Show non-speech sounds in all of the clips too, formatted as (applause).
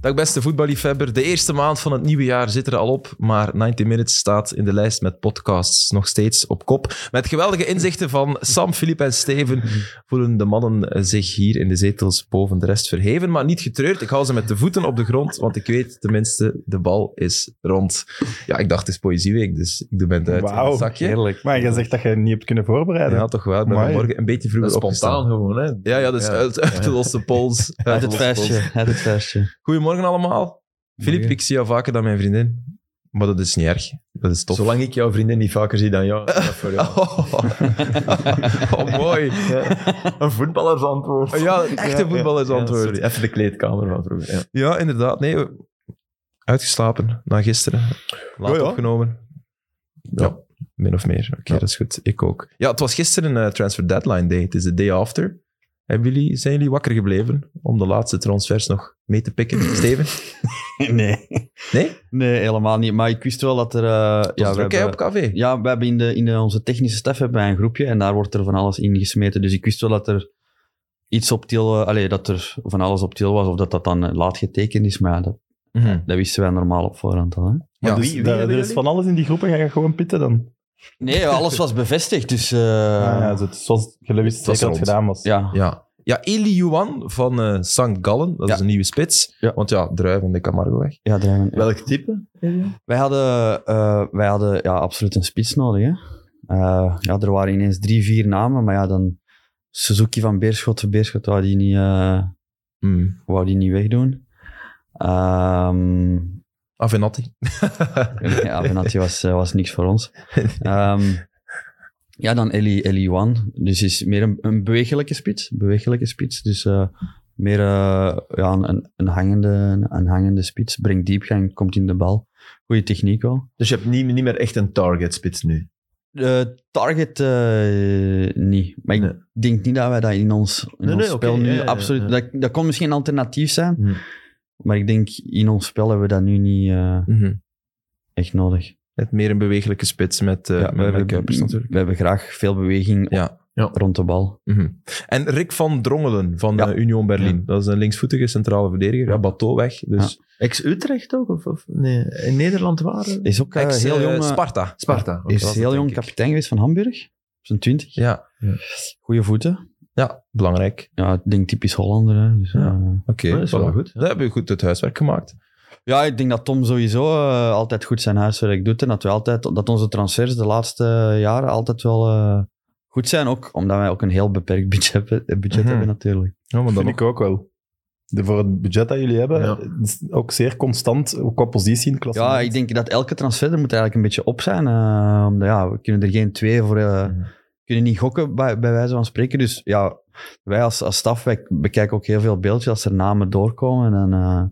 Dag beste voetballiefhebber. De eerste maand van het nieuwe jaar zit er al op, maar 90 Minutes staat in de lijst met podcasts nog steeds op kop. Met geweldige inzichten van Sam, Filip en Steven voelen de mannen eh, zich hier in de zetels boven de rest verheven, maar niet getreurd. Ik hou ze met de voeten op de grond, want ik weet tenminste, de bal is rond. Ja, ik dacht, het is Poëzieweek, dus ik doe mijn duit in Wauw. het zakje. Heerlijk. Maar je zegt dat je niet hebt kunnen voorbereiden. Ja, toch wel. Ik ben Amai. vanmorgen een beetje vroeger Dat is spontaan opgestaan. gewoon, hè? Ja, ja, dus Ja. uit, uit de losse pols. Uit Uit de het losse pols. vuistje, uit het vuistje. Goedemorgen allemaal. Filip, Morgen. ik zie jou vaker dan mijn vriendin. Maar dat is niet erg. Dat is tof. Zolang ik jouw vriendin niet vaker zie dan (laughs) jou. dat voor jou. (laughs) Oh, oh, mooi. Een voetballersantwoord. Oh Ja, een echte voetballersantwoord. sorry, even de kleedkamer van vroeger. Ja. Ja, inderdaad. Nee, we- uitgeslapen na gisteren. Laat Oh ja. opgenomen. Ja. min of meer. Oké, dat is goed. Ik ook. Ja, het was gisteren eh, transfer deadline day. Het is de day after. Hebben jullie, zijn jullie wakker gebleven om de laatste transfers nog mee te pikken? Steven? (laughs) Nee. Nee? Nee, helemaal niet. Maar ik wist wel dat er... eh, Ja, ja, we druk hè, op hebben, café. ja, we hebben in, de, in de- onze technische staf hebben wij een groepje en daar wordt er van alles ingesmeten. Dus ik wist wel dat er iets op til... eh, allee, dat er van alles op til was of dat dat dan eh, laat getekend is. Maar ja, dat, Mhm. dat wisten wij normaal op voorhand al. Hè? Ja, dus wie- wie daar- hebben er is jullie? van alles in die groep en ga je gewoon pitten dan. Nee, alles was bevestigd, dus... eh, Ah, ja, zo- zoals je wist was zeker dat rond. het gedaan was. ja. Ja. Ja, Eli Yuan van eh St. Gallen. Dat Ja. is een nieuwe spits. Ja. Want ja, druiven de Camargo weg. Ja, Draven, ja. Welk type? Wij hadden, eh, wij hadden ja, absoluut een spits nodig. Hè? Eh, ja, er waren ineens drie, vier namen, maar ja, dan Suzuki van Beerschot. Beerschot wou die niet, eh, Mm. wou die niet wegdoen. Ehm Ah, Avenatti. ja, Benatti was, eh, was niks voor ons. Ehm, ja, dan Eli, Eli Wan. Dus is meer een, een bewegelijke spits. Bewegelijke spits. Dus eh, meer eh, ja, een- een, een, hangende, een hangende spits. Brengt diepgang, komt in de bal. Goede techniek wel. Dus je hebt niet, niet meer echt een target-spits nu. De target eh, niet. Maar ik Nee. denk niet dat wij dat in ons, in Nee, ons nee, spel oké, nu ja, ja, ja. absoluut. Dat, dat kon misschien een alternatief zijn, Hm. maar ik denk in ons spel hebben we dat nu niet eh, Mhm. echt nodig. Eh, Het meer een bewegelijke spits met, eh Ja, met, met Kuipers natuurlijk. we hebben graag veel beweging op- Ja. Ja. rond de bal. Mhm. En Rick van Drongelen van Ja. eh, Union Berlin. Ja. Dat is een linksvoetige centrale verdediger. Ja, Bateau weg. Dus. Ex-Utrecht ook? Of, of nee, in Nederland waren? Is ook eh, Ex, heel eh, jong, eh, Sparta. Sparta. oké. is was heel het, jong denk ik. kapitein geweest van Hamburg. Op zijn twintig. Ja. Goeie voeten. ja, belangrijk. Ja, ik denk typisch Hollander. Hè. Dus, Ja. eh, Oké, Ja, dat is wel voilà. goed, ja. Dan hebben we goed het huiswerk gemaakt. Ja, ik denk dat Tom sowieso eh, altijd goed zijn huiswerk doet. En dat, we altijd, dat onze transfers de laatste jaren altijd wel eh, goed zijn. Ook omdat wij ook een heel beperkt budget, hebben- eh, budget Mhm. hebben natuurlijk. Ja, maar Dat dan vind ik ook wel. De, voor het budget dat jullie hebben, Ja. het is ook zeer constant, ook qua positie in het klassement. Ja, ik denk dat elke transfer er moet eigenlijk een beetje op zijn. eh, omdat ja, we kunnen er geen twee voor... eh, Mhm. kunnen niet gokken, bij, bij wijze van spreken. Dus ja, wij als, als staf wij bekijken ook heel veel beeldjes. Als er namen doorkomen, dan eh,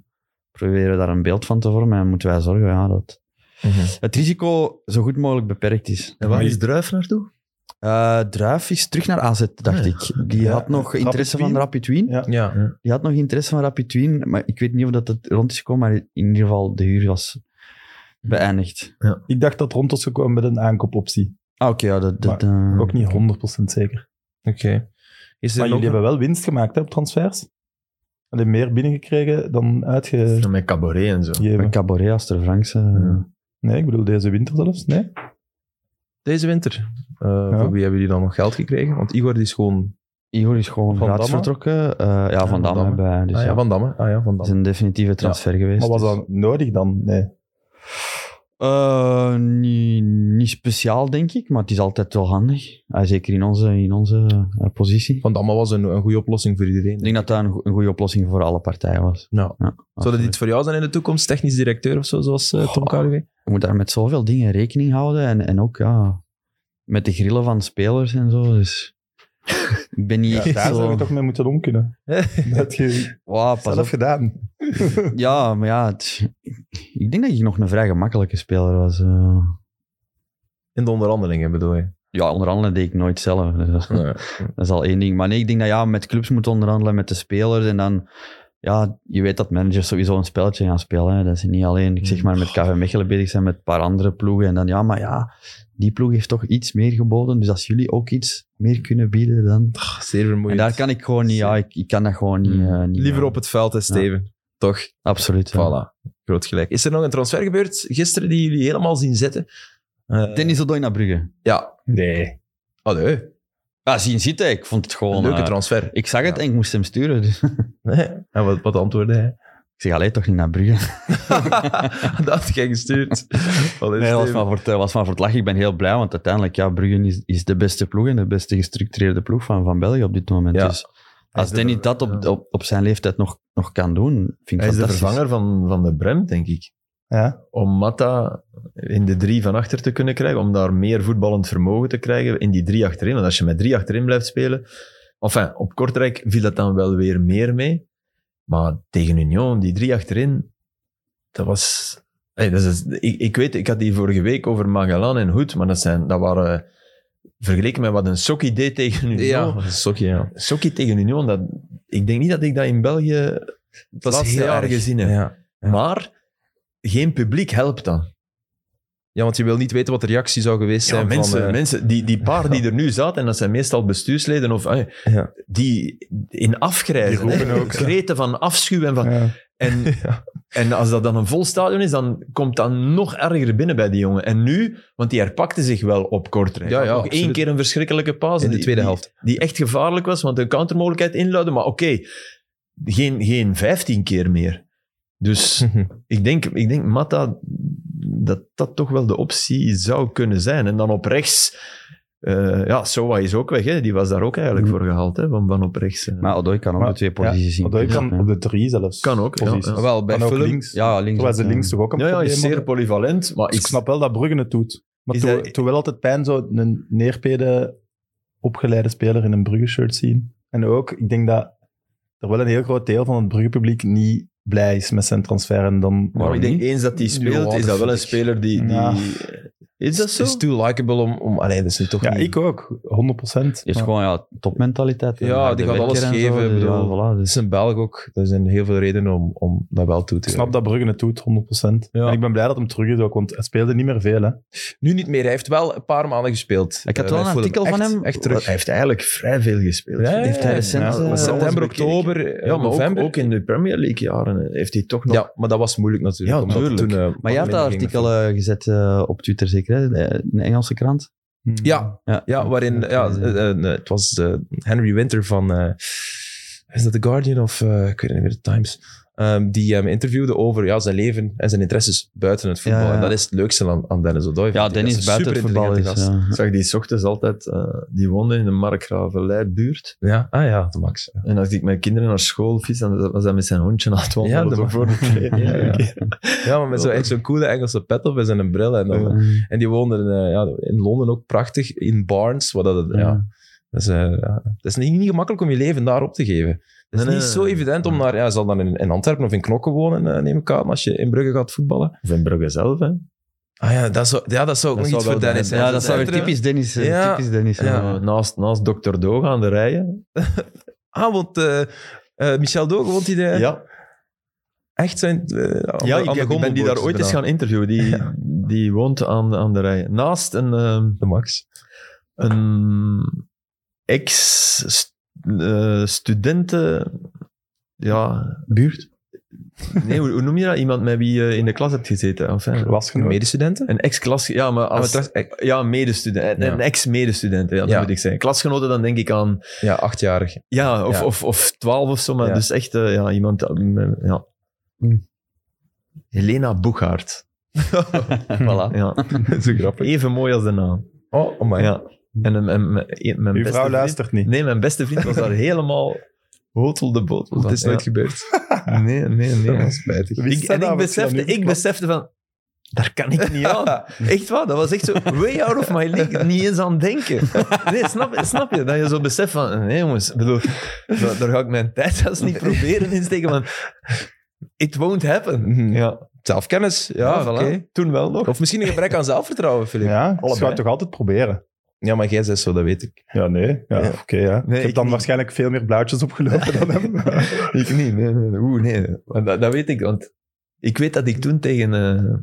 proberen we daar een beeld van te vormen. En moeten wij zorgen ja, dat Mhm. het risico zo goed mogelijk beperkt is. En waar is Druif naartoe? Eh, Druif is terug naar AZ, dacht Ja. ik. Die Ja, had nog Rapid interesse van Wien. Rapid Wien. Ja. Ja. Die had nog interesse van Rapid Wien, maar ik weet niet of dat het rond is gekomen, maar in ieder geval de huur was beëindigd. Ik dacht dat rond was gekomen met een aankoopoptie. Ah, oké, ja, dat... dat Hm. eh, Ook niet 100% zeker. Oké. Is er Maar nog jullie een- hebben wel winst gemaakt hè, op transfers. Alleen meer binnengekregen dan uitgegeven. Met cabaret en zo. Bij Cabaret, Aster Franks. eh, Hmm. Ja. Nee, ik bedoel deze winter zelfs. Nee. Deze winter. Eh, Voor wie hebben jullie dan nog geld gekregen? Want Igor die is gewoon... Igor is gewoon Van gratis Damme? vertrokken. Eh, ja, Van Van Damme. Damme hebben wij. Dus ah, ja, ja, Van Damme. Ah ja, Van Het Damme. is een definitieve transfer geweest. Maar was dus- dat nodig dan? Nee. Eh, niet, niet speciaal, denk ik. Maar het is altijd wel handig. Ah, zeker in onze, in onze eh, positie. Van Damme was een, een goede oplossing voor Ik iedereen. denk dat dat een, go- een goede oplossing voor alle partijen was. Nou, zou dat Absoluut. iets voor jou zijn in de toekomst? Technisch directeur of zo, zoals eh, Tom Goh. Kaluwe? Je moet daar met zoveel dingen rekening houden. En, en ook ja, met de grillen van spelers en zo. (laughs) Dus ik (laughs) ben niet Ja, echt daar zo... zou je toch mee moeten om kunnen. Dat heb je Wow, pas zelf op. gedaan. Ja, maar ja... het- ik denk dat ik nog een vrij gemakkelijke speler was. eh. In de onderhandelingen bedoel je? Ja, onderhandelen deed ik nooit zelf. Dus dat, Nee. dat is al één ding. Maar nee, ik denk dat ja, met clubs moet onderhandelen, met de spelers. En dan, ja, je weet dat managers sowieso een spelletje gaan spelen. Hè. Dat ze niet alleen, ik Mm. zeg maar, met KV Mechelen bezig zijn, met een paar andere ploegen. En dan, ja, maar ja, die ploeg heeft toch iets meer geboden. Dus als jullie ook iets meer kunnen bieden, dan... Ach, Ah, zeer En vermoeiend. Mm. daar kan ik gewoon niet, ja, ik, ik kan dat gewoon niet... eh, niet Liever aan. op het veld, hè, Steven. Toch? Absoluut. ja. Voilà. Groot gelijk. Is er nog een transfer gebeurd gisteren die jullie helemaal zien zitten? Eh, Dennis Odoi naar Brugge. Ja. Nee. Oh, nee. Ja, zien zitten. Ik vond het gewoon... Een leuke eh, (laughs) transfer. ik zag het Ja. en ik moest hem sturen. Dus. (laughs) En wat, wat antwoordde hij? Ik zeg, alleen toch niet naar Brugge. (laughs) dat had jij gestuurd. Wat is Dus Nee, dat was dit? maar, voor het, eh, was maar voor het lachen. Ik ben heel blij, want uiteindelijk, ja, Brugge is, is de beste ploeg en de beste gestructureerde ploeg van, van België op dit moment. Ja. Dus als de Danny ver- dat op, ja. op, op zijn leeftijd nog, nog kan doen, vind ik Hij is de fantastisch. vervanger van, van de Brem, denk ik. Ja. Om Matta in de drie van achter te kunnen krijgen, om daar meer voetballend vermogen te krijgen in die drie achterin. Want als je met drie achterin blijft spelen... Enfin, op Kortrijk viel dat dan wel weer meer mee. Maar tegen Union, die drie achterin, dat was... Hey, dat is, ik, ik weet, ik had die vorige week over Magellan en Hoed, maar dat, zijn, dat waren... Vergeleken met wat een sokkie deed tegen Union, Ja, dat is ook, ja. Sokkie tegen Union, dat, ik denk niet dat ik dat in België Dat laatste jaar gezien heb. Ja. Ja. Maar geen publiek helpt dan. ja, want je wil niet weten wat de reactie zou geweest Ja, zijn mensen, van... eh, mensen die, die paar die er nu zaten, en dat zijn meestal bestuursleden, of, eh, Ja. die in afgrijzen. Die roepen hè. ook, hè. Kreten van afschuw en van... ja. (laughs) (laughs) En, en als dat dan een vol stadion is, dan komt dat nog erger binnen bij die jongen. En nu, want die herpakte zich wel op Kortrijk. Ja, Had ja, nog één absoluut. keer een verschrikkelijke paas. in de die- tweede die- helft. die echt gevaarlijk was, want een countermogelijkheid inluiden, maar oké, geen, geen 15 keer meer. Dus ik denk, ik denk Matta, dat dat toch wel de optie zou kunnen zijn. En dan op rechts, eh, ja, Sowa is ook weg, hè. die was daar ook eigenlijk Mm. voor gehaald, hè, van, van op rechts. eh. Maar Odoi kan ook de twee ja, posities zien. Odoi Ja. kan op de drie zelfs. Kan ook, ja, Posities. ja. Wel, bij Kan ook Fulham... links. Ja, links. Terwijl ze ja. links toch ook een ja, ja, hij is probleem zeer hadden. polyvalent, maar Dus ik snap wel dat Bruggen het doet. Maar Is toen, hij- toen wel altijd pijn zo een neerpede opgeleide speler in een Brugge-shirt zien. En ook, ik denk dat er wel een heel groot deel van het Brugge-publiek niet blij is met zijn transfer. En dan, maar ik denk eens dat hij speelt, Ja, is dat dat wel een vind ik. speler die... die Ja. Is dat Het zo? is too likable om... om allee, dat is nu toch ja, niet- ik ook, 100 procent. Die is gewoon ja, topmentaliteit. Ja, die Harde gaat werker alles en zo, geven, dus ja, bedoel. voilà, Het dus- is een Belg ook. Er zijn heel veel redenen om, om dat wel toe te Ik snap dat Bruggen het doet, 100 procent. Ja. En ik ben blij dat hem terug is ook, want hij speelde niet meer veel. Hè. Nu niet meer. Hij heeft wel een paar maanden gespeeld. Ik had Eh, wel bij een Fulham. artikel van Echt- hem. Echt terug. Hij heeft eigenlijk vrij veel gespeeld. Ja, ja, Heeft hij recent... Ja, eh, maar ja, September, bekeken. oktober, eh, Ja, maar ook, november. ook in de Premier League jaren eh, heeft hij toch nog... Ja, maar dat was moeilijk natuurlijk. Ja, omdat het tuurlijk. Toen, eh, Maar je had dat minder ging met artikel eh, gezet eh, op Twitter, zeker? Hè? Een Engelse krant. Hmm. Ja, Ja. ja waarin ja, eh, eh, het was eh, Henry Winter van. eh, is dat The Guardian of. eh, ik weet niet meer, The Times. ehm, die hem interviewde over ja, zijn leven en zijn interesses buiten het voetbal. Ja, ja. En dat is het leukste aan, aan Dennis O'Doy. Ja, Dennis buiten het voetbal is. Ja. Ja. Ik zag die 's ochtends altijd, eh, die woonde in de Markgravenlei-buurt. ja, ah ja, de Max. En als ik mijn kinderen naar school fiets, dan was hij met zijn hondje aan het wandelen. Ja, de zo Mark- voor de (laughs) training. Ja, ja. Oké. Ja, maar met zo, echt zo'n coole Engelse pet op en zijn bril. En, dan, en die woonde in, eh, ja, in Londen ook prachtig, in Barnes. Wat dat, het- ja. Dat is, eh, ja. dat is niet, niet gemakkelijk om je leven daar op te geven. Het is Nee, nee, niet nee, zo nee. evident om naar... Ja, je zal dan in, in Antwerpen of in Knokke wonen, eh, neem ik aan, als je in Brugge gaat voetballen. Of in Brugge zelf, hè. Ah ja, dat zou, ja, dat zou ook Dat zou nog iets wel voor Dennis zijn. Ja, dat zou weer Centrum. typisch Dennis, eh, Ja. typisch Dennis zijn. Ja. Ja. Naast, naast Dr. Doga aan de rijen. Ah, want eh, eh, Michel Dogen woont hij de, Ja, echt zijn... eh, aan de- ja aan ik, de ik ben die daar gondelbootjes ooit eens gedaan. gaan interviewen. Die, die woont aan, aan de rijen. Naast een, ehm, De (laughs) Max. een ex-studenten... ja, Buurt, nee, hoe, hoe noem je dat? Iemand met wie je in de klas hebt gezeten. Enfin, klasgenoot. Medestudenten? Een ex-klas... Ja, maar Ah, maar als... trouwens, eh, Ja, medestudent. Ja. Een ex-medestudent, ja, dat Ja. moet ik zeggen. Klasgenoten, dan denk ik aan... ja, achtjarig. Ja, of, Ja. Of, of twaalf of zo, maar Ja. Hm. dus echt eh, ja, iemand... eh, Ja. Hmm. Helena (laughs) Boegaert. voilà. Ja. zo grappig. Even mooi als de naam. Oh, amai. Ja. En, en, en mijn, mijn Uw beste vrouw vriend- luistert niet. Nee, mijn beste vriend was daar helemaal hotel de botel Het van. is nooit gebeurd. Ja. Nee, nee, Dat nee. was spijtig. Ik, en ik besefte, ik besefte van... Daar kan ik niet aan. Echt waar, dat was echt zo way out of my league. Niet eens aan denken. Nee, snap, snap je? Dat je zo beseft van, nee jongens, ik bedoel, daar, daar ga ik mijn tijd zelfs niet proberen in te steken, want it won't happen. Mhm. Ja, Zelfkennis, ja, ja, voilà. oké. Toen wel nog. Of misschien een gebrek aan zelfvertrouwen, Filip. Ja. Ja, dus je gaat toch altijd proberen. maar jij zegt zo, dat weet ik. Ja, nee. Ja, Ja. Oké, ja. Nee, ik heb ik dan niet. waarschijnlijk (laughs) veel meer blauwtjes opgelopen dan hem. (laughs) Ik niet, nee, nee. nee. Oeh, nee. Want dat, dat weet ik, want Ik weet dat ik toen tegen, eh,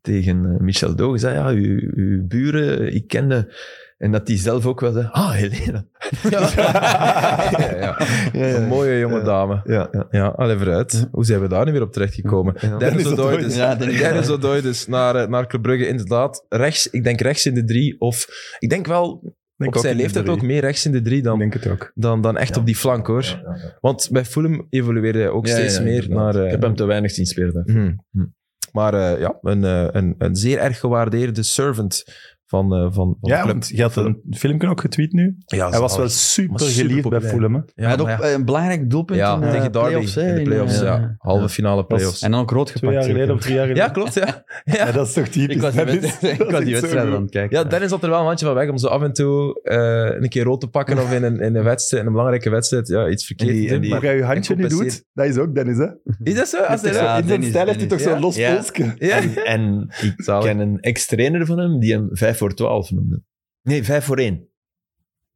tegen eh, Michel Doge zei, ja, uw, uw buren, ik kende... En dat die zelf ook wel zei, ah, Helena. (laughs) Ja, ja. Ja, ja. Een mooie jonge Ja. dame. Ja, ja. Ja, allee, vooruit. Hoe zijn we daar nu weer op terechtgekomen? Ja. Dennis Odoides. Ja, Dennis dus- (laughs) Dennis Odoides naar, eh, naar Club Brugge, inderdaad. Rechts, ik denk rechts in de drie. Of ik denk wel, op zijn leeftijd ook meer rechts in de drie Ik dan, denk het ook. dan, dan echt Ja. op die flank, hoor. Ja, ja, ja. Want bij Fulham evolueerde hij ook Ja, steeds ja, meer inderdaad. naar... eh, Ik heb hem te weinig zien spelen. hè. hm. Hm. Maar eh, ja, een, eh, een, een zeer erg gewaardeerde servant van, eh, van, van de Ja, club. want je had een filmpje ook getweet nu. Ja, Hij was zalig. wel super Maar super geliefd bij populair. Fulham. hè. Ja, hij had ook maar ja. eh, een belangrijk doelpunt Ja, in, eh, tegen Derby playoffs, hè, in de in, playoffs, eh, ja. Halve finale playoffs. En dan ook rood gepakt. Twee jaar geleden of drie jaar geleden. Ja, klopt, ja. Ja, dat is toch typisch. Ik was die Dat is- wedstrijd dat (laughs) ik is was die echt zo wedstrijd goed. aan het kijken. Ja, Dennis had er wel een handje van weg om zo af en toe eh, een keer rood te pakken of in een, in een, wedstrijd, in een belangrijke wedstrijd ja, iets verkeerd En die- te doen. en die- maar- Maar hij je handje En niet doet, compenseert. dat is ook Dennis, hè? is dat zo? Als hij Ja, dat- In zijn Dennis, stijl heeft hij Dennis. toch zo'n Ja. los Ja. polsje. Ja. En, en ik Zalig. ken een ex-trainer van hem die hem 5 voor 12 noemde. Nee, 5 voor 1.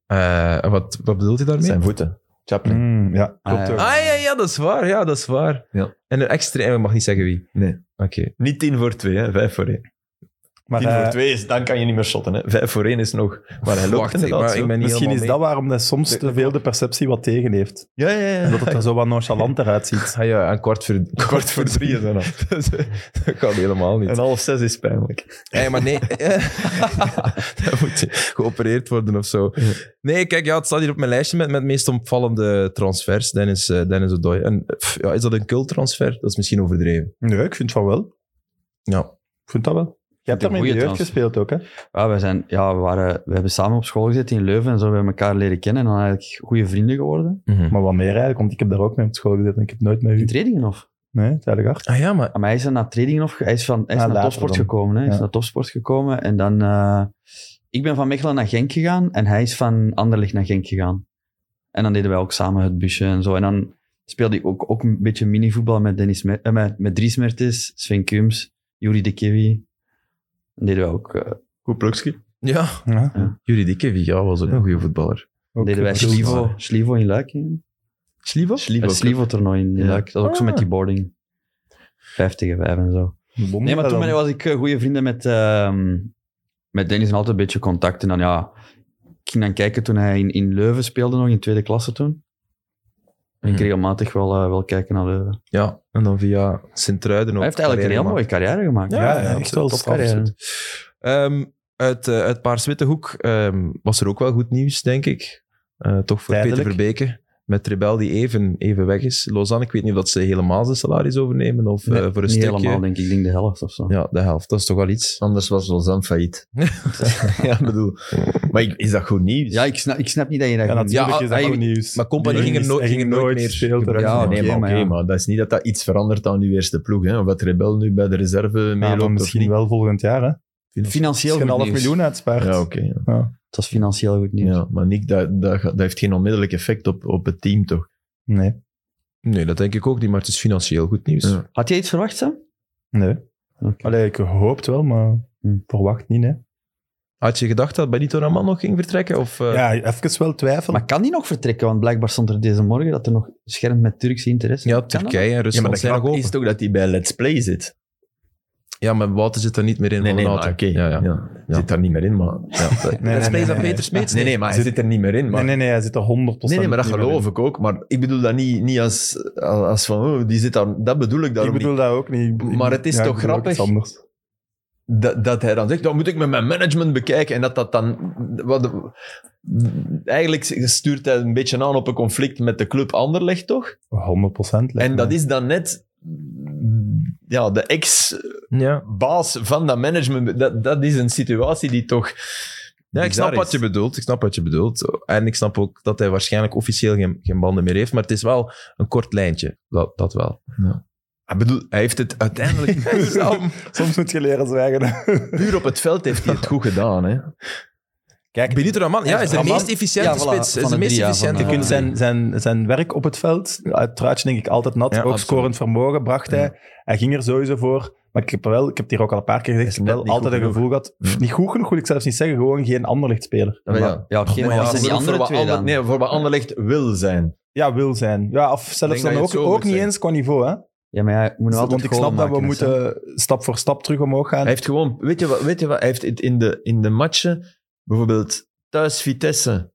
Eh, wat, wat bedoelt hij daarmee? Zijn voeten. Chaplin. Mm, ja, Ah, klopt ja. ook. Ah ja, ja, dat is waar. Ja, dat is waar. Ja. En een extra... En ik mag niet zeggen wie. Nee. Oké. Niet 10 voor 2, hè. 5 voor 1. Maar eh, 10 hij- eh, voor 2 is, dan kan je niet meer shotten, hè. 5 voor 1 is nog... Maar hij loopt Wacht, inderdaad maar zo. ik ben niet misschien is helemaal dat waarom hij soms te veel de perceptie wat tegen heeft. Ja, ja, ja. Omdat het er zo wat nonchalant eruit ziet. mee. Ah, (laughs) ja, en kwart voor... (laughs) Kort voor 3 is dan al. dat gaat helemaal niet. En half 6 is pijnlijk. Hey, maar (laughs) nee. dat moet je geopereerd worden of zo. Nee, kijk, ja, het staat hier op mijn lijstje met, met meest opvallende transfers. Dennis, eh, Dennis Odoi. En pff, ja, is dat een culttransfer? Dat is misschien overdreven. Nee, ik vind van wel. Ja. Ik vind dat wel. Je hebt een daarmee in de goeie jeugd trans. gespeeld ook, hè? Ja, we, zijn, ja we, waren, we hebben samen op school gezeten in Leuven en zo hebben we elkaar leren kennen en dan eigenlijk goede vrienden geworden. Maar wat meer eigenlijk, want ik heb daar ook mee op school gezeten en ik heb nooit met Hm. In u... Tredingenhof. Nee, het is eigenlijk hard. Ah ja, maar... Maar hij is dan naar Tredingenhof, ge- hij is, van, hij is Ah, naar later topsport dan. gekomen. Hè. Hij is Ja. naar topsport gekomen en dan... eh, ik ben van Mechelen naar Genk gegaan en hij is van Anderlecht naar Genk gegaan. En dan deden wij ook samen het busje en zo. En dan speelde ik ook, ook een beetje minivoetbal met, Dennis Mer- eh, met, met Dries Mertens, Sven Kums, Juri de Kiwi. Dan deden wij ook... eh, Goed plukje. Ja, Ja, Juri Dikkevi ja, was ook een goede voetballer. ook deden wij goed. Slivo, Slivo in Luik. hè. Slivo? Het Slivo-toernooi in Ja. Luik. Dat is ook zo met Ah. die boarding. 5 tegen 5 en zo. Wonder Nee, maar toen dan. ben- was ik eh, goede vrienden met, ehm, met Dennis en altijd een beetje contact. En dan ja, ik ging dan kijken toen hij in, in Leuven speelde nog, in tweede klasse toen. En ik Mhm. regelmatig wel, eh, wel kijken naar Leuven. Ja, en dan via Sint-Truiden ook. hij heeft eigenlijk een heel mooie carrière gemaakt. Ja, Ja, ja, echt wel absoluut, topcarrière. absoluut. Ehm, uit, eh, uit Paarswitte Hoek ehm, was er ook wel goed nieuws, denk ik. Eh, toch voor Tijdelijk. Peter Verbeke. Met Rebel die even, even weg is. Lausanne, ik weet niet of dat ze helemaal zijn salaris overnemen of eh, Nee, voor een Niet stukje. helemaal, denk ik. Ik denk de helft of zo. Ja, de helft. Dat is toch wel iets. Anders was Lausanne (laughs) failliet. (laughs) ja, ik bedoel... Maar ik- is dat goed nieuws? Ja, ik snap, ik snap niet dat je dat... Ja, natuurlijk Ja, is dat hij- goed nieuws. maar Company Die ging er is- nooit- hij ging er nooit meer spelen. gebruiken. Ja, nee, maar, oké, oké, maar ja. maar dat is niet dat dat iets verandert aan uw eerste ploeg. Hè? Of dat Rebel nu bij de reserve Ja, meeloopt maar of misschien niet. wel volgend jaar, hè? Financieel Misschien een goed half nieuws. miljoen uitspaart. Ja, oké. ja. Het was financieel goed nieuws. Ja, maar Nick, dat, dat, dat heeft geen onmiddellijk effect op, op het team, toch? Nee. Nee, dat denk ik ook niet, maar het is financieel goed nieuws. Ja. Had jij iets verwacht, Sam? Nee. Oké. Allee, ik hoop het wel, maar Hm. verwacht niet, hè? Had je gedacht dat Benito Raman nog ging vertrekken? Of, eh, Ja, even wel twijfel. Maar kan die nog vertrekken? Want blijkbaar stond er deze morgen dat er nog schermt met Turkse interesse. ja, Kan dat? Turkije en Ja, maar Rusland de zijn nog grap open. is toch dat hij bij Let's Play zit? Ja, maar Wouter zit er niet meer in. Nee, van nee, de maar auto. oké. Ja, ja. Ja. Zit daar niet meer in, (laughs) maar... nee, Het nee, spijt dat nee, Peter Smeets Nee, niet. nee, maar hij Zit- zit er niet meer in. Maar... Nee, nee, nee, hij zit er 100% Nee, nee, maar dat niet meer in. geloof ik ook. Maar ik bedoel dat niet, niet als, als van, oh, die zit daar... Dat bedoel ik Ik daarom bedoel dat ook niet. Ik- Maar het is ja, ik toch bedoel ook iets grappig? anders. niet. Dat, dat hij dan zegt, dat moet ik met mijn management bekijken. En dat dat dan... Wat, eigenlijk stuurt hij een beetje aan op een conflict met de club Anderlecht, toch? 100% lijkt En dat mij. is dan net... Ja, de ex Ja. baas van dat management, dat, dat is een situatie die toch. Ja, ik snap bizar wat is. je bedoelt. Ik snap wat je bedoelt. En ik snap ook dat hij waarschijnlijk officieel geen, geen banden meer heeft. Maar het is wel een kort lijntje. Dat, dat wel. Ik bedoel, hij heeft het uiteindelijk. Sam. Soms moet je leren zwijgen. puur op het veld heeft hij het goed gedaan. Hè. Kijk, Benito Raman. Ja, hij is de Raman- meest efficiënte Ja, voilà, spits. van Hij is de de meest drie, ja, efficiënte. van de- Je kunt Ah, zijn, zijn, zijn werk op het veld, het truitje denk ik altijd nat, Ja, ook absoluut. scorend vermogen bracht hij. Hij ging er sowieso voor, maar ik heb, wel, ik heb het hier ook al een paar keer gezegd, Hij is ik heb net wel niet altijd een goed gevoel gehad, pff, niet goed genoeg wil ik zelfs niet zeggen, gewoon geen ander lichtspeler. Maar Ja, ja oké, maar ja, wat zijn die voor andere wat twee Ander- dan? Nee, voor wat Anderlecht wil zijn. Ja, wil zijn. Ja, of denk zelfs dat dan je ook, het zo moet ook niet zeggen. eens qua niveau. Hè? Ja, maar ja, je moet nu Dus, altijd Want ik goalen snap dat we maken, hè, Sam. moeten stap voor stap terug omhoog gaan. Hij heeft gewoon, weet je wat, weet je wat hij heeft het in de, in de matchen, bijvoorbeeld thuis Vitesse,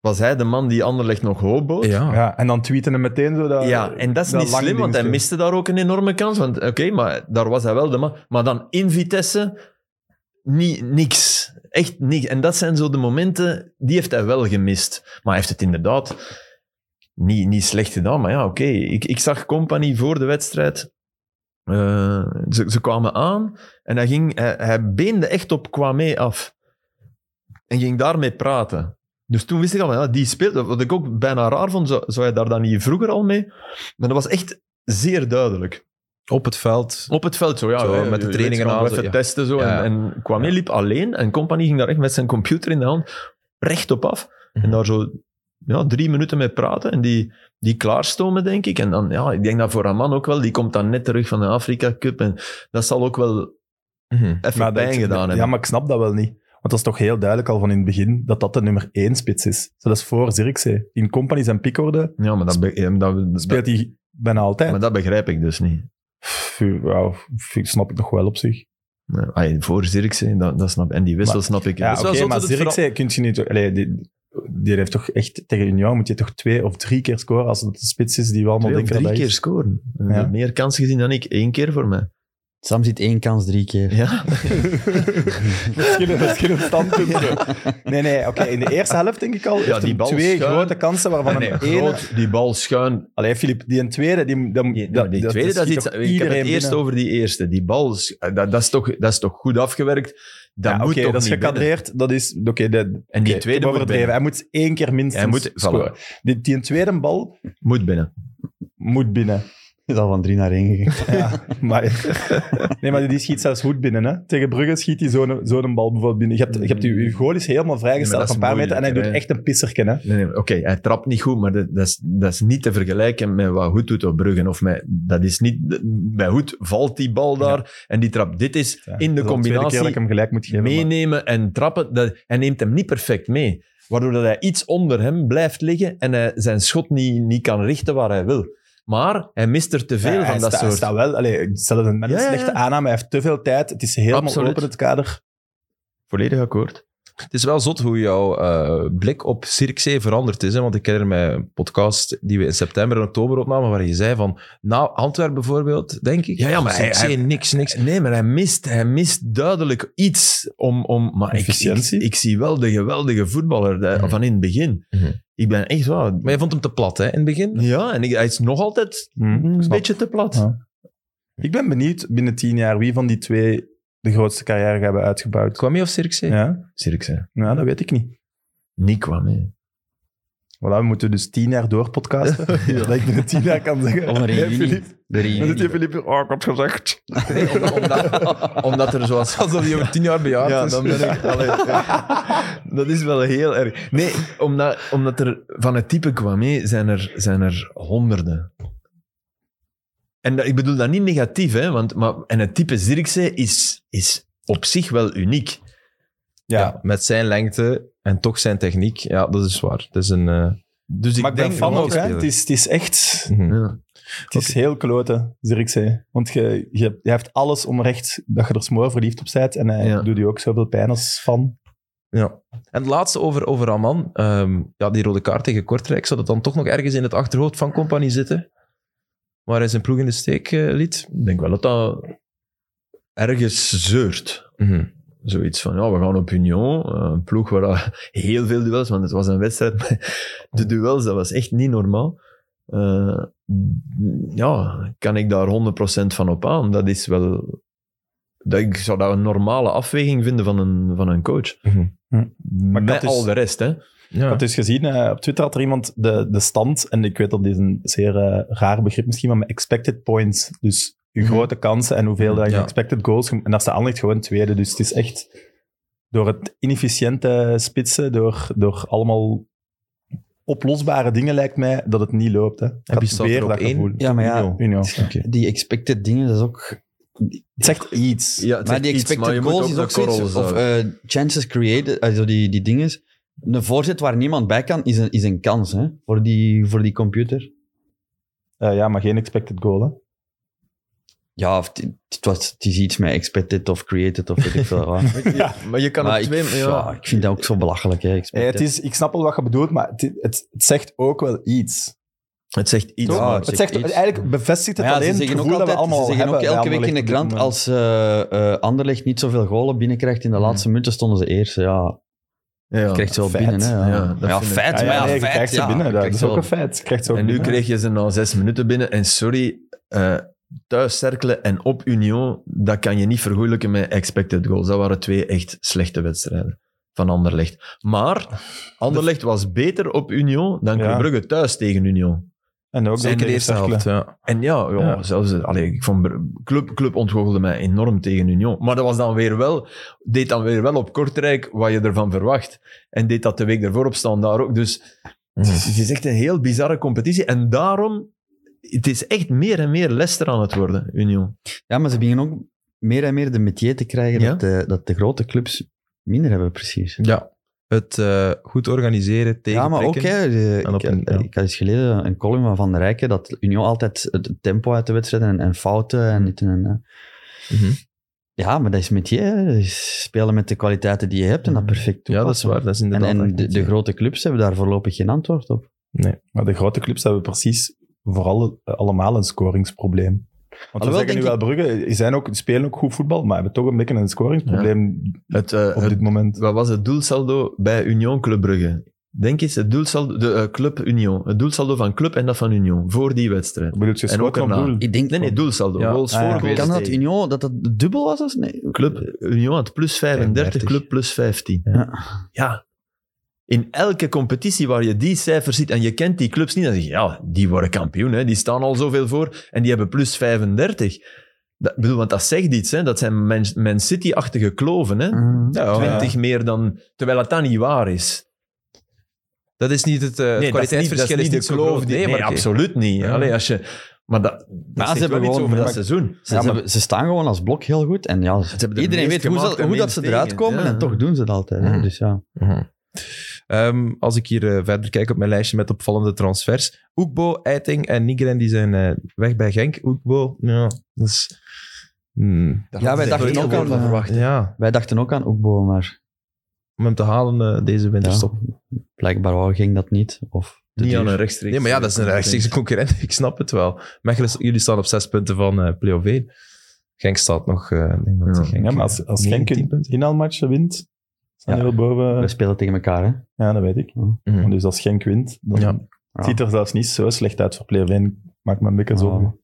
was hij de man die Anderlecht nog hoop bood. Ja. Ja, en dan tweeten hem meteen zo dat... Ja, en dat is dat niet lange slim, want hij dingetje. miste daar ook een enorme kans. Want oké, maar daar was hij wel de man. Maar dan in Vitesse, ni niks. Echt niks. En dat zijn zo de momenten, die heeft hij wel gemist. Maar hij heeft het inderdaad niet, niet slecht gedaan. Maar ja, oké. Ik, ik zag Company voor de wedstrijd. eh, ze, ze kwamen aan en hij, ging, hij, hij beende echt op Kwame af. En ging daarmee praten. Dus toen wist ik al, van, ja, die speelt. Wat ik ook bijna raar vond, zou, zou hij daar dan niet vroeger al mee? Maar dat was echt zeer duidelijk. Op het veld. Op het veld zo, ja. Zo, hè, met de je trainingen weet, gewoon aan, Even zo, ja. testen zo. Ja. En, en Kwame liep alleen en Company ging daar echt met zijn computer in de hand recht op af. Mhm. En daar zo ja, drie minuten mee praten en die, die klaarstomen, denk ik. En dan, ja, ik denk dat voor Raman ook wel, die komt dan net terug van de Afrika Cup en dat zal ook wel Mhm. even Maar dat- pijn gedaan hebben. Ja, maar ik snap dat wel niet. Want dat is toch heel duidelijk al van in het begin dat dat de nummer één spits is. Zo, Dat is voor Zirkzee. In companies en piekorde Ja, maar dat, be- ja, dat- dat- speelt hij bijna altijd. maar dat begrijp ik dus niet. Pff, wauw, pff, snap ik nog wel op zich. Ja, ai, voor Zirkzee, dat, dat snap En die wissel Maar- snap ik. Ja, Dat is oké, wel zo maar dat het vera- Zirkzee kun je niet... Allee, die, die heeft toch echt... Tegen Union moet je toch twee of drie keer scoren als het de spits is die we allemaal Twee of denken drie dat hij keer is. scoren. Ja. Eh, Meer kans gezien dan ik. Eén keer voor mij. Sam ziet één kans drie keer. (laughs) (laughs) Ja. verschillende, (laughs) verschillende standpunten. Nee, nee, oké. In de eerste helft denk ik al. heeft die hem bal twee schuin. grote kansen waarvan Nee, een nee, ene... groot, die bal schuin. Allee, Filip, die een tweede... Die, die, Die, die tweede, dat is iets, ik heb schiet toch het iedereen eerst binnen? over die eerste. Die bal, is- eh, dat, dat, is toch, dat is toch goed afgewerkt? Dat Ja, moet oké, toch dat is niet binnen? gekadreerd. Dat is... Oké, dat- En die oké, tweede ik heb moet overdreven. binnen. Hij moet één keer minstens Hij moet, scoren. voilà, Die, die tweede bal moet binnen. moet binnen. Is al van drie naar (laughs) één gegaan. Ja, maar, nee, (laughs) maar die schiet zelfs goed binnen. Hè. Tegen Brugge schiet hij zo'n zo'n bal bijvoorbeeld binnen. Je hebt, je hebt die, je goal is helemaal Nee, vrijgesteld maar dat van is een paar meter en hij doet moeilijker, echt een pisserken. Hè. Nee, nee, Oké, hij trapt niet goed, maar dat, dat, is, dat is niet te vergelijken met wat Hoed doet op Bruggen. Of met, dat is niet, bij Hoed valt die bal daar en die trapt. Dit is Ja, in dat is al de tweede keer combinatie dat ik hem gelijk moet geven. maar- meenemen en trappen. Dat, hij neemt hem niet perfect mee. Waardoor dat hij iets onder hem blijft liggen en hij zijn schot niet, niet kan richten waar hij wil. Maar hij mist er te veel Ja, van hij dat sta- hij soort. staat wel, allee, zelfs met een Ja, ja, ja. slechte aanname, hij heeft te veel tijd. Het is helemaal Absoluut. open het kader. Volledig akkoord. Het is wel zot hoe jouw eh, blik op Cirque veranderd is. Hè? Want ik herinner mij een podcast die we in september en oktober opnamen, waar je zei van, nou, Antwerpen bijvoorbeeld, denk ik. Ja, ja, maar hij- Cirkzee, hij- niks, niks. Nee, maar hij mist, hij mist duidelijk iets om... om maar ik, ik, Efficiëntie? ik zie wel de geweldige voetballer eh, Mhm. van in het begin. Mhm. Ik ben echt wel... Maar je vond hem te plat, hè, in het begin? Ja, en ik, hij is nog altijd een Mm, Snap. Mm, beetje te plat. Ja. Ik ben benieuwd binnen tien jaar wie van die twee de grootste carrière hebben uitgebouwd. Kwam je of Cirque Ja? Cirkse. Nou, dat weet ik niet. Niet kwam, hè. Voilà, we moeten dus tien jaar doorpodcasten. (laughs) Dat ik binnen tien jaar kan zeggen. Onder (laughs) hey, juni. Filip, De Dan zit reunie. hier Filip. Oh, ik had het gezegd. Nee, om- omdat, omdat er zoals... Alsof hij over tien jaar bejaard Ja, is. dan ben ik... allee, ja. Dat is wel heel erg. Nee, omdat, omdat er van het type kwam, hè, zijn, er, zijn er honderden. En dat- ik bedoel dat niet negatief, hè, want, maar, en het type Zirkzee is, is op zich wel uniek. Ja, Ja, met zijn lengte en toch zijn techniek. Ja, dat is waar. Het is een... eh, Dus ik maar ik ben denk fan wel- ook. Hè. Het, is, het is echt... mhm. Ja. Het is heel kloten, Zirkzee. Want je, je, je hebt alles om recht dat je er smoor verliefd op bent. En hij Ja. doet je ook zoveel pijn als fan. Ja. En het laatste over, over Aman. Ehm, ja, die rode kaart tegen Kortrijk. Zou dat dan toch nog ergens in het achterhoofd van Compagnie zitten? Waar hij zijn ploeg in de steek eh, liet? Ik denk wel dat dat ergens zeurt. Mhm. zoiets van, ja, we gaan op Union, eh, een ploeg waar al heel veel duels, want het was een wedstrijd met de duels, dat was echt niet normaal. Eh, ja, kan ik daar 100% van op aan? Dat is wel... Dat, ik zou dat een normale afweging vinden van een, van een coach. Mhm. Hm. Maar met dat is- al de rest, hè. Ja. Ik had dus gezien, eh, op Twitter had er iemand de, de stand, en ik weet dat dit is een zeer eh, raar begrip misschien, maar met expected points. Dus je grote kansen en hoeveel dat je Mhm. Ja. expected goals... En daar staat Anderlecht gewoon tweede. Dus het is echt door het inefficiënte spitsen, door, door allemaal oplosbare dingen lijkt mij, dat het niet loopt. Hè. Ik had wie staat er op één? gevoel. Ja, maar ja, Union. die expected dingen, dat is ook... Het zegt iets. Ja, het maar is die iets, expected maar je moet goals is de ook zoiets, korrels of houden. eh, chances created, also die, die dingen. Een voorzet waar niemand bij kan, is een, is een kans hè, voor, die, voor die computer. Eh, ja, maar geen expected goal. Hè. Ja, of t- het, was, het is iets met expected of created of weet ik veel (laughs) wat. Maar je kan eh, Maar het ik, twee... ja, Ja. ik vind dat ook zo belachelijk. Hè. Ja, Expected. het is, ik snap wel wat je bedoelt, maar het, het, het zegt ook wel iets. Het zegt iets. Toch? Ja, maar- het het zegt zegt, iets. eigenlijk bevestigt het Maar ja, alleen ze het zeggen ook gevoel dat we altijd, allemaal ze al zeggen ook hebben elke bij week in de Anderlecht op krant, dit moment. Hmm. als eh eh, Anderlecht niet zoveel golen binnenkrijgt in de laatste minuten, stonden ze eerst. Ja, ja. krijgt ze wel feit. binnen. Hè, ja, Ja, Maar dat ja, vind ik- feit, Ja, ja, maar ja, nee, je feit. krijgt ze ja, binnen, je dat krijgt is ze ook wel. een feit. Je krijgt ze ook En nu binnen. kreeg je ze na zes minuten binnen. En sorry, eh thuis cirkelen en op Union, dat kan je niet vergoeilijken met expected goals. Dat waren twee echt slechte wedstrijden van Anderlecht. Maar Anderlecht was beter op Union dan Club Ja. Brugge thuis tegen Union. En ook Zeker dan de eerste helft, cirkelen. ja. En ja, ja, Ja. zelfs... eh, Allee, ik vond, Br- club, club ontgoochelde mij enorm tegen Union. Maar dat was dan weer wel... Deed dan weer wel op Kortrijk wat je ervan verwacht. En deed dat de week ervoor op staan daar ook. Dus Mm. het is echt een heel bizarre competitie. En daarom... Het is echt meer en meer Leicester aan het worden, Union. Ja, maar ze beginnen ook meer en meer de metier te krijgen Ja. dat, de, dat de grote clubs minder hebben, precies. ja. Het eh, goed organiseren, tegen Ja, maar ook, hè, de- En op ik, eh, een- ja. ik had eens geleden een column van Van der Rijken dat Union altijd het tempo uit de wedstrijd en, en fouten Hmm. en dit en... en Mhm. ja, maar dat is met je, hè. Dat is spelen met de kwaliteiten die je hebt en Mhm. dat perfect Ja, dat is toepassen. waar. Dat is En, inderdaad en echt de, iets, de ja. grote clubs hebben daar voorlopig geen antwoord op. Maar de grote clubs hebben precies vooral eh, allemaal een scoringsprobleem. Want we Alhoewel, zeggen nu denk wel Brugge, die zijn ook, die spelen ook goed voetbal, maar hebben toch een beetje een scoringsprobleem Het, eh, op het- dit moment. wat was het doelsaldo bij Union Club Brugge? Denk eens, het doelsaldo... De eh, Club Union. Het doelsaldo van Club en dat van Union. Voor die wedstrijd. Bedoel je En ook schoten op erna. doel? Ik denk, Nee, nee, doelsaldo. Ja. Goals Ah, ja. voor, goals kan dat tegen. Union, dat dat dubbel was? Of nee? Club Union had plus 35, 35. club plus 15. Ja. Ja. In elke competitie waar je die cijfers ziet en je kent die clubs niet, dan zeg je, ja, die worden kampioen, hè. die staan al zoveel voor en die hebben plus 35. Dat, ik bedoel, want dat zegt iets, hè. dat zijn Man, Man City-achtige kloven. Hè. Mhm. Ja, 20 meer dan, terwijl dat dan niet waar is. Dat is niet het, eh, dat het is niet- dat kwaliteitsverschil. is niet zo groot. die- Nee, maar oké. absoluut niet. Ja. Allee, als je, maar dat, dat Maar ze zegt hebben wel iets gewoon- over dat maar- seizoen. Ze, Ja, ze maar- hebben- ze staan gewoon als blok heel goed. En ja, hebben de iedereen meest weet hoe, ze, gemaakte hoe dat minst ze eruit tegen, komen ja. Mm. en toch doen ze het altijd. Hè? Mhm. Dus ja. Mhm. Ehm, als ik hier eh, verder kijk op mijn lijstje met opvallende transfers. Oekbo, Eiting en Nigren die zijn eh, weg bij Genk. Oekbo, ja, dat is... hmm, Ja, wij dachten ook aan, eh, ja, wij dachten ook aan Oekbo, maar om hem te halen eh, deze winterstop. ja, blijkbaar wou ging dat niet. Of te Niet duur. aan een rechtstreeks. Nee, maar ja, dat is een rechtstreekse concurrent. Ik snap het wel. Mechelen, jullie staan op zes punten van eh play-off 1. Genk staat nog... eh, ik denk dat Ja. Genk, Ja, maar als, als eh, Genk 19 een punten. inhaalmatch wint, zijn Ja. heel We boven. spelen tegen elkaar, hè? Ja, dat weet ik. Mhm. Dus als Genk wint, dan Ja. Ja. ziet er zelfs niet zo slecht uit voor Player 1. Maakt me een beetje zo. Ja.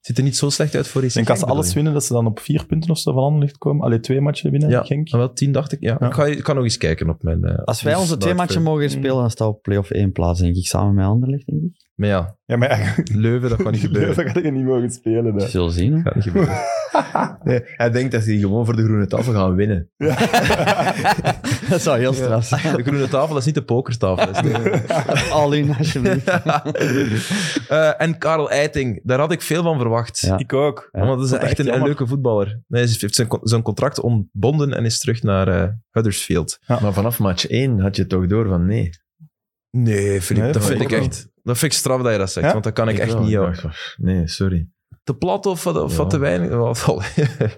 Ziet er niet zo slecht uit voor Ik EC denk als ze Genk, alles bedoel winnen, dat ze dan op vier punten of zo van Anderlecht komen. Allee, twee matchen winnen, je? Ja, Genk. ah, wel tien dacht ik. Ja. Ja. Ik, ga, ik kan nog eens kijken op mijn... eh, Als wij dus onze twee dat, matchen eh, mogen spelen, dan staat op play-off 1 plaats, denk ik. Samen met Anderlecht, denk ik. Maar ja, (laughs) Ja, maar ja, Leuven, dat gaat niet (laughs) gebeuren. dat gaat je niet mogen spelen. We hè. zullen zien, hè. gaat niet gebeuren. (laughs) Nee, hij denkt dat ze die gewoon voor de groene tafel gaan winnen. (laughs) dat zou heel straf zijn. (laughs) De groene tafel is niet de pokertafel. dat (laughs) is de- Al in, alsjeblieft. Eh, en Karel Eiting, daar had ik veel van verwacht. Ja. Ik ook. Ja. Want dat is Dat is echt echt een, een jammer. leuke voetballer. Hij is- heeft zijn, con- zijn contract ontbonden en is terug naar eh, Huddersfield. Maar vanaf match 1 had je toch door van nee. Nee, Filip, dat dat vind ik ook wel. echt. Dat vind ik straf dat je dat zegt, Ja? want dat kan ik, echt wel. niet. joh. dacht, "Pff, Nee, sorry. Te plat of, wat- of wat Ja. te weinig? Wat- wat-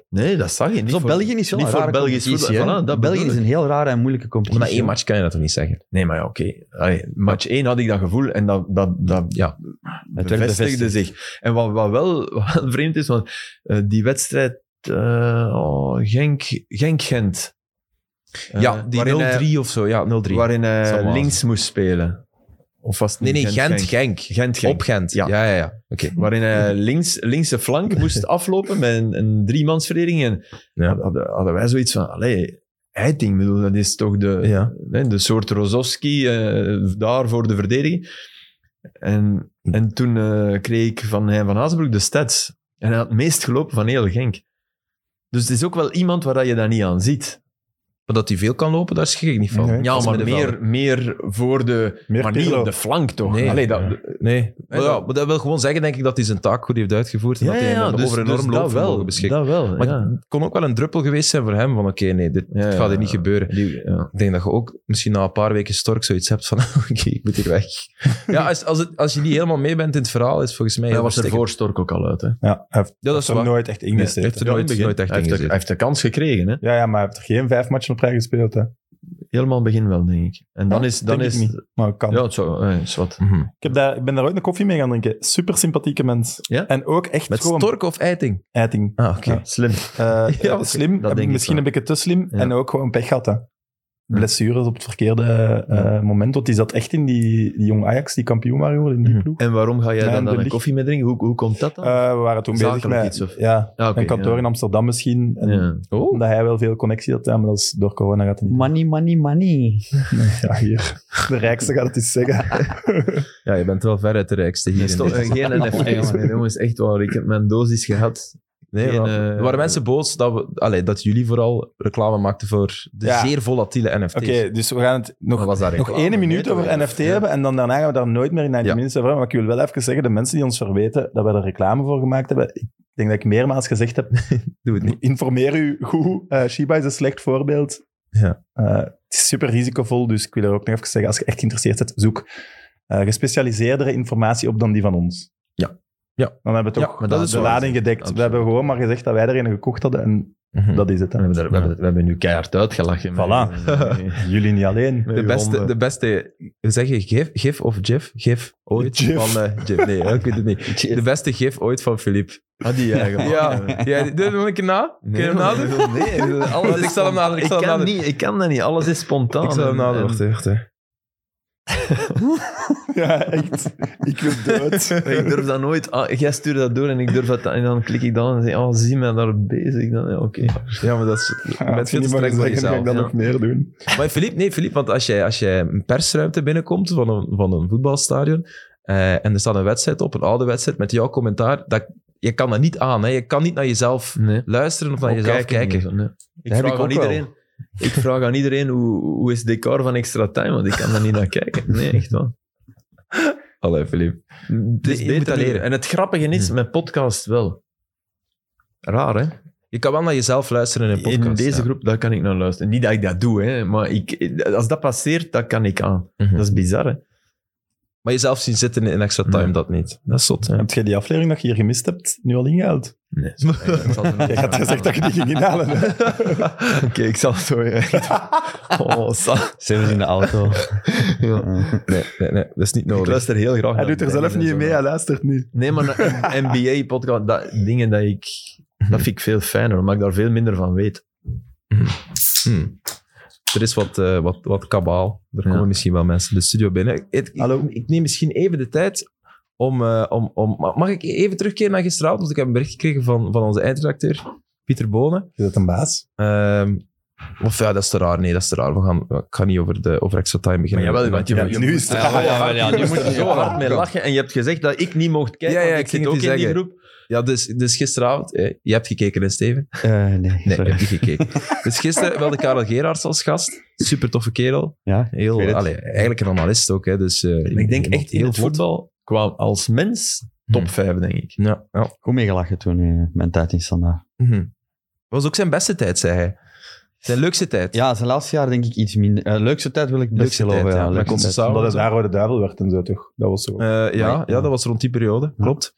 Nee, dat zag je niet. Zo, voor- België is wel niet een voor rare Belgisch competitie. voetbal. hè. Voilà, dat België bedoel is een heel rare en moeilijke Maar competitie. na één match kan je dat toch niet zeggen? Nee, maar ja, oké. Allee, Match 1 had ik dat gevoel en dat, dat, dat Ja. werd bevestigde bevestigd. zich. En wat, wat wel (laughs) wat vreemd is, want eh, die wedstrijd eh, oh, Genk- Genk-Gent. Eh, ja, die waarin hij- 0-3 of zo. Ja, 0-3. Waarin Zal hij maar. links moest spelen. Of was het Nee, niet nee, Gent, Gent-Genk? Genk. Gent-Genk. Op Gent. Ja, Ja. ja, ja. Oké. waarin (laughs) hij links, linkse flank moest aflopen met een, een driemansverdediging. En Ja. hadden, hadden wij zoiets van, allee, Eiting, bedoel, dat is toch de, Ja. hè, de soort Rozovski eh, daar voor de verdediging. En, en toen eh, kreeg ik van Hein van Hazenbroek de stats. En hij had het meest gelopen van heel Genk. Dus het is ook wel iemand waar dat je dat niet aan ziet. Maar dat hij veel kan lopen, daar schrik ik niet van. Nee. Als Ja, maar middenvelder. meer, meer voor de... Meer maar niet Pirlo. op de flank, toch? Nee. Allee, dat, Ja. Nee, maar, ja, maar dat wil gewoon zeggen, denk ik, dat hij zijn taak goed heeft uitgevoerd en Ja, dat hij ja, ja, een- dus- over een dus enorm dat loopvermogen wel, beschikt. Dat wel, maar ja. het kon ook wel een druppel geweest zijn voor hem, van oké, nee, dit Ja, dit gaat hier ja, niet ja. gebeuren. Die- ja. Ik denk dat je ook misschien na een paar weken stork zoiets hebt van (laughs) oké, ik moet hier weg. Ja, als, als, het, als je niet helemaal mee bent in het verhaal, is volgens mij... Hij heel was er verstikkend. voor Stork ook al uit, hè? Ja, hij heeft, Ja, dat is heeft er waar. nooit echt Nee, hij ingezeten. heeft er nooit, Ja, in het nooit begin. echt in hij, heeft de, hij gezeten. heeft de kans gekregen, hè? ja, ja, maar hij heeft er geen vijf matchen op rij gespeeld. Hè. Helemaal in het begin wel, denk ik. En dan Ja, is... Dan denk ik is niet, maar kan. ja, het zou, eh, is wat. Mhm. Ik, heb daar, ik ben daar ooit een koffie mee gaan drinken. Super sympathieke mens. Ja? En ook echt Met gewoon stork of eiting? eiting. Ah, oké. Ja. Slim. (laughs) Eh, Ja, eh, slim, dat heb- denk ik misschien wel. een beetje te slim. Ja. En ook gewoon pech gehad. Hè. Blessures op het verkeerde eh, moment. Want die zat echt in die, die jong Ajax, die kampioen waren geworden in die Mhm. ploeg. En waarom ga jij Ja, daar de dan een licht- koffie mee drinken? Hoe, hoe komt dat dan? Eh, we waren toen bezig Zakelijk met Ah. iets, of- ja, Ah, oké, een kantoor ja. in Amsterdam misschien. En Ja. Oh, Omdat hij wel veel connectie had, ja, maar dat is, door corona gaat (laughs) het niet. Money, money, money. Ja, hier. De rijkste gaat het eens zeggen. ja, je bent wel ver uit de rijkste hier. Nee, in stop, deze- eh, (laughs) geen NFT's meer, jongens. Echt waar. Ik heb mijn dosis gehad. Nee, Geen, maar- eh, er waren mensen boos dat, we, allee, dat jullie vooral reclame maakten voor de Ja. zeer volatiele NFT's. Oké, dus we gaan het nog, Maar was daar nog reclame? één minuut Nee, over toch? NFT hebben en dan daarna gaan we daar nooit meer in 90 Ja. minuten over hebben. Maar ik wil wel even zeggen, de mensen die ons verweten dat we er reclame voor gemaakt hebben, ik denk dat ik meermaals gezegd heb, Doe het niet. informeer u goed. Eh, Shiba is een slecht voorbeeld. Ja. Eh, het is super risicovol, dus ik wil er ook nog even zeggen, als je echt geïnteresseerd bent, zoek eh, gespecialiseerdere informatie op dan die van ons. Ja. Ja. Dan hebben we Ja, toch maar dat is de waar. lading gedekt. Absoluut. We hebben gewoon maar gezegd dat wij er een gekocht hadden en Mhm. dat is het. We hè. hebben, daar, we, hebben, we hebben nu keihard uitgelachen. Voilà. (laughs) Jullie niet alleen. De beste, de De beste, zeg je gif, gif of gif? Gif ooit Gif. van... eh, gif. Nee, ik weet het niet. De beste gif ooit van Philippe. ah, die (laughs) eigenlijk. eh, Ja, ja doe het nog een keer na. Kun je hem nadoen? Nee, nee, alles Ik is zal hem nadoen, ik Ik zal hem kan, nadoen. niet, ik kan dat niet. Alles is spontaan. (laughs) Ik zal hem En- nadoen. en- Wacht, wacht, hè. (laughs) Ja, echt. Ik wil (laughs) dood. Ik durf dat nooit. Ah, jij stuurt dat door en ik durf dat. En dan klik ik dan en zeg oh, zie mij daar bezig. Dan, ja, oké. Ja, maar dat is... Ja, met als je veel niet mag te streng voor zeggen, ga ik jezelf. dat ja. nog meer doen. Maar Philippe, nee, Philippe, want als jij, als jij een persruimte binnenkomt van een, van een voetbalstadion eh, en er staat een wedstrijd op, een oude wedstrijd, met jouw commentaar, dat, je kan dat niet aan. Hè. Je kan niet naar jezelf Nee. luisteren of naar jezelf kijken. Ik Dat heb vraag ik aan ook wel. iedereen. Ik vraag aan iedereen hoe, hoe is het decor van extra time, want ik kan daar niet naar kijken. Nee, echt waar. Allee, Philippe. Het Je moet dat nu. leren. Hm. En het grappige is, met podcast wel. Raar, hè? Je kan wel naar jezelf luisteren in een podcast. In deze ja. groep, daar kan ik naar luisteren. Niet dat ik dat doe, hè, maar ik, als dat passeert, dat kan ik aan. Mhm. Dat is bizar, hè? Maar jezelf zien zitten in extra time, Nee. dat niet. Dat is zot, hè. Heb jij die aflevering dat je hier gemist hebt, nu al (laughs) ingehaald? Nee. (laughs) Ik zal het Jij had gezegd dat je die ging inhalen. hè? Oké, ik zal het zo... (laughs) Oh, sa- Zelfs in de (laughs) auto. ja. Nee, nee, nee, dat is niet Ik nodig. luister heel graag Hij naar doet er dingen zelf en niet zo. mee, hij luistert niet. Nee, maar een NBA-podcast, dat, dingen dat ik... Dat vind ik veel fijner, omdat ik daar veel minder van weet. Hm. Er is wat, eh, wat, wat kabaal. Er komen Ja. misschien wel mensen de studio binnen. Ik, ik- Hallo. ik neem misschien even de tijd om, eh, om, om... ma- Mag ik even terugkeren naar gisteravond? Want ik heb een bericht gekregen van, van onze eindredacteur, Pieter Bonen. Is dat een baas? Ehm, of ja, dat is te raar. Nee, dat is te raar. We gaan, ik ga niet over, de, over extra time beginnen. Ja, nu is het Ja, ja, ja, (laughs) ja, nu Je moet moet je er zo hard mee lachen. En je hebt gezegd dat ik niet mocht kijken, Ja, ja, want ik ik ging zit ook in het je die zeggen. groep. Ja, dus, dus gisteravond... eh, je hebt gekeken, hè, (laughs) Steven? Eh, nee, Nee, ik sorry. heb niet gekeken. dus gisteren wilde Karel Gerards als gast. Super toffe kerel. Ja, ik weet Heel, het. allee, eigenlijk een analist ook. Hè, dus, eh, Ik denk iemand echt in het vlot. voetbal, qua als mens, top Hm. 5, denk ik. Ja, ja. Goed meegelachen toen in mijn tijd in standaard. Mhm. was ook zijn beste tijd, zei hij. Zijn leukste tijd. Ja, zijn laatste jaar denk ik iets minder. Eh, leukste tijd wil ik best Leukste geloven. tijd, ja. ja, Maar leukste komt tijd. ze samen? Omdat het daar waar de duivel werd en zo, toch? Dat was zo. Eh, ja, ja, dat was rond die periode. Klopt.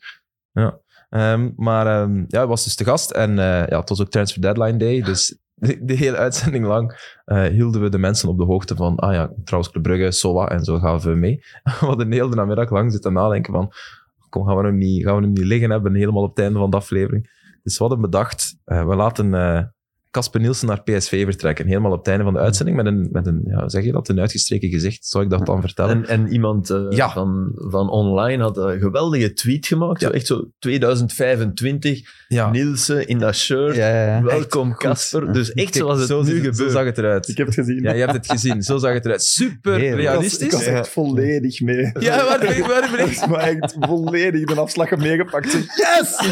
Ja. Ehm, maar ehm, ja, hij was dus te gast. En eh, ja, het was ook Transfer Deadline Day. Dus (laughs) de, de hele uitzending lang eh, hielden we de mensen op de hoogte van... Ah ja, trouwens Club Brugge, SOA en zo gaan we mee. (laughs) We hadden heel de namiddag lang zitten nadenken van... Kom, gaan we hem niet, gaan we hem niet liggen hebben helemaal op het einde van de aflevering. Dus we hadden bedacht, eh, we laten eh Kasper Nielsen naar PSV vertrekken. Helemaal op het einde van de uitzending met een, met een ja, hoe zeg je dat, een uitgestreken gezicht. Zou ik dat dan vertellen? En, en iemand eh, Ja. van, van online had een geweldige tweet gemaakt. Zo, echt zo 2025, Ja. Nielsen in dat shirt. Ja, ja, ja. Welkom Casper. Dus echt zoals het zo nu ziet het- gebeurt. Zo zag het eruit. ik heb het gezien. Ja, je hebt het gezien. Zo zag het eruit. Super Heerlijk. realistisch. Ik was echt volledig mee. Ja, maar ik ben (laughs) Dat (laughs) is maar echt volledig (laughs) de afslag meegepakt. Yes!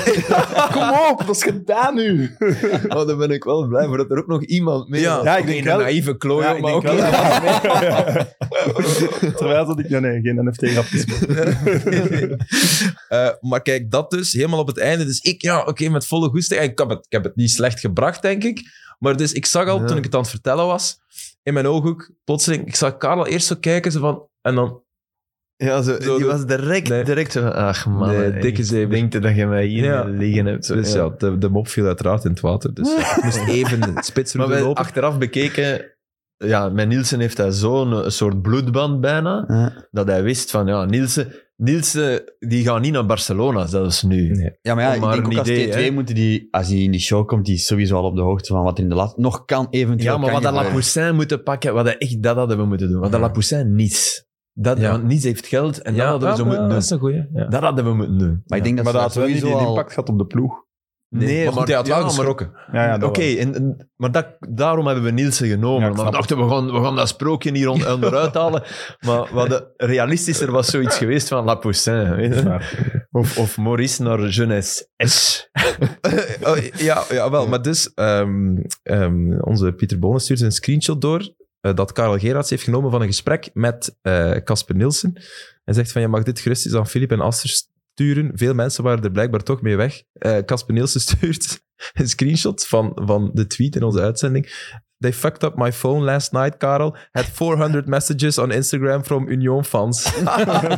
Kom op, dat is gedaan nu. Oh, daar ben ik wel blij voor dat er ook nog iemand mee Ja. was. Ja, ik Oké, denk een wel- naïeve klooi, Ja, ik maar denk ook wel dat hij was (laughs) mee. (laughs) Terwijl dat ik... Ja, nee, geen NFT-grapjes. Eh, maar kijk, dat dus helemaal op het einde. Dus ik, ja, oké, met volle goesting. En Ik heb, het, ik heb het niet slecht gebracht, denk ik. Maar dus ik zag al, Ja. toen ik het aan het vertellen was, in mijn ooghoek, plotseling, ik zag Karel eerst zo kijken, zo van... En dan, Ja, zo, Zo die de- was direct, Nee. direct zo van, ach man, Nee, ik dikke zeven. denk dat je mij hier Ja. liggen hebt. Zo, dus ja, de, de mop viel uiteraard in het water. Dus ik moest even het (laughs) Maar spitsroute wij- lopen. achteraf bekeken, ja, met Nielsen heeft hij zo'n eh, soort bloedband bijna, Ja. dat hij wist van, ja, Nielsen, Nielsen die gaat niet naar Barcelona, zelfs nu. Nee. Ja, maar ja, Om maar ik denk een ook als idee, T2 hè. moeten die, als hij in die show komt, die is sowieso al op de hoogte van wat er in de laatste... Nog kan eventueel Ja, maar kan wat dat gebeuren. Lapoussin moeten pakken, wat dat echt, dat hadden we moeten doen. Want dat Ja. Lapoussin niets. Dat, Ja. Want niets heeft geld en dat Ja, hadden we zo ja, moeten doen. dat is een goeie. Ja. Dat hadden we moeten doen. Maar ik denk dat Maar ze dat had wel niet sowieso die al- impact gehad op de ploeg. Nee, maar goed, hij had wel ja, maar- geschrokken. Ja, ja, Oké, dat wel. en- en- maar dat, daarom hebben we Nielsen Ja, genomen. ik maar we snap dachten, we gaan, we gaan dat sprookje hier (laughs) on- onderuit halen. Maar wat de- realistischer was (laughs) zoiets geweest van Lapoussin. Weet Dat (laughs) is je? waar. Of, of Maurice naar Jeunesse S. (laughs) Oh, ja, ja, wel. Maar dus, ehm, ehm, onze Pieter Bonen stuurt een screenshot door eh, dat Karel Gerards heeft genomen van een gesprek met eh, Casper Nielsen. Hij zegt van, je mag dit gerust eens aan Filip en Aster sturen. Veel mensen waren er blijkbaar toch mee weg. Eh, Casper Nielsen (laughs) stuurt een screenshot van, van de tweet in onze uitzending. They fucked up my phone last night, Karel. Had 400 messages on Instagram from Union fans.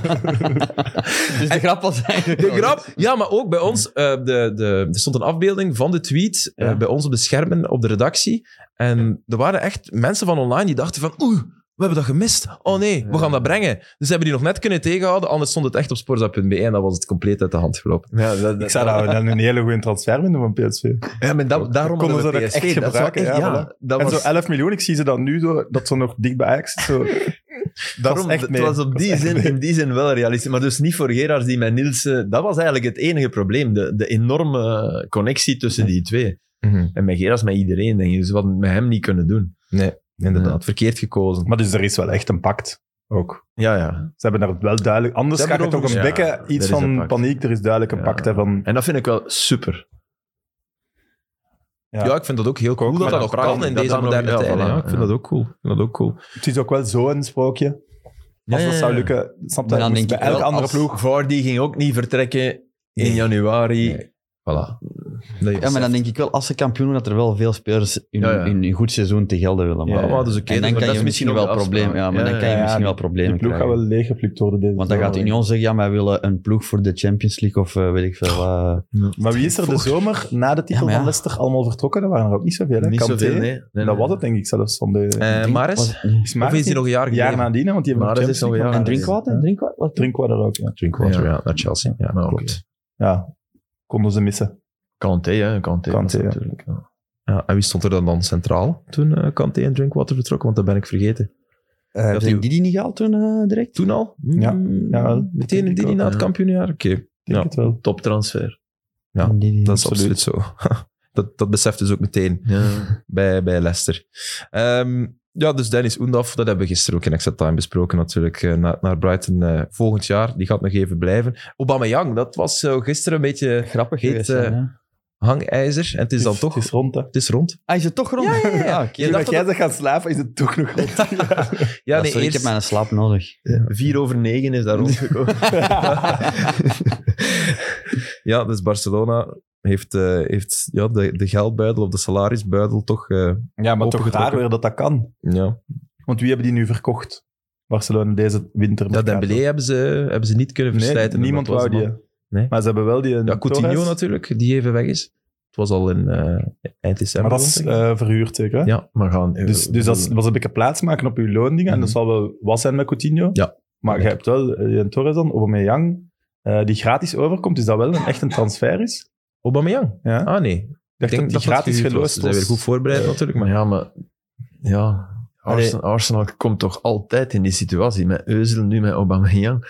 (laughs) Dus de grap was eigenlijk... De grap. Ja, maar ook bij ons. eh, de, de, er stond een afbeelding van de tweet eh, Ja. bij ons op de schermen op de redactie. En er waren echt mensen van online die dachten van... Oeh, we hebben dat gemist. Oh nee, we gaan dat brengen. Dus ze hebben die nog net kunnen tegenhouden. Anders stond het echt op sporza.be en dan was het compleet uit de hand gelopen. Ja, dat, Ik zou dat dan een hele goede transfer vinden van PSV. ja, maar dat- daarom Konden hadden we ze dat echt PSV, dat zou gebruiken, echt- ja, ja, dat En was, zo 11 miljoen, ik zie ze dan nu, zo, dat ze nog dik bij Ajax (laughs) is, zo. daarom, echt het mee. (laughs) was op Dat is die echt zin, mee. in die zin wel realistisch. Maar dus niet voor Gerards die met Nielsen... Dat was eigenlijk het enige probleem. De, de enorme connectie tussen die twee. Mhm. En met Gerards, met iedereen, denk je. Dus wat met hem niet kunnen doen. Inderdaad, verkeerd gekozen. Maar dus er is wel echt een pact. Ook. Ja, ja. Ze hebben daar wel duidelijk... Anders Ze ga ik hebben het ook een er overigens- bekken. Ja, Iets er is een van pact. paniek. Er is duidelijk een Ja. pact. Hè, van, En dat vind ik wel super. Ja. Ja. ik vind dat ook heel cool dat maar dat dat nog praat kan niet, in dat deze dat nog- moderne ja, tijden. voilà, ja, ik vind ja. dat ook cool. Ik vind dat ook cool. het is ook wel zo'n sprookje. Als Ja, dat ja, zou ja. lukken, snap Maar je, dan moest denk bij ik elke wel andere als- ploeg. Vardy ging ook niet vertrekken in januari. Nee. Voilà. Nee, Ja, maar dan denk ik wel, als ze kampioen worden, dat er wel veel spelers in, Ja, ja. in een goed seizoen te gelden willen. Maar, Ja, ja. dat is oké. En dus- dan maar kan dat je is misschien nog wel de afspraak. problemen. Ja, maar Ja, dan kan je ja, misschien die- wel Die problemen ploeg gaat krijgen. wel leeggeplukt worden. Deze Want dan gaat zomer. Union zeggen, ja, maar wij willen een ploeg voor de Champions League of eh, weet ik veel wat. Maar wie is er de zomer na de titel Ja, maar ja. van Leicester allemaal vertrokken? Er waren er ook niet zoveel. Hè? Niet Kanté. zoveel, nee. Nee, Dat nee. was het denk ik zelfs. Van de, Eh, Ik denk- Maris? was het- nee. is Maarten Of is hij nog een jaar een jaar geleden? nadien? hè, Want die hebben Maris de is Champions nog een League En jaar gewonnen. nadien. drinkwater? Drinkwater Drinkwater? ook, ja. Drinkwater, Ja. ja, naar Chelsea. Ja, Maar klopt. oké. Ja, konden ze missen. Kanté, hè. Kanté, Kanté, was ja. natuurlijk. ja. Ja, en wie stond er dan, dan centraal toen eh Kanté en Drinkwater vertrokken? Want dat ben ik vergeten. Eh, Dat zijn die die niet gehaald toen eh, direct? Toen al? Ja, Mm, jawel. Meteen in Denk ik die ook, na het ja. kampioenjaar? Oké, Ik denk Ja. het wel. Toptransfer. Ja, Die- die- dat is absoluut zo. (laughs) dat, dat beseft dus ook meteen Ja. bij, bij Leicester. Ehm, ja, dus Dennis Oendaf, dat hebben we gisteren ook in Extra Time besproken natuurlijk, eh, naar, naar Brighton eh, volgend jaar. Die gaat nog even blijven. Aubameyang, dat was zo gisteren een beetje grappig Heet, geweest. eh, zijn, hè. hangijzer. En het is (laughs) dan toch... Het is rond, hè. Het is rond. Ah, is het toch rond? Ja, ja, ja. oké. Je Toen dacht dat jij dat- zegt gaan slapen, is het toch nog (laughs) rond. Ja, Ja, nee, sorry, Ik eerst... heb mijn slaap nodig. Vier over negen is daar rondgekomen. Ja, dus Barcelona heeft, eh, heeft ja, de, de geldbuidel of de salarisbuidel toch... eh, ja, maar toch Opengetrokken. raar weer dat dat kan. ja. Want wie hebben die nu verkocht? Barcelona deze winter. ja, Dembélé hebben ze, hebben ze niet kunnen Nee, verslijten. niemand Dat was wou die. de man. Nee. Maar ze hebben wel die... eh, Ja, Coutinho Torres. natuurlijk, die even weg is. Het was al in eh, eind december. Maar dat is denk ik. eh, verhuurd zeker, hè? Ja. eh, Maar gaan... Dus, dus dat was een beetje plaatsmaken op uw loondingen. En dat zal wel wat zijn met Coutinho. Mhm. Ja. Maar je hebt wel eh, Jan Torres dan, Aubameyang, eh die gratis overkomt. Is dat wel een, echt een transfer is? Ik Aubameyang? Ja. Ah, nee. Ik dacht dat die gratis gehuurd was. geloosd Ze was. zijn weer goed voorbereid natuurlijk, Maar maar... ja, maar... Ja. Arsenal, Arsenal komt toch altijd in die situatie. Met Euzel, nu met Aubameyang.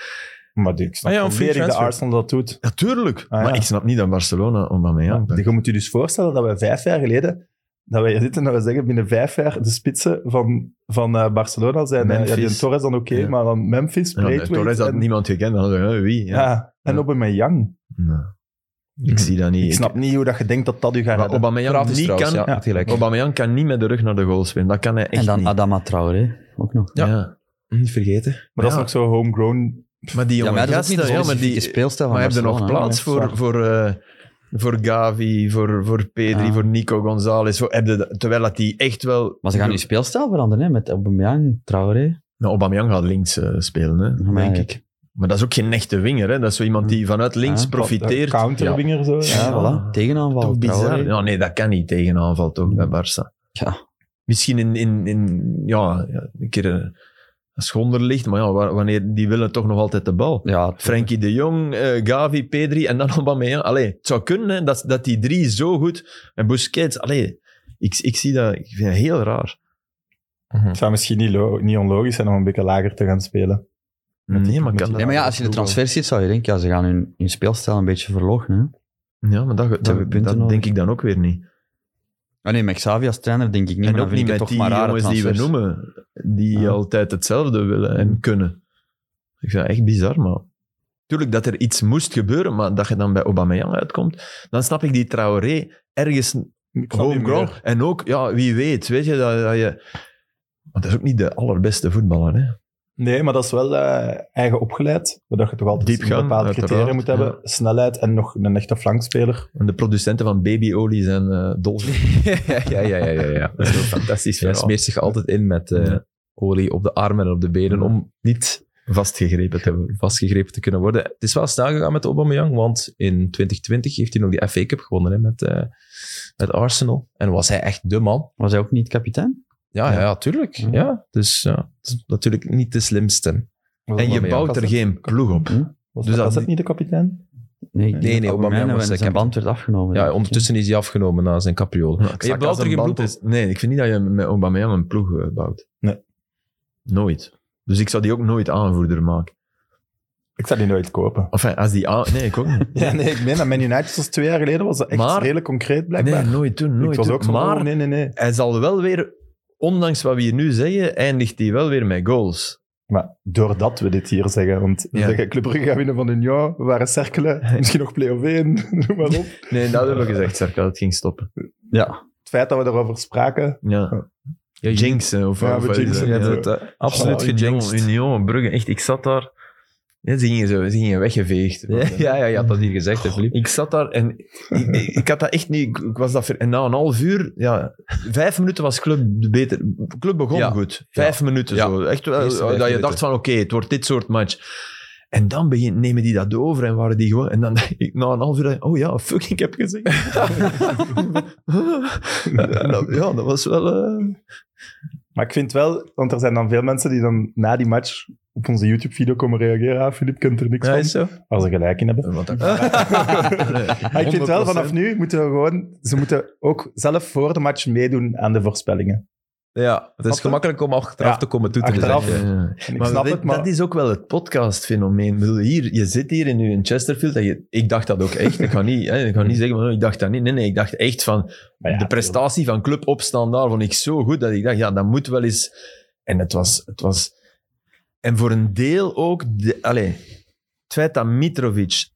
Maar die- ik snap Ah ja, een free volledig dat transfer. Arsenal dat doet. Natuurlijk. Ah, ja. Maar ik snap niet dat Barcelona Aubameyang... Ja, pakt. je moet je dus voorstellen dat we vijf jaar geleden dat we hier zitten en dat we zeggen binnen vijf jaar de spitsen van, van eh, Barcelona zijn. eh, Ja, Memphis. die Torres dan oké, Ja. maar dan Memphis, Ja, Braithwaite. Torres had en, niemand gekend. Dan hadden we, eh, wie? ja. en Ja. Aubameyang. Nee. Ik zie dat niet. Ik snap niet hoe dat je denkt dat dat u gaat Maar redden. Aubameyang, Gratis niet trouwens, kan, ja, ja. had gelijk. Aubameyang kan niet met de rug naar de goal spelen. Dat kan hij echt en dan niet. Adama Traoré, ook nog. Ja. ja. Niet vergeten. Maar dat Ja. is ook zo homegrown. eh, Maar die Ja, jongen maar dat is ook gasten, niet de ja, maar specifieke die, speelstijl van Maar hebben er nog Barcelona, hè. plaats hè? voor, Zwaar. voor, eh, voor Gavi, voor, voor Pedri, Ja. voor Nico González? Voor, heb je dat- terwijl dat die echt wel... Maar ze gaan nu speelstijl veranderen, hè, met Aubameyang, Traoré. Nou, Aubameyang gaat links eh, spelen, hè, Maar denk ja. ik. Maar dat is ook geen echte winger. Hè? Dat is zo iemand die vanuit links Ja. profiteert. Ja, Counterwinger zo. Ja, Ja. voilà. Tegenaanval, toch bizar. Traoré. Ja, nee, dat kan niet tegenaanval toch bij Barça. Ja. Misschien in, in, in ja, ja, een keer eh, als schonder ligt, maar ja, wa- wanneer, die willen toch nog altijd de bal. Ja, Frenkie de Jong, eh, Gavi, Pedri en dan (laughs) Aubameyang. Allee, het zou kunnen hè, dat, dat die drie zo goed... En Busquets, allee, ik, ik zie dat... Ik vind dat heel raar. Het zou misschien niet, lo- niet onlogisch zijn om een beetje lager te gaan spelen. Hmm, Nee, maar, kan dat- Nee, maar ja, als je de transfer ziet, zou je denken, ja, ze gaan hun, hun speelstijl een beetje verloochenen. hè. ja, maar dat, dat, hebben punten dat nodig. denk ik dan ook weer niet. Ah nee, met Xavi als trainer denk ik niet, en maar ook dan niet vind ik met het die toch maar rare jongens die we transfers. noemen, die Ja. Hmm. altijd hetzelfde willen en kunnen. Ik vind dat echt bizar, maar... Tuurlijk dat er iets moest gebeuren, maar dat je dan bij Aubameyang uitkomt, dan snap ik die Traoré ergens Ik snap niet Homegrown. meer. En ook, ja, wie weet, weet je, dat, dat je... Maar dat is ook niet de allerbeste voetballer, hè. Nee, maar dat is wel eh, eigen opgeleid. Waardoor je toch altijd Diepgang, een bepaalde uiteraard, criteria moet hebben. ja. Snelheid en nog een echte flankspeler. En de producenten van babyolie zijn eh dol. ja, ja, ja, ja, (laughs) ja, (laughs) ja. Dat is wel fantastisch Hij verhaal. smeert zich altijd in met eh, Ja. olie op de armen en op de benen om niet Vastgegrepen te worden. vastgegrepen te kunnen worden. Het is wel snel gegaan met Aubameyang, want in 2020 heeft hij nog die FA Cup gewonnen hè, met, eh, met Arsenal. En was hij echt de man. Was hij ook niet kapitein? Ja, ja. ja, tuurlijk. Ja. Ja, dus ja, het is natuurlijk niet de slimste. Was En je Aubameyang. bouwt er geen ploeg op. was, dus was dat- dat niet de kapitein? Nee, ik denk Nee, dat nee, Aubameyang Aubameyang was de en zijn captain. band werd afgenomen. Ja, denk ik, ondertussen is hij afgenomen na zijn capriolen. Ja, ik je zag bouwt als er een geen Nou, band ploeg is- Nee, ik vind niet dat je met Aubameyang een ploeg eh, bouwt. Nee. Nooit. Dus ik zou die ook nooit aanvoerder maken. Ik zou die nooit kopen. Enfin, als die aan... Nee, ik ook niet. Ja, nee, ik meen dat Man United was twee jaar geleden was dat echt Maar- redelijk concreet Nee, (laughs) blijkbaar. nooit doen, nooit ik was doen. ook zo maar oh, nee, nee, nee. hij zal wel weer, ondanks wat we hier nu zeggen, eindigt hij wel weer met goals. Maar doordat we dit hier zeggen, want we Ja. zeggen Club Brugge gaat winnen van Union, we waren cerkelen, misschien nog play-off 1, (laughs) noem maar op. Nee, dat hebben we gezegd, Sarka, dat het ging stoppen. hè. Ja, Het feit dat we daarover spraken, Ja. Ja, je- Jinxen. Of, Ja, we of- jinxen, Je hebt ja. het eh, absoluut Oh, gejinxed. Union, Union, Brugge. Echt, ik zat daar. Ja, ze, gingen zo, ze gingen weggeveegd. Ja, ja, ja, je had dat hier gezegd, hè, Filip. Ik zat daar en ik, ik- ik had dat echt niet. ik- Ik was dat ver- en na een half uur, ja, vijf minuten was club beter. Club begon Ja. goed. Vijf minuten Ja. zo. Echt wel, eh, Eerste dat vijf je dacht minuten. van oké, het wordt dit soort match. En dan begin, nemen die dat over en waren die gewoon. En dan (laughs) dacht ik na een half uur, dacht ik, oh ja, fuck, ik heb gezegd. (laughs) En dat- ja, dat was wel. eh, maar ik vind wel, want er zijn dan veel mensen die dan na die match op onze YouTube-video komen reageren, ah, Filip kent er niks Ja, van, is zo. waar ze gelijk in (laughs) hebben. Wat Maar ik vind wel, vanaf nu moeten we gewoon, ze moeten ook zelf voor de match meedoen aan de voorspellingen. Ja, het is Snap je? gemakkelijk om achteraf Ja, te komen toe te achteraf. zeggen. En ik Maar snap dit- het, maar... dat is ook wel het podcastfenomeen. Ik bedoel, Hier, je zit hier in, in Chesterfield. En je, ik dacht dat ook echt. Ik ga niet, hè, ik ga niet zeggen, van, oh, ik dacht dat niet. Nee, nee, ik dacht echt van... Hmm. maar ja, de prestatie van Club Opstaan daar vond ik zo goed dat ik dacht, ja, dat moet wel eens... En het was... Het was en voor een deel ook... De, allee, het feit dat Mitrovic,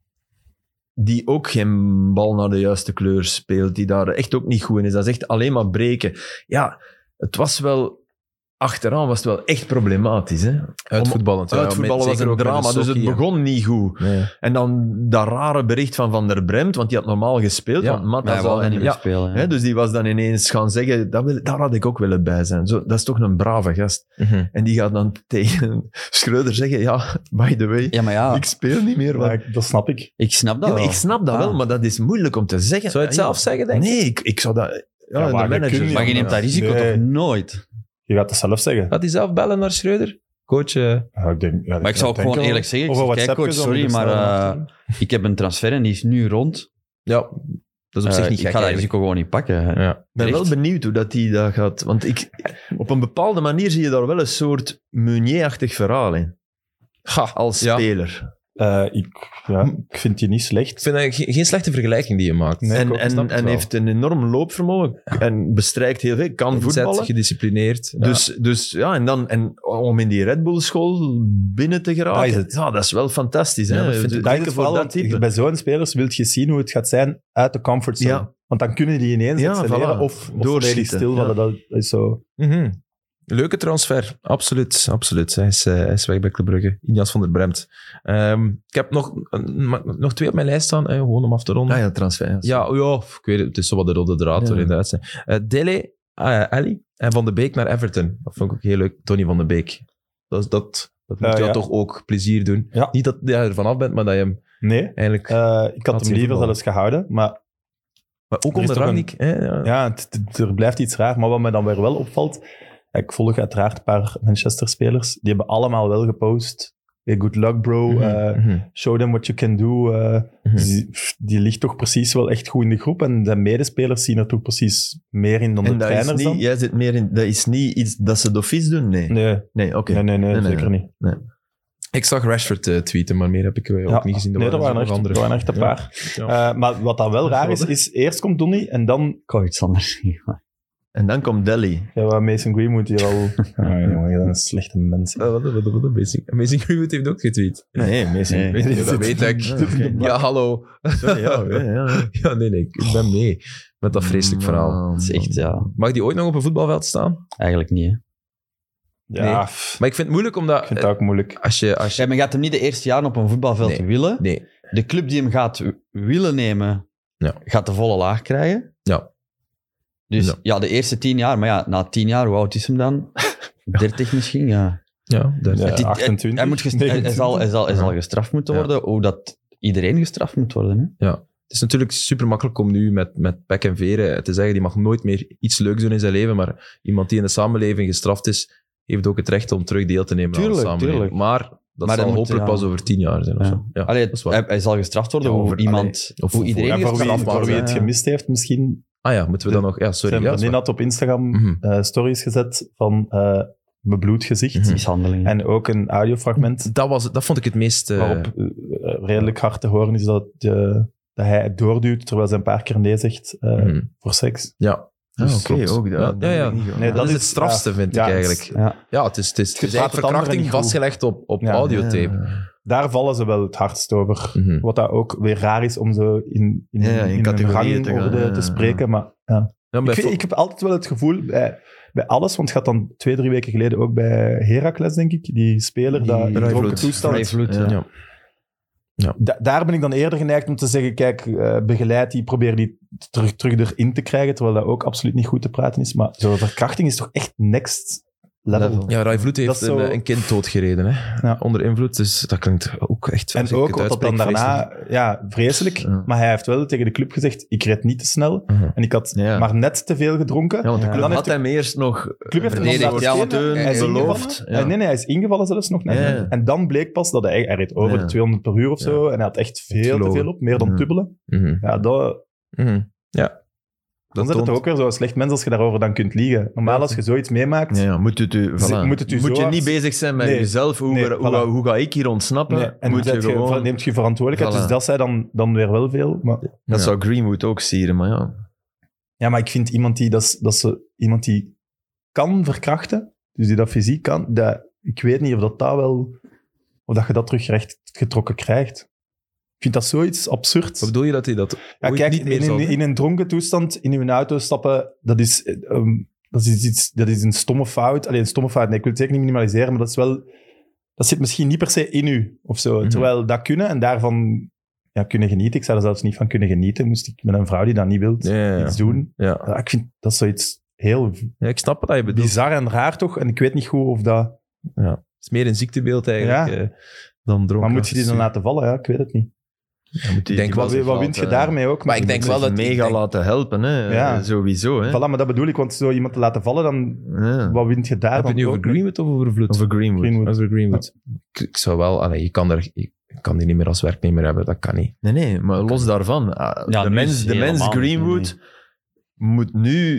die ook geen bal naar de juiste kleur speelt, die daar echt ook niet goed in is, dat is echt alleen maar breken. Ja, het was wel... Achteraan was het wel echt problematisch. Hè? Uitvoetballend. ja, Uitvoetballen met- was zeker een ook met drama, dus een het sokkie, ja. begon niet goed. Nee. En dan dat rare bericht van Van der Bremt, want die had normaal gespeeld. Ja, want Matta maar hij zou- wilde niet meer ja, spelen. ja. hè, dus die was dan ineens gaan zeggen, dat wil, daar had ik ook willen bij zijn. Zo, dat is toch een brave gast. En die gaat dan (laughs) tegen Schreuder zeggen, ja, by the way, ja, maar ja, ik speel niet meer. Ja, want- ik- dat snap ik. ik snap dat Ja, maar wel. ik snap dat Ah. wel, maar dat is moeilijk om te zeggen. Zou je het Ja, zelf zeggen, denk ik? Nee, ik, ik zou dat... Ja, Ja, maar de je manager. kunt niet Maar je Ja, neemt dat risico nee. toch nooit? Je gaat dat zelf zeggen. Gaat hij zelf bellen naar Schreuder? Coach, eh, Ja, ik denk, ja, Maar ik zou ook denk gewoon wel. eerlijk zeggen, ik Over zeg, kijk, WhatsAppjes coach, om sorry, er maar, snel aan eh, te doen. Ik heb een transfer en die is nu rond. ja, dat is op Eh, zich niet ik gek. ga dat eigenlijk. risico gewoon niet pakken. hè. Ja. Ik ben Echt. wel benieuwd hoe dat die dat gaat. Want ik, op een bepaalde manier zie je daar wel een soort Meunier-achtig verhaal in. Ha, Als ja. speler. Eh, ik, ja, ik vind die niet Ik slecht. vind dat ge- geen slechte vergelijking die je maakt. Nee, en ik snap en, het en wel. heeft een enorm loopvermogen en bestrijkt heel veel, kan Inzet, voetballen. gedisciplineerd. Ja. Dus, dus ja, en, dan, en om in die Red Bull-school binnen te geraken, Dat is het. Ja, dat is wel fantastisch. Ja, hè. dat vind Dus ik- Dat is zeker voor het vooral, dat want type. bij zo'n spelers wil je zien hoe het gaat zijn uit de comfortzone. Ja. Want dan kunnen die ineens Ja, accelereren voilà. of, of Doorschieten, volledig stilvallen. ja. Dat is zo. Mhm. Leuke transfer, absoluut. absoluut. Hij, is, eh, hij is weg bij Club Brugge. Injas van der Bremt. Ehm, ik heb nog, een- maar nog twee op mijn lijst staan, eh, gewoon om af te ronden. Ah ja, transfer. Ja, Ja, ja, ik weet het. Het is zo wat de rode draad Ja. door in de uitzending. Eh, Dele eh, Ali en Van de Beek naar Everton. Dat vond ik ook heel leuk. Tony Van de Beek. Dat, is- dat, dat moet Eh, Ja, jou ja. toch ook plezier doen. Ja. Niet dat je er vanaf bent, maar dat je hem Nee, eigenlijk... eh, ik Had had ze hem liever voetballen. zelfs gehouden. Maar maar ook er is onder toch een- Rangnick. hè, ja. ja, het- het- er blijft iets raar. Maar wat me dan weer wel opvalt. Ik volg uiteraard een paar Manchester-spelers. Die hebben allemaal wel gepost. Hey, good luck, bro. Mhm, eh, mhm. show them what you can do. eh, Mhm. die, pff, die ligt toch precies wel echt goed in de groep. En de medespelers zien er toch precies meer in dan de En dat is trainers dan. niet, jij zit meer in, dat is niet iets dat ze dofies doen? Nee. Nee, Nee, oké. nee, nee, nee, Nee, nee, zeker niet. Ik zag Rashford eh, tweeten, maar meer heb ik eh, ook Ja. niet gezien. Nee, er waren, nog echt, er waren echt een Ja. paar. Ja. Eh, maar wat dan wel raar is, is eerst komt Donny en dan... Ik wou iets anders (laughs) zeggen. maar- En dan komt Delhi. Ja, maar Mason Greenwood hier al... Ah, jongen, dat is een slechte mens. Eh, wat, wat, wat, Amazing, Amazing (laughs) Greenwood heeft ook getweet. Nee, meestal. Nee. Ja, dat weet ik. Ja, oké. (laughs) Ja, hallo. Sorry, ja, oké, ja. Ja, nee, nee, ik ben mee met dat vreselijk verhaal. Dat is echt, ja, Mag die ooit nog op een voetbalveld staan? eigenlijk niet. Hè. Ja, Nee. pff, Maar ik vind het moeilijk ik omdat... eh, vind dat ook moeilijk. Als je... Als je Ja, maar je gaat hem niet de eerste jaren op een voetbalveld Nee. willen. nee, De club die hem gaat w- willen nemen, Ja. gaat de volle laag krijgen. Ja. Dus Ja. ja. de eerste tien jaar. Maar ja, na tien jaar, hoe oud is hem (laughs) dan? Dertig misschien, ja. ja, daar Ja, Het- het- 28, Hij, moet gest- hij, hij zal, hij, zal, hij zal gestraft moeten Ja. worden, hoe dat iedereen gestraft moet worden. Hè? Het is natuurlijk super makkelijk om nu met, met pek en veren te zeggen, die mag nooit meer iets leuks doen in zijn leven, maar iemand die in de samenleving gestraft is, heeft ook het recht om terug deel te nemen aan Tuurlijk, de samenleving. tuurlijk. Maar dat Maar zal dan moet- hopelijk ja. pas over tien jaar zijn. Of, Ja. zo. Ja, Allee, eh, dat is waar. hij, hij zal gestraft worden Ja, hoe over- iedereen, Of hoe voor- iedereen Ja, voor wie, gestraft eh, strafbaar voor wie zijn, het ja. gemist heeft misschien. Ah ja, moeten we dan nog... Ja, sorry. Zijn Ja, dat is vriendin waar. had op Instagram Mhm. eh, stories gezet van eh bebloed gezicht. Mhm. Mishandeling. En ook een audiofragment dat, was, het- dat vond ik het meest... eh, waarop eh, eh, redelijk hard te horen is dat, eh, dat hij het doorduwt terwijl ze een paar keer nee zegt eh, mhm. voor seks. Ja, Ah, Dus Oké, klopt. ook. Ja, ja, ja. Nee, Nee, dat, dat is het is- strafste, vind ja, ik het is- eigenlijk. ja. Ja, het is, het is, het is Je praat eigenlijk het anderen verkrachting niet goed. vastgelegd op, op Ja. audiotape. Daar vallen ze wel het hardst over. Mhm. Wat dat ook weer raar is om zo in, in, Ja, ja, in in, een categorieën rangorde te gaan, ja, ja, ja. te spreken. Maar, ja. Ja, bij ik, vind- vo- ik heb altijd wel het gevoel bij, bij alles, want het gaat dan twee, drie weken geleden ook bij Heracles, denk ik, die speler Die daar in Rijvloed. dronken toestand. Rijvloed, ja. ja. Da- daar ben ik dan eerder geneigd om te zeggen, kijk, eh, begeleid die, probeer die terug, terug erin te krijgen, terwijl dat ook absoluut niet goed te praten is. Maar zo'n verkrachting is toch echt next level. Level. Ja, Rai Vloed Dat heeft is zo- een, een kind doodgereden. Hè? Ja. Onder invloed, dus dat klinkt ook echt... als En ik ook het wat dat dan uitspreek, daarna, ja, vreselijk. Ja. Maar hij heeft wel tegen de club gezegd, ik red niet te snel. Mhm. En ik had Ja. maar net te veel gedronken. Ja, want de Ja. club Dan had heeft de- hem eerst nog eh, De club heeft hem verdedigd, dan laten ja, want eh, spelen. hun Hij is beloofd. ingevallen. Eh, Nee, nee, hij is ingevallen zelfs nog. net. Ja, ja. En dan bleek pas dat hij, hij reed over Ja. de 200 per uur of zo. En hij had echt veel te Gelogen. veel op, meer dan Ja. dubbele. Mhm. Ja, dat, Mhm. Ja. dan zit het toont- ook weer zo'n slecht mens als je daarover dan kunt liegen. Normaal als je zoiets meemaakt, eh, Ja, ja, moet, het u, Ze- voilà. moet het u zo je hard- niet bezig zijn met Nee. jezelf. Hoe, Nee, hoe, voilà. hoe, ga ik hier ontsnappen? nee, en moet dan je zet je- gewoon... neemt je verantwoordelijkheid. Voilà. Dus dat zei dan, dan weer wel veel. Maar, Dat Ja. zou Greenwood ook sieren, maar ja. ja, maar ik vind iemand die, dat, is- dat ze, iemand die kan verkrachten, dus die dat fysiek kan, dat, ik weet niet of dat, dat wel... Of dat je dat terug recht getrokken krijgt. Ik vind dat zoiets absurd. Wat bedoel je dat hij dat... Ja, Ooit kijk, niet meer in, zal in, doen. in een dronken toestand in uw auto stappen, dat is, eh, ehm, dat is, iets, dat is een stomme fout. Alleen een stomme fout, nee, ik wil het zeker niet minimaliseren, maar dat is wel... Dat zit misschien niet per se in u, of zo. Mhm. Terwijl dat kunnen, en daarvan ja, kunnen genieten. Ik zou er zelfs niet van kunnen genieten, moest ik met een vrouw die dat niet wil Ja, ja, ja. iets doen. Ja. Ja, ik vind dat zoiets heel Ja, ik snap wat je bedoelt. bizar en raar, toch? En ik weet niet goed of dat... Het is meer een ziektebeeld eigenlijk Ja. eh, dan dronken. Maar moet je die dan laten vallen? Ja, ik weet het niet. Dan moet die- denk die wel- Wat, was wat laten- eh, wint je eh, daarmee ook? Maar ik met- denk Zich wel dat- mega denk- laten helpen, hè. eh, Ja. sowieso. Hè. Voilà, maar dat bedoel ik, want zo iemand te laten vallen, dan... Ja. Wat wint je daar Heb je dan het nu ook over mee? Greenwood of over Vloed? Over Greenwood. Greenwood. Over Greenwood. Ik, ik zou wel... allee, je, kan er, je kan die niet meer als werknemer hebben, dat kan niet. Nee, nee, maar los daarvan. ah, Ja, de nu mens, is de mens helemaal Greenwood moet nu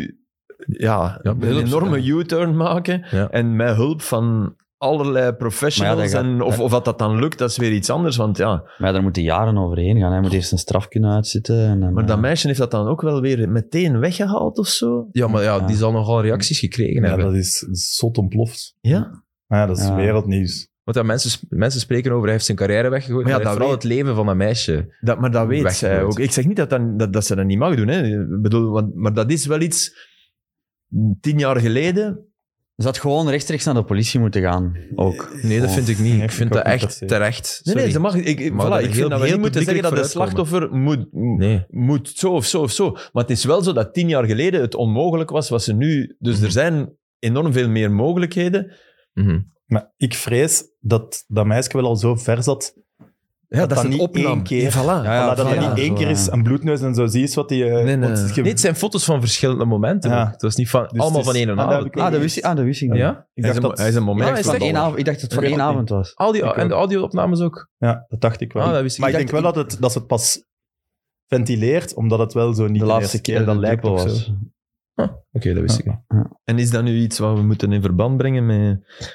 ja, Ja, een hulp- enorme U-turn maken. Ja. En met hulp van allerlei Maar professionals. ja, dat gaat- en of, dat- of wat dat dan lukt, dat is weer iets anders. Want ja, Maar ja, daar moeten jaren overheen gaan. Hij moet eerst een straf kunnen uitzitten. En dan, maar eh, dat meisje heeft dat dan ook wel weer meteen weggehaald of zo. Ja, maar ja, Ja. die zal nogal reacties gekregen Ja, hebben. dat is zot ontploft. Ja, Maar ja, dat is Ja. wereldnieuws. Want ja, mensen, mensen spreken over, hij heeft zijn carrière weggegooid. Maar ja, Maar dat ja, vooral weet- het leven van dat meisje. dat, maar dat weet zij Weggegooid. ook. Ik zeg niet dat, dan, dat, dat ze dat niet mag doen. Hè. Ik bedoel, want, maar dat is wel iets... Tien jaar geleden... Ze had gewoon rechtstreeks naar de politie moeten gaan. Ook. Eh, Nee, dat Oh. vind ik niet. Nee, ik vind vind ik dat ook niet echt per se. terecht. Nee, nee, Sorry. ze mag... Ik, ik, Maar voilà, dat ik heel- vind dat we heel niet moeten zeggen dat de publiekelijk slachtoffer moet, Nee. moet zo of zo of zo. Maar het is wel zo dat tien jaar geleden het onmogelijk was wat ze nu... Dus Mhm. er zijn enorm veel meer mogelijkheden. Mhm. Maar ik vrees dat dat meisje wel al zo ver zat. Ja, dat, dat is een niet opname. één keer. Ja, voilà. Ja, ja, voilà, dat dat ja, niet ja, één zo, keer is ja. een bloedneus en zo zie je wat die... eh, Nee, nee. want je- Nee, het zijn foto's van verschillende momenten. Ja. ook. Het was niet van, Dus allemaal het van is- één en ah, een dat half. heb Ah, dat wist ik, ah, dat wist ik niet. Ja? Ik dacht hij, is dat, een, hij is een moment Ja, hij is van echt Eén babbel. avond- ik dacht dat het Ik voor één weet het avond was. Al die, Ik en de audio-opnames ook. ja, dat dacht ik wel. Ah, dat wist ik maar ik niet. denk wel dat, het, dat ze het pas ventileert, omdat het wel zo niet de, eerste keer dat de lijkt druppel of zo. was. Oké, dat wist Ja. ik niet. En is dat nu iets wat we moeten in verband brengen met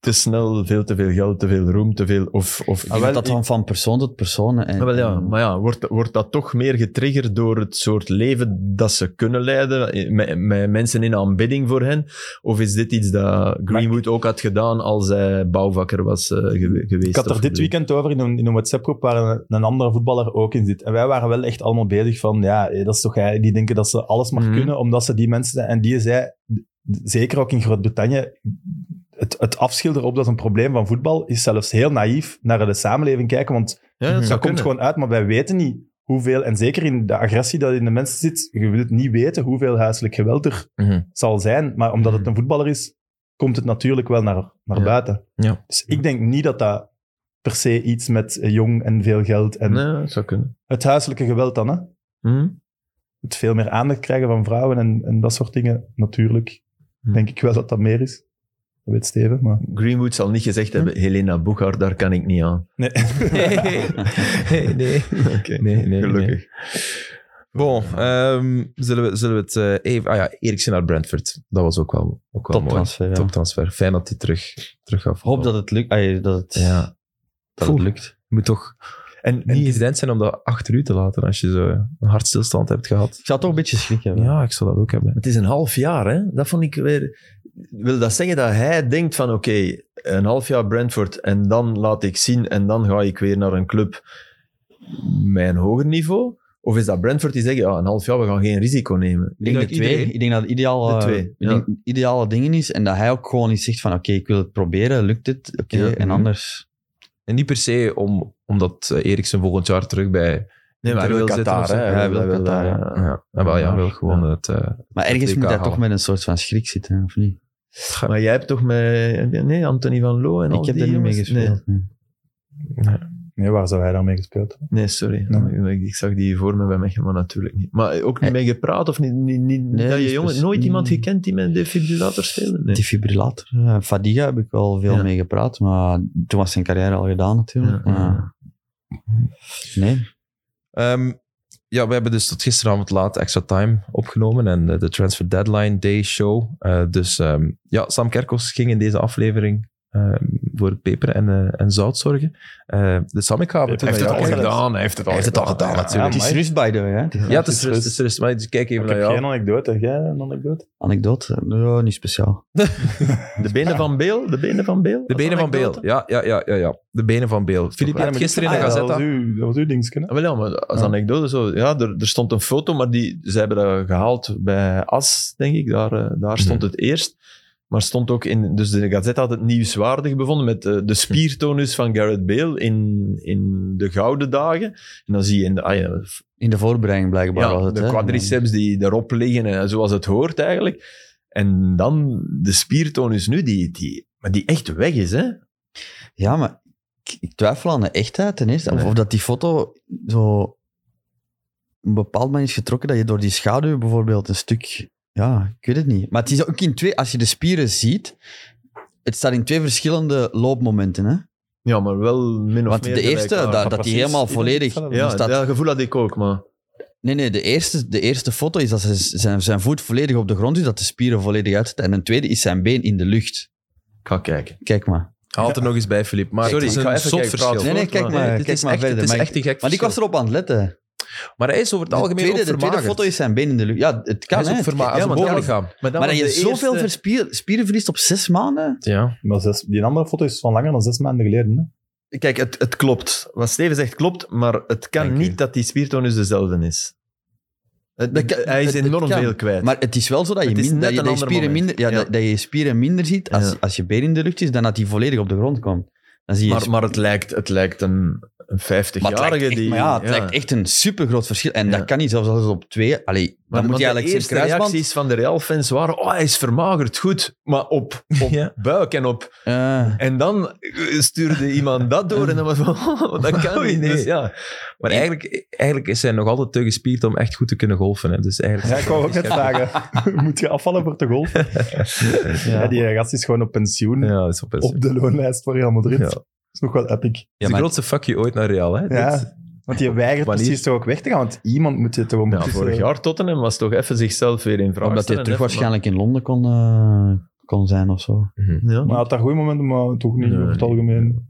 te snel, veel te veel geld, te veel roem, te veel... Of, of, Ah, Ik denk dat dat van, van persoon tot persoon. En, Ah, wel ja, en- maar ja, wordt, wordt dat toch meer getriggerd door het soort leven dat ze kunnen leiden, eh, met, met mensen in aanbidding voor hen? Of is dit iets dat Greenwood ook had gedaan als hij bouwvakker was eh, ge- geweest? Ik had er of- dit weekend over in een, in een WhatsApp-groep waar een, een andere voetballer ook in zit. En wij waren wel echt allemaal bezig van, ja, eh, dat is toch, eh, die denken dat ze alles mag Mhm. kunnen, omdat ze die mensen... En die zei, d- zeker ook in Groot-Brittannië, het, het afschilderen op dat is een probleem van voetbal is zelfs heel naïef naar de samenleving kijken, want Ja, dat Mhm. zou dat komt kunnen. gewoon uit, maar wij weten niet hoeveel, en zeker in de agressie dat in de mensen zit, je wilt niet weten hoeveel huiselijk geweld er Mhm. zal zijn. Maar omdat het een voetballer is, komt het natuurlijk wel naar, naar Ja. buiten. Ja. Dus ik denk niet dat dat per se iets met eh, jong en veel geld en Nee, dat zou kunnen. het huiselijke geweld dan, hè? Hm? Het veel meer aandacht krijgen van vrouwen en, en dat soort dingen, natuurlijk. Mhm. Hm. Denk ik wel dat dat meer is. Dat weet Steven, maar... Greenwood zal niet Hm? gezegd hebben, Helena Boegaard, daar kan ik niet aan. Nee. nee, nee. nee, nee, nee. Gelukkig. Bon, ehm, zullen, we, zullen we het eh, even... Ah ja, Eriksen naar Brentford. Dat was ook wel, ook wel mooi. Toptransfer, ja. Toptransfer. Fijn dat hij terug, terug gaf. Ik hoop dat het lukt. ah, dat het, Ja. dat het Oeh. lukt. moet toch En, en niet evident zijn om dat achter u te laten als je zo een hartstilstand hebt gehad. Ik zou toch een beetje schrik hebben. Ja, Ah, ik zou dat ook hebben. Het is een half jaar, hè? Dat vond ik weer. Wil dat zeggen dat hij denkt van oké, een half jaar Brentford en dan laat ik zien en dan ga ik weer naar een club met een hoger niveau? Of is dat Brentford die zegt ja, een half jaar, we gaan geen risico nemen? Ik denk, Ik de denk twee, iedereen. ik denk dat het ideale, De twee, ik ja. denk het ideale dingen is. En dat hij ook gewoon niet zegt van oké, ik wil het proberen, lukt het? Oké, Ja. mhm. en anders... En niet per se om, omdat eh, Eriksen volgend jaar terug bij... Nee, maar hij wil Terwijl zitten Qatar, of zo. hè? Hij wil Qatar, ja. ja. Ja, en wel, ja, wel gewoon Ja. het... eh, Maar Dat ergens WK moet hij halen. toch met een soort van schrik zitten, hè, of niet? Maar jij hebt toch met nee, Anthony van Loo en al ik heb die daar niet mee jongens? Nee, gespeeld. nee. Nee, waar zou hij daarmee gespeeld hebben? nee, sorry. Nee. Ik, ik zag die voor me bij Mechelen, maar natuurlijk niet. Maar ook niet mee gepraat of niet, niet, niet, Nee, dat je dus- jongen, dus- nooit iemand nee. gekend die met een defibrillator speelde? Nee. Defibrillator. eh, Fadiga heb ik wel veel Ja. mee gepraat, maar toen was zijn carrière al gedaan natuurlijk. Ja, ja, Maar- Nee. Ehm, ja, we hebben dus tot gisteravond laat extra time opgenomen en eh, de Transfer Deadline Day show. Eh, dus ehm, ja, Sam Kerkos ging in deze aflevering ehm, voor peper en, eh, en zout zorgen. Eh, dus Sam, ik ga... Peper, Hij heeft het al Ja, gedaan, hij heeft het al Hij heeft Oh, het al gedaan, gedaan, natuurlijk. het is rust bij de hè? Het is Ja, het Het is is rust, het is rust. Maar ik kijk even Ik naar heb geen jou. anekdote. Heb Jij een anekdote? Anekdote? Nee, niet speciaal. De benen van Beel? De benen van Beel? De benen van Beel. Ja, ja, ja, ja, ja. De benen van Beel. Filip, je Ja, hebt maar gisteren in de dit- ah, ja, Gazette... Dat was uw, dat was uw dingetje, hè? Ah, wel ja, maar als Ja. anekdote zo. Ja, er, er stond een foto, maar die, ze hebben dat gehaald bij As, denk ik. Daar, eh, daar stond het eerst. Maar stond ook in... Dus de Gazette had het nieuwswaardig bevonden met eh, de spiertonus van Gareth Bale in, in de gouden dagen. En dan zie je in de, ah ja, In de voorbereiding blijkbaar ja, was het, de hè? quadriceps die erop liggen, en zoals het hoort eigenlijk. En dan de spiertonus nu, die, die, maar die echt weg is, hè? Ja, maar ik, ik twijfel aan de echtheid ten eerste. Of, of dat die foto zo op een bepaald moment is getrokken dat je door die schaduw bijvoorbeeld een stuk... Ja, ik weet het niet. Maar het is ook in twee... Als je de spieren ziet, het staat in twee verschillende loopmomenten, hè? Ja, maar wel min of Want meer de gelijk eerste, aan. dat, dat die precies. helemaal Ja, volledig... hetzelfde. Ja, er staat- dat gevoel had ik ook, maar... Nee, nee, de eerste, de eerste foto is dat ze- zijn, zijn voet volledig op de grond is, dat de spieren volledig uit En een tweede is zijn been in de lucht. Ik ga kijken. Kijk maar. Haal het er nog eens bij, Filip. Maar Sorry, het is ik ga een even zot kijken, verschil. praat. Nee, nee, Voort, kijk maar- maar, Nee, het kijk is maar echt- verder. Het is Maar ik- echt een gek Maar ik was verschil. erop aan het letten. Maar hij is over het De algemeen tweede, ook de tweede vermagerd. foto is zijn been in de lucht. Ja, het kan, Hij is hè. ook verma- Ja, als een maar het kan. bovenlichaam. dat Maar dat was je de zoveel eerste- verspier, spieren verliest op zes maanden. Ja. Maar zes, die andere foto is van langer dan zes maanden geleden. Hè? Kijk, het, het klopt. Wat Steven zegt klopt, maar het kan Dank u. niet dat die spiertonus dezelfde is. Het- Dat kan- hij is het- het enorm kan. veel kwijt. Maar het is wel zo dat je, Het is minder, dat net je, een dat je ander spieren, moment. minder, ja, Ja. Dat, dat je spieren minder ziet als, Ja. als je been in de lucht is, dan dat die volledig op de grond komt. Dan zie je maar, maar het lijkt, het lijkt een, een Maar het, lijkt 50-jarige echt, die... maar ja, het lijkt echt een supergroot verschil. En Ja. dat kan niet, zelfs als het op twee... Allee, Maar, dan moet je want eigenlijk de zijn eerste kruisband... reacties van de Real-fans waren oh, hij is vermagerd, goed. Maar op, op Ja. buik en op... Eh, En dan eh, stuurde iemand dat door en dan was van, (laughs) oh, dat kan Oei, niet. nee. Dus ja, Maar eigenlijk, eigenlijk is hij nog altijd te gespierd om echt goed te kunnen golfen. Hè. Dus eigenlijk Ja, ik wou ook net (laughs) vragen. Moet je afvallen voor te golfen? Ja. die gast is gewoon op pensioen. Ja, dat is op, Op de loonlijst voor Real Madrid. Ja. Dat is nog wel epic. de grootste fuck you ooit naar Real. Hè. Dit- Ja, want je weigert Wanneer- precies toch ook weg te gaan. Want iemand moet je toch om... Dus, eh, Ja, Nou, vorig jaar Tottenham was toch even zichzelf weer in vraag omdat hij stellen, terug hè, waarschijnlijk in Londen kon, eh, kon zijn of zo. Mhm. maar- Ja. Maar hij had daar goede momenten, maar toch niet Nee, over het nee. algemeen.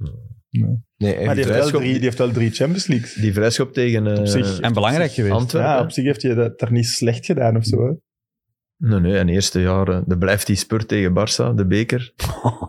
Nee, hij Maar die heeft- heeft, wel Rijsschop- drie, die heeft wel drie Champions Leagues. Die vrijschop tegen eh, Op zich. En belangrijk geweest. Antwerpen. Ja, op zich heeft hij dat daar niet slecht gedaan of zo. hè. Nee, nee, en eerste jaar eh, er blijft die spurt tegen Barça, de beker.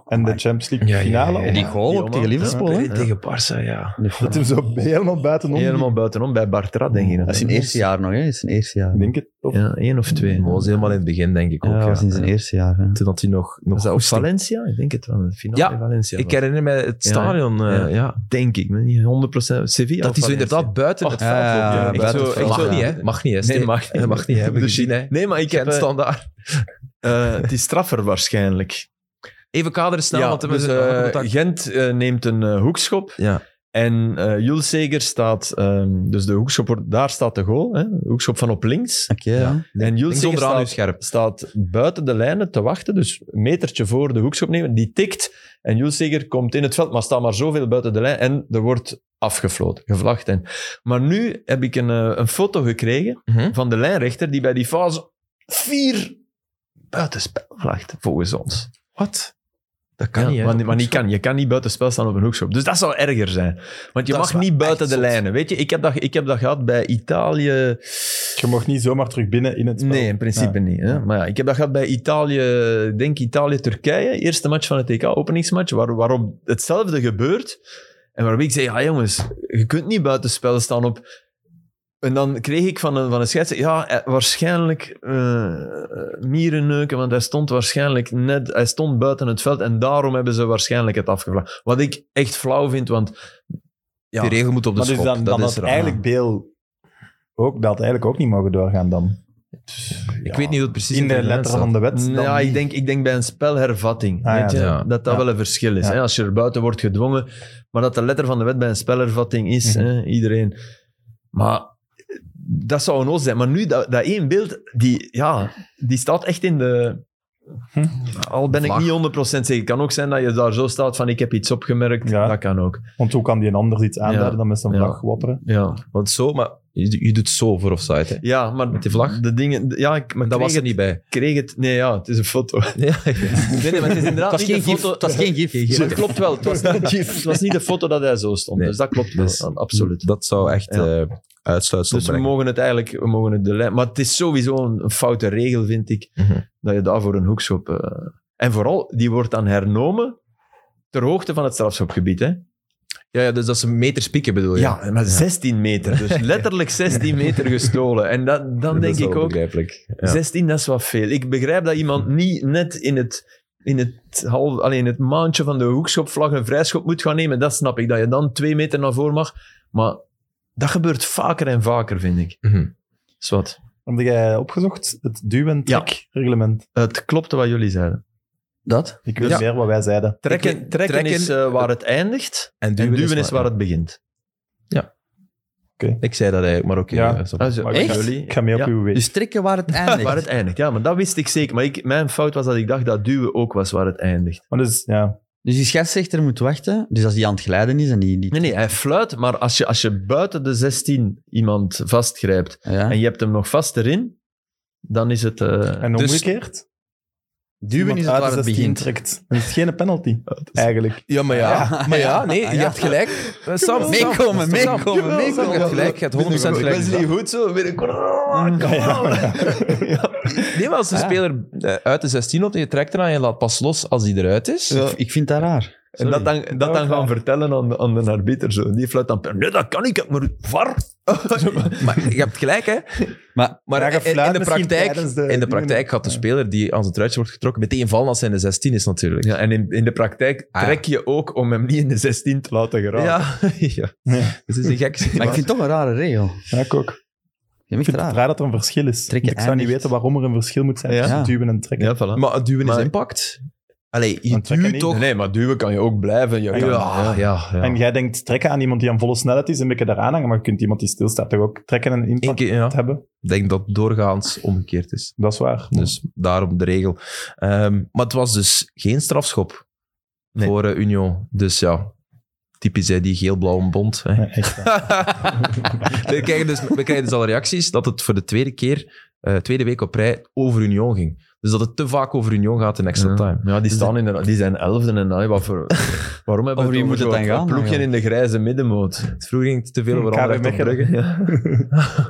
En de Champions League Ja, ja, ja, ja. finale. En die oh, goal ook die tegen man. Liverpool, hè. Pelé tegen Barça, ja. Dat hem zo helemaal buitenom. Helemaal buitenom bij Bartra, denk ik. Dat is zijn eerste jaar nog, hè. Dat is zijn eerste jaar. Ik denk het. Of, Ja, één of twee. Dat was helemaal in het begin, denk ik ook. Ja, dat was in zijn ja. eerste jaar. hè. Toen had hij nog... nog Was dat op goed- Valencia? Ik denk het wel. De finale Ja, in Valencia. Ik herinner me het Ja, stadion, eh, ja. ja. denk ik, maar niet 100% Sevilla. Dat of hij zo Valencia. inderdaad buiten het Ja, veld ja, loopt. Ja, ja, echt buiten zo, het echt veld, zo ja. niet, hè. Mag niet, hè. Nee, Steve? mag niet. Dat (laughs) mag niet, hè. We Dus- gezien, hè. Nee, maar ik heb... Gent eh, standaard. eh, het is straffer waarschijnlijk. Even kaderen snel, want we dus, zijn eh, contact. Gent eh, neemt een eh, hoekschop. Ja. En eh Jules Seger staat, ehm, dus de hoekschop, wordt- daar staat de goal. Hè? De hoekschop van op links. Oké, ja. En Jules Links Seger onderaan uw staat, scherp. staat buiten de lijnen te wachten, dus een metertje voor de hoekschop nemen. Die tikt en Jules Seger komt in het veld, maar staat maar zoveel buiten de lijn en er wordt afgefloten, gevlacht. En, maar nu heb ik een, eh, een foto gekregen Mhm. van de lijnrechter die bij die fase vier buitenspel vlacht, volgens ons. Wat? Dat kan Ja, niet, hè. maar, maar niet kan, je kan niet buitenspel staan op een hoekschop. Dus dat zou erger zijn. Want je Dat mag is wel niet buiten echt de zot. lijnen. Weet je, ik heb dat, ik heb dat gehad bij Italië. Je mocht niet zomaar terug binnen in het spel. Nee, in principe Ja. niet. Hè? Maar ja, ik heb dat gehad bij Italië, ik denk Italië-Turkije, eerste match van het EK, openingsmatch, waar, waarop hetzelfde gebeurt. En waarbij ik zei, ja jongens, je kunt niet buitenspel staan op... En dan kreeg ik van een, van een scheidsrechter, ja, eh, waarschijnlijk eh mierenneuken, want hij stond waarschijnlijk net, hij stond buiten het veld en daarom hebben ze waarschijnlijk het afgevlaagd. Wat ik echt flauw vind, want... Ja, Die regel moet op de Maar dus schop. dan, dan dat had is er aan. eigenlijk Beel ook, dat had eigenlijk ook niet mogen doorgaan dan. Ik weet niet hoe het precies In de letter van de wet. dan ja, ik niet. denk, ik denk bij een spelhervatting. Ah, weet ja. je, Ja. Dat dat Ja. wel een verschil is. Ja. Hè? Als je er buiten wordt gedwongen, maar dat de letter van de wet bij een spelhervatting is, Mhm. hè? iedereen. Maar dat zou een oos zijn. Maar nu, dat, dat één beeld, die, ja, die staat echt in de... Hm. Al ben ik Vlag. niet 100% zeker. Het kan ook zijn dat je daar zo staat van ik heb iets opgemerkt. Ja. Dat kan ook. Want hoe kan die een ander iets aanduiden Ja. dan met zijn Ja. vlag wapperen? Ja, Want zo, maar je, je doet zo voor offside. Hè. ja maar... Met die vlag? De dingen... Ja, ik, maar Dat kreeg was er het- niet bij. kreeg het... Nee, ja, het is een foto. (laughs) Ja, Nee, nee, maar het is inderdaad Het was niet geen de gif. foto- Het was geen gif. Dus Maar het klopt wel. Het (laughs) was, het was niet de foto dat hij zo stond. Nee. Dus dat klopt wel. Dus- absoluut. Dat zou echt Ja. eh uitsluitsel Dus we brengen. mogen het eigenlijk, we mogen het de lijn. Maar het is sowieso een, een foute regel, vind ik. Mhm. Dat je daarvoor een hoekschop. eh, en vooral, die wordt dan hernomen ter hoogte van het strafschopgebied. Hè? Ja, Ja, ja, dus dat is een meter spieken bedoel je? maar 16 meter. (laughs) Dus letterlijk 16 meter gestolen. En dat, dan Dat denk is wel ik ook, begrijpelijk. Ja. 16, dat is wat veel. Ik begrijp dat iemand niet net in het, in het, half, alleen in het maandje van de hoekschopvlag een vrijschop moet gaan nemen. Dat snap ik, dat je dan twee meter naar voren mag. Maar dat gebeurt vaker en vaker, vind ik. Mhm. Zwat. Heb jij opgezocht? Het duw- en trekreglement. Het klopte wat jullie zeiden. Dat? Ik weet Ja. meer wat wij zeiden. Trekken, Ik weet- trekken, trekken- is eh, waar het eindigt en En duwen is waar maar- het begint. Ik zei dat eigenlijk, maar oké. Ja. eh, zo. Ah, zo, Maar ik Echt? ga- jullie- Ik ga mee op Ja. uw weg. Dus trekken waar het eindigt. Waar het eindigt, ja, maar dat wist ik zeker. Maar ik, mijn fout was dat ik dacht dat duwen ook was waar het eindigt. Maar dus, ja. Dus die scheidsrechter moet wachten. Dus als die aan het glijden is en die... die Nee, nee, hij fluit, maar als je, als je buiten de 16 iemand vastgrijpt ja. en je hebt hem nog vast erin, dan is het... eh, En Dus- omgekeerd? Duwen is het waar het begint. Trekt. Dat is geen penalty, eigenlijk. Ja, maar ja. Ja. Maar ja, nee, Ah, je ja. hebt gelijk. Eh, Sam, Sam, Meekomen, meekomen, Sam, Sam, meekomen. Je hebt gelijk, je hebt 100% gelijk. Wesley goed zo, weer een corner. Ja, (laughs) ja. Nee, maar als de Ah. speler eh, uit de 16 loopt en je trekt eraan en je laat pas los als die eruit is. Ja. Ik vind dat raar. En dat dan, Nou, dat dan Ja, gaan klaar. vertellen aan de, aan de arbiter. Zo. En die fluit dan, nee, dat kan ik, ik heb maar var. (laughs) Maar je hebt gelijk, hè. Maar Maar Ja, je in- in, fluit de misschien praktijk, tijdens de in de dingen. praktijk gaat de Ja. speler die aan zijn truitje wordt getrokken meteen vallen als hij in de 16 is, natuurlijk. Ja, en in, in de praktijk Ah, ja. trek je ook om hem niet in de 16 te laten geraken. ja. (laughs) ja. Nee. Het is een gek Maar ik vind het toch een rare regel. Ja, ik ook. Je Ik vind vindt het het raar. raar dat er een verschil is. Trek je Want Ik zou niet eindigt. weten waarom er een verschil moet zijn Ja. tussen Ja. duwen en trekken. Ja, voilà. Maar het duwen is Maar- impact. Allee, je Maar trekken duwt niet. toch... Nee, maar duwen kan je ook blijven. Je Ja, Ja, kan- ja, ja. En jij denkt trekken aan iemand die aan volle snelheid is, een beetje daaraan hangen, maar je kunt iemand die stilstaat toch ook trekken en Eén impact keer, ja. hebben. Ik denk dat het doorgaans omgekeerd is. Dat is waar. Dus daarom de regel. Ehm, maar het was dus geen strafschop Nee. voor eh, Union. Dus ja, typisch hè, die geel-blauwe bond. Hè. Nee, echt waar. (laughs) we, krijgen dus, we krijgen dus al reacties dat het voor de tweede keer, eh, tweede week op rij, over Union ging. Dus dat het te vaak over Union gaat in extra Ja. time. Ja, Dus die, staan in de, die zijn elfde en allee, wat (laughs) voor, waarom hebben Over wie we moet het zo'n dan gaan, ploegje eigenlijk? in de grijze middenmoot? Vroeger ging het te veel over KV Anderlecht op Mechelen. Brugge. Ja.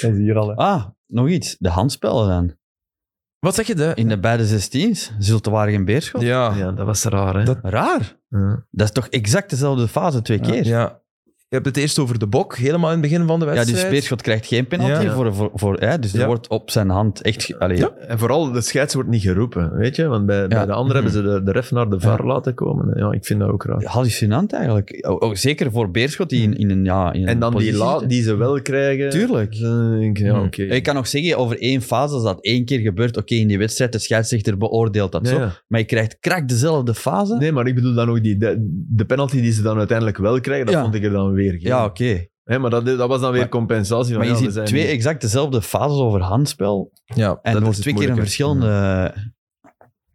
Dat is hier al. hè. Ah, nog iets. De handspellen dan. Wat zeg je? De... In de beide 16's. Zultewaardig en Beerschot. Ja. Ja, Ah. dat was raar, hè? Raar. Ja. Dat is toch exact dezelfde fase twee keer? Ja, ja. Je hebt het eerst over de bok, helemaal in het begin van de wedstrijd. dus Beerschot krijgt geen penalty Ja. voor... voor, voor hè, dus Ja. er wordt op zijn hand echt... ge- Allee, Ja. En vooral, de scheids wordt niet geroepen, weet je? Want bij, bij de anderen hebben Mhm. ze de, de ref naar de VAR laten komen. Ja, ik vind dat ook raar. Hallucinant eigenlijk. O- o- zeker voor Beerschot die in, in een... Ja, in En een dan die positie la zit. die ze wel krijgen. Tuurlijk. Dan denk ik, ja, Hmm. oké. Ik kan nog zeggen, over één fase, als dat één keer gebeurt, oké, in die wedstrijd, de scheidsrechter beoordeelt dat Ja, zo. ja. Maar je krijgt krak dezelfde fase. Nee, maar ik bedoel dan ook die, de, de penalty die ze dan uiteindelijk wel krijgen, dat Ja. vond ik er dan weer geen. ja, oké. Hè, maar dat, dat was dan weer Maar- compensatie. van, Maar je ja, we ziet zijn- twee exact dezelfde fases over handspel. Ja, En dat er is wordt het twee keer een moeilijke. verschillende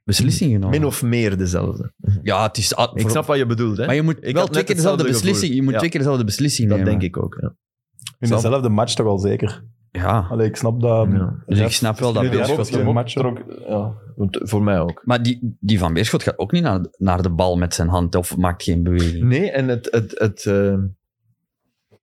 beslissing genomen. Min of meer dezelfde. Ja, het is... ah, Ik voor- snap wat je bedoelt, hè? maar je moet Ik wel had twee net keer dezelfde hetzelfde gevoel. beslissing... Je moet Ja. twee keer dezelfde beslissing dat nemen. denk ik ook. Ja. In Sam. dezelfde match toch al zeker. Ja. Allee, ik snap dat. Ja. Dus ik snap wel dat... Nu de Beerschot- Beerschot Beerschot een ook. match er ook. Ja, want voor mij ook. Maar die, die van Beerschot gaat ook niet naar, naar de bal met zijn hand of maakt geen beweging. Nee, en het... het, het eh,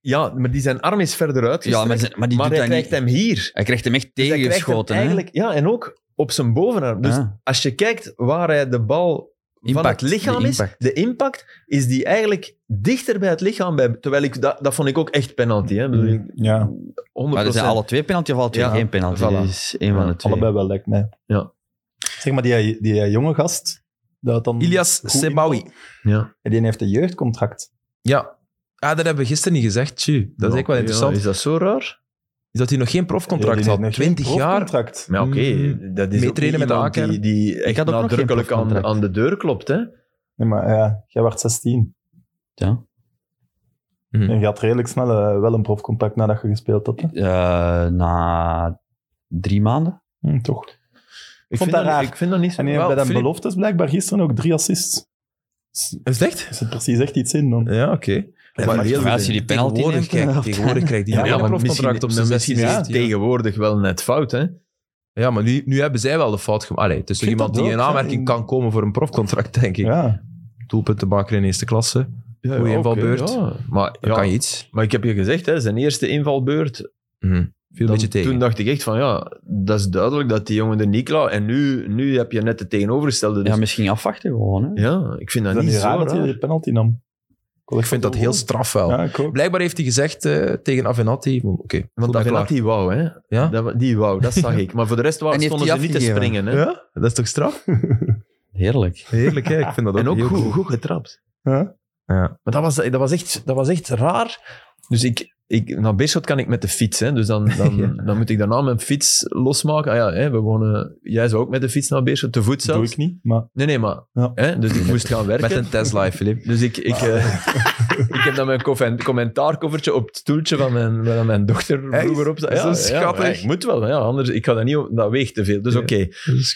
ja, maar die zijn arm is verder Ja, uitgestrekt. maar, zijn- maar die maar doet hij dat krijgt niet. hem hier. Hij krijgt hem echt Dus hij krijgt hem tegengeschoten. hè? eigenlijk, ja, en ook op zijn bovenarm. Dus Ja. als je kijkt waar hij de bal van Impact, het lichaam de is, impact. de impact, is die eigenlijk dichter bij het lichaam. Bij, terwijl ik, dat, dat vond ik ook echt penalty. Hè? Ik Mm. bedoel, ik- 100%. Ja, Maar er zijn alle twee penalty of alle twee Ja, geen penalty. voilà. Dat is één van de Ja, twee. allebei wel lijkt mij. Ja. Zeg maar, die, die eh, jonge gast. Dat dan Ilias goed Sebawi. inkomt, Ja. Die heeft een jeugdcontract. Ja. Ah, dat hebben we gisteren niet gezegd. Tju. Dat is Ja, echt wel ja, interessant. is dat zo raar? Is dat hij nog geen profcontract Die heeft had. nog geen 20 jaar. profcontract. Maar oké, Mm. dat is ook Meetrainen niet met de iemand A-kern. die, die echt had ook nog geen nadrukkelijk aan, profcontract. aan de deur klopt. Hè? Nee, maar ja, jij werd 16. Ja. Mhm. En je had redelijk snel eh, wel een profcontract nadat je gespeeld had. hè? Eh, na drie maanden. Hm, toch. Ik vond dat raar. Ik vind dat niet zo En hij Wel, heeft bij dat Filip- beloftes blijkbaar gisteren ook drie assists. Is het echt? Er zit precies echt iets in dan. Eh, Ja, oké. Ja, maar heel als je die penalty tegenwoordig, neemt, kijk, dan- tegenwoordig krijgt die Ja, een maar profcontract op zijn misschien 16 is het ja. tegenwoordig wel net fout. Hè? Ja, maar nu, nu hebben zij wel de fout gemaakt. Allee, het is toch Ik vind iemand dat die in ook, hè. aanmerking kan komen voor een profcontract, denk ik. Ja. Doelpunt te maken in eerste klasse. Ja, Goeie ja, invalbeurt. oké, ja. Maar, Dan ja, kan je iets. maar ik heb je gezegd, hè, zijn eerste invalbeurt, Mhm. Viel een Dan- beetje tegen. Toen dacht ik echt van ja, dat is duidelijk dat die jongen er niet klaar. En nu, nu heb je net het tegenovergestelde. Dus, Ja, ja, misschien afwachten gewoon. Hè? ik vind dat, Is dat niet niet zo Oh. raar dat hij raar. die penalty nam? ik vind dat heel straf wel. Ja, ik ook. Blijkbaar heeft hij gezegd eh, tegen Avenatti. van, Oké, voel Want mij dat klaar. die wauw, hè? Ja? Dat, wa- die wauw, dat (laughs) zag ik. Maar voor de rest En waren, heeft stonden die ze niet te afgegeven? springen. Hè? Ja, dat is toch straf? Heerlijk. Heerlijk, hè? Ik vind dat ook, En ook heel goed, goed getrapt. Ja. Ja. Maar dat was, dat was, echt, dat was echt raar. Dus ik, ik, naar Beerschot kan ik met de fiets. Hè? Dus dan, (laughs) dan, Ja. dan moet ik daarna mijn fiets losmaken. Ah ja, hè, we wonen, jij zou ook met de fiets naar Beerschot, te voet Dat doe zelfs. ik niet, maar Nee, nee, maar... Ja. Hè? Dus ik moest gaan werken. Met een Tesla, Filip. Dus ik, ik, (laughs) eh, ik heb dan mijn coffen- commentaarkoffertje op het stoeltje van mijn, van mijn dochter vroeger op. Echt? Zo schattig. Ja, ik moet wel, ja, anders ik ga dat niet op, dat weegt te veel. Dus Ja. oké.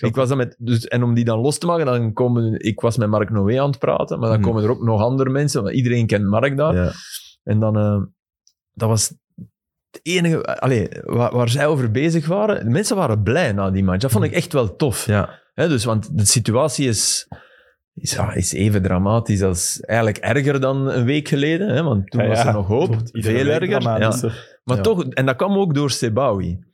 Ik was dan met, dus, en om die dan los te maken, dan komen, ik was met Mark Noé aan het praten, maar dan Mhm. komen er ook nog andere mensen, want iedereen kent Mark daar. Ja. En dan, eh, dat was het enige allee, waar, waar zij over bezig waren. De mensen waren blij na die match. Dat vond ik echt wel tof. Ja, Hè, dus, want de situatie is, is, ja, is even dramatisch als eigenlijk erger dan een week geleden. Hè, want toen Ah, Ja, was ja. er nog hoop. Wordt iedere Veel week erger. Ja. dramatischer. Maar Ja. toch, en dat kwam ook door Sebawi.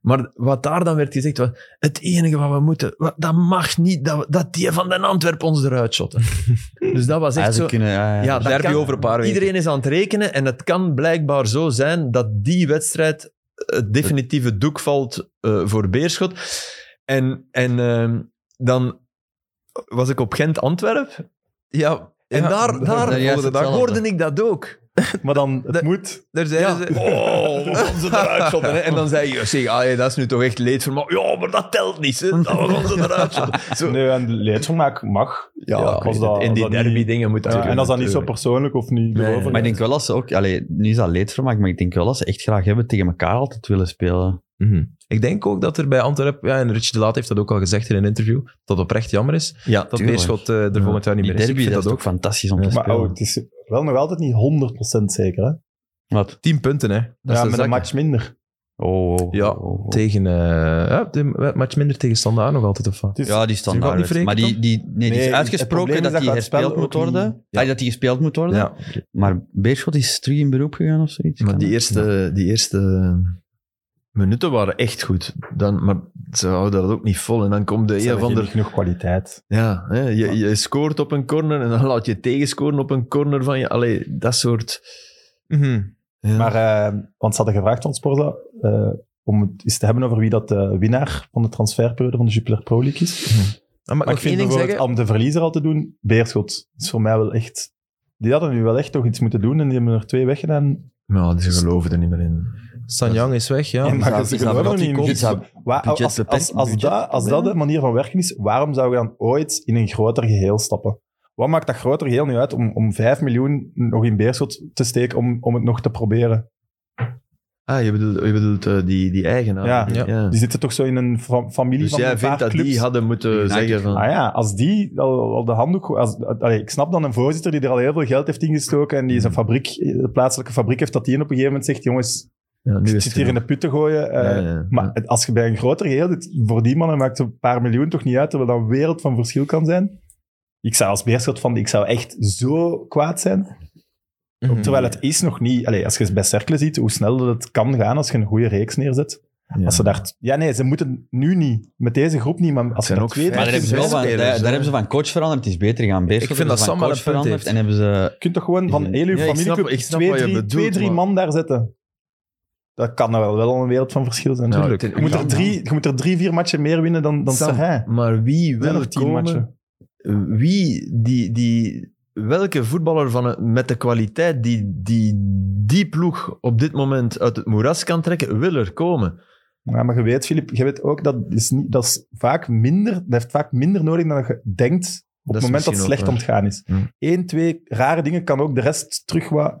Maar wat daar dan werd gezegd was, het enige wat we moeten, wat- dat mag niet, dat, we- dat die van den Antwerp ons eruit (laughs) shotten. dus dat was Ja, echt ze zo. kunnen, eh, ja, ja. Ja, daar dat heb je kan, over een paar weken. iedereen is aan het rekenen en het kan blijkbaar zo zijn dat die wedstrijd eh, het definitieve doek valt eh, voor Beerschot. En, en ehm, dan was ik op Gent-Antwerp ja. en ja, daar, daar, Ja, juist volgende dag hetzelfde. hoorde ik dat ook. Maar dan, het De- moet. daar zeiden Ja. ze... Oh, we gaan ze eruit shotten. Hè. En dan zei je, zeg, ah, ja, dat is nu toch echt leedvermaak. Ja, maar dat telt niet. Hè. Dat we gaan ze eruit shotten. Zo. Nee, en leedvermaak mag. Ja, als ik weet dat- het. in als die dat niet- derby-dingen moet Ja, en als dat niet zo persoonlijk of niet Nee. gelovig Maar ik is. denk wel dat ze ook, allee, nu is dat leedvermaak, maar ik denk wel dat ze echt graag hebben tegen elkaar altijd willen spelen. Mhm. Ik denk ook dat er bij Antwerp, ja, en Richie de Laat heeft dat ook al gezegd in een interview, dat het oprecht jammer is Ja, dat Tuurlijk. Beerschot eh, er volgend jaar niet Die meer is. derby, Ik vind dat is ook dat ook. fantastisch om te Maar spelen. oh, het is wel nog altijd niet 100% zeker. Hè? Wat? Tien punten, hè. Dat ja, is met de een match minder. Oh, oh, Ja, oh, oh. Tegen, eh ja, de match minder tegen Standaard nog altijd, of wat? Het is- Ja, die Ze gaat standaard. niet Maar die, wreken, die, nee, die Nee, is het probleem uitgesproken is dat, dat die je het spel herspeeld moet ook niet- worden. Ja. Ah, dat die gespeeld moet worden. Ja. Maar Beerschot is terug in beroep gegaan of zoiets. Maar Kan die dat? eerste, die eerste minuten waren echt goed. Dan, maar ze houden dat ook niet vol. En dan komt de Ze een of hebben ander... geen genoeg kwaliteit. Ja, hè, je, je scoort op een corner en dan laat je tegenscoren op een corner van je... Allee, dat soort... Mhm. Ja. Maar, eh, want ze hadden gevraagd aan Sporza eh, om het eens te hebben over wie dat de winnaar van de transferperiode van de Jupiler Pro League is. Ah, mag Maar ik ik nog één vind ding bijvoorbeeld, zeggen? om de verliezer al te doen, Beerschot is voor mij wel echt... Die hadden nu wel echt toch iets moeten doen en die hebben er twee weggedaan. Ja, ze geloven er niet meer in. Sanjang is weg, ja. En Is maar dat- ze is dat geloven er omdat niet in. die komt? Dus wa- als- budget als- beperkt- als- Als dat- als dat de manier van werken is, waarom zou je dan ooit in een groter geheel stappen? Wat maakt dat groter geheel nu uit om, om 5 miljoen nog in Beerschot te steken om, om het nog te proberen? Ah, je bedoelt, je bedoelt eh, die, die eigenaar. Ja. Ja. Die zitten toch zo in een fa- familie Dus van jij een paar vindt dat clubs? die hadden moeten United. zeggen van... Ah ja, als die al, al de handdoek... Als, allee, ik snap dan een voorzitter die er al heel veel geld heeft ingestoken en die Hmm. zijn fabriek, de plaatselijke fabriek heeft, dat die op een gegeven moment zegt, jongens, ja, nu ik is zit het hier in genoeg. de put te gooien. eh, Ja, ja, ja. Maar het- als je bij een groter geheel, dit, voor die mannen maakt een paar miljoen toch niet uit, terwijl dat een wereld van verschil kan zijn. Ik zou als beerschot van, ik zou echt zo kwaad zijn. Hmm. Mhm. Terwijl het is nog niet, allee, als je het bij Cercle ziet, hoe snel dat het kan gaan als je een goede reeks neerzet. Ja. Als ze daar, ja nee, ze moeten nu niet, met deze groep niet, maar als ze zijn daar ook twee, vijf- Maar daar hebben, ze wel van, daar, Spelers, daar hè. hebben ze van coach veranderd, het is beter gaan. Beerschot vind hebben dat ze van Sam wel coach een punt veranderd heeft. en hebben ze... je kunt toch gewoon van Ja, heel je ik snap- familieclub ik snap twee, wat je drie, bedoelt, twee, drie maar- man daar zetten. Dat kan nou wel, wel een wereld van verschil zijn. Ja, tuurlijk. Nou, ten- je, moet ja. er drie, je moet er drie, vier matchen meer winnen dan, dan Sam, Sarijn. Maar wie Er zijn wil nog tien komen... matchen. wie die, die, welke voetballer van een- met de kwaliteit die, die die ploeg op dit moment uit het moeras kan trekken, wil er komen. Ja, maar je weet, Filip, je weet ook dat is niet, dat is vaak minder, dat heeft vaak minder nodig dan je denkt op Dat is het moment dat het misschien ook slecht aan het gaan is. Hmm. Eén, twee rare dingen kan ook de rest terug wat...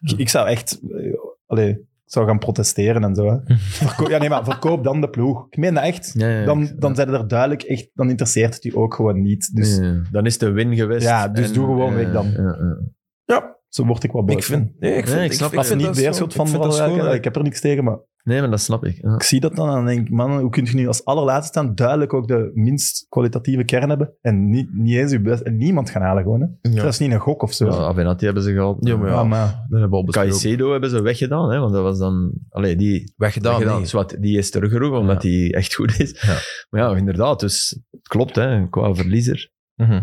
Ik, ik zou echt... eh, allee, ik zou gaan protesteren en (laughs) zo. Hè. Verko- ja, nee, maar verkoop dan de ploeg. Ik meen dat echt. Dan, dan zijn er duidelijk echt... Dan interesseert het u ook gewoon niet. Dus Ja, dan is de win geweest. Ja, dus doe gewoon ja, weg dan. ja, ja. ja, zo word ik wat boos. Ik vind... Nee, ik, vind, Nee, ik snap vind Als ze niet dat beerschot zo- van eh, ik vind dat worden, schoon, hè. ik heb er niks tegen, maar Nee, maar dat snap ik. Ja. Ik zie dat dan en denk ik, man, hoe kun je nu als allerlaatste staan duidelijk ook de minst kwalitatieve kern hebben en niet, niet eens je best en niemand gaan halen gewoon. Hè. Dat is niet een gok of zo. Ja, Avenatti hebben ze gehaald. Ja, maar ja. Ja, maar Dat hebben we al besproken. Caicedo hebben ze weggedaan, hè, want dat was dan... Allee, die, Weggedaan, weggedaan. nee. Zwat, die is teruggeroepen, omdat Ja. die echt goed is. Ja. Maar ja, inderdaad, dus het klopt, hè, qua verliezer. Mhm.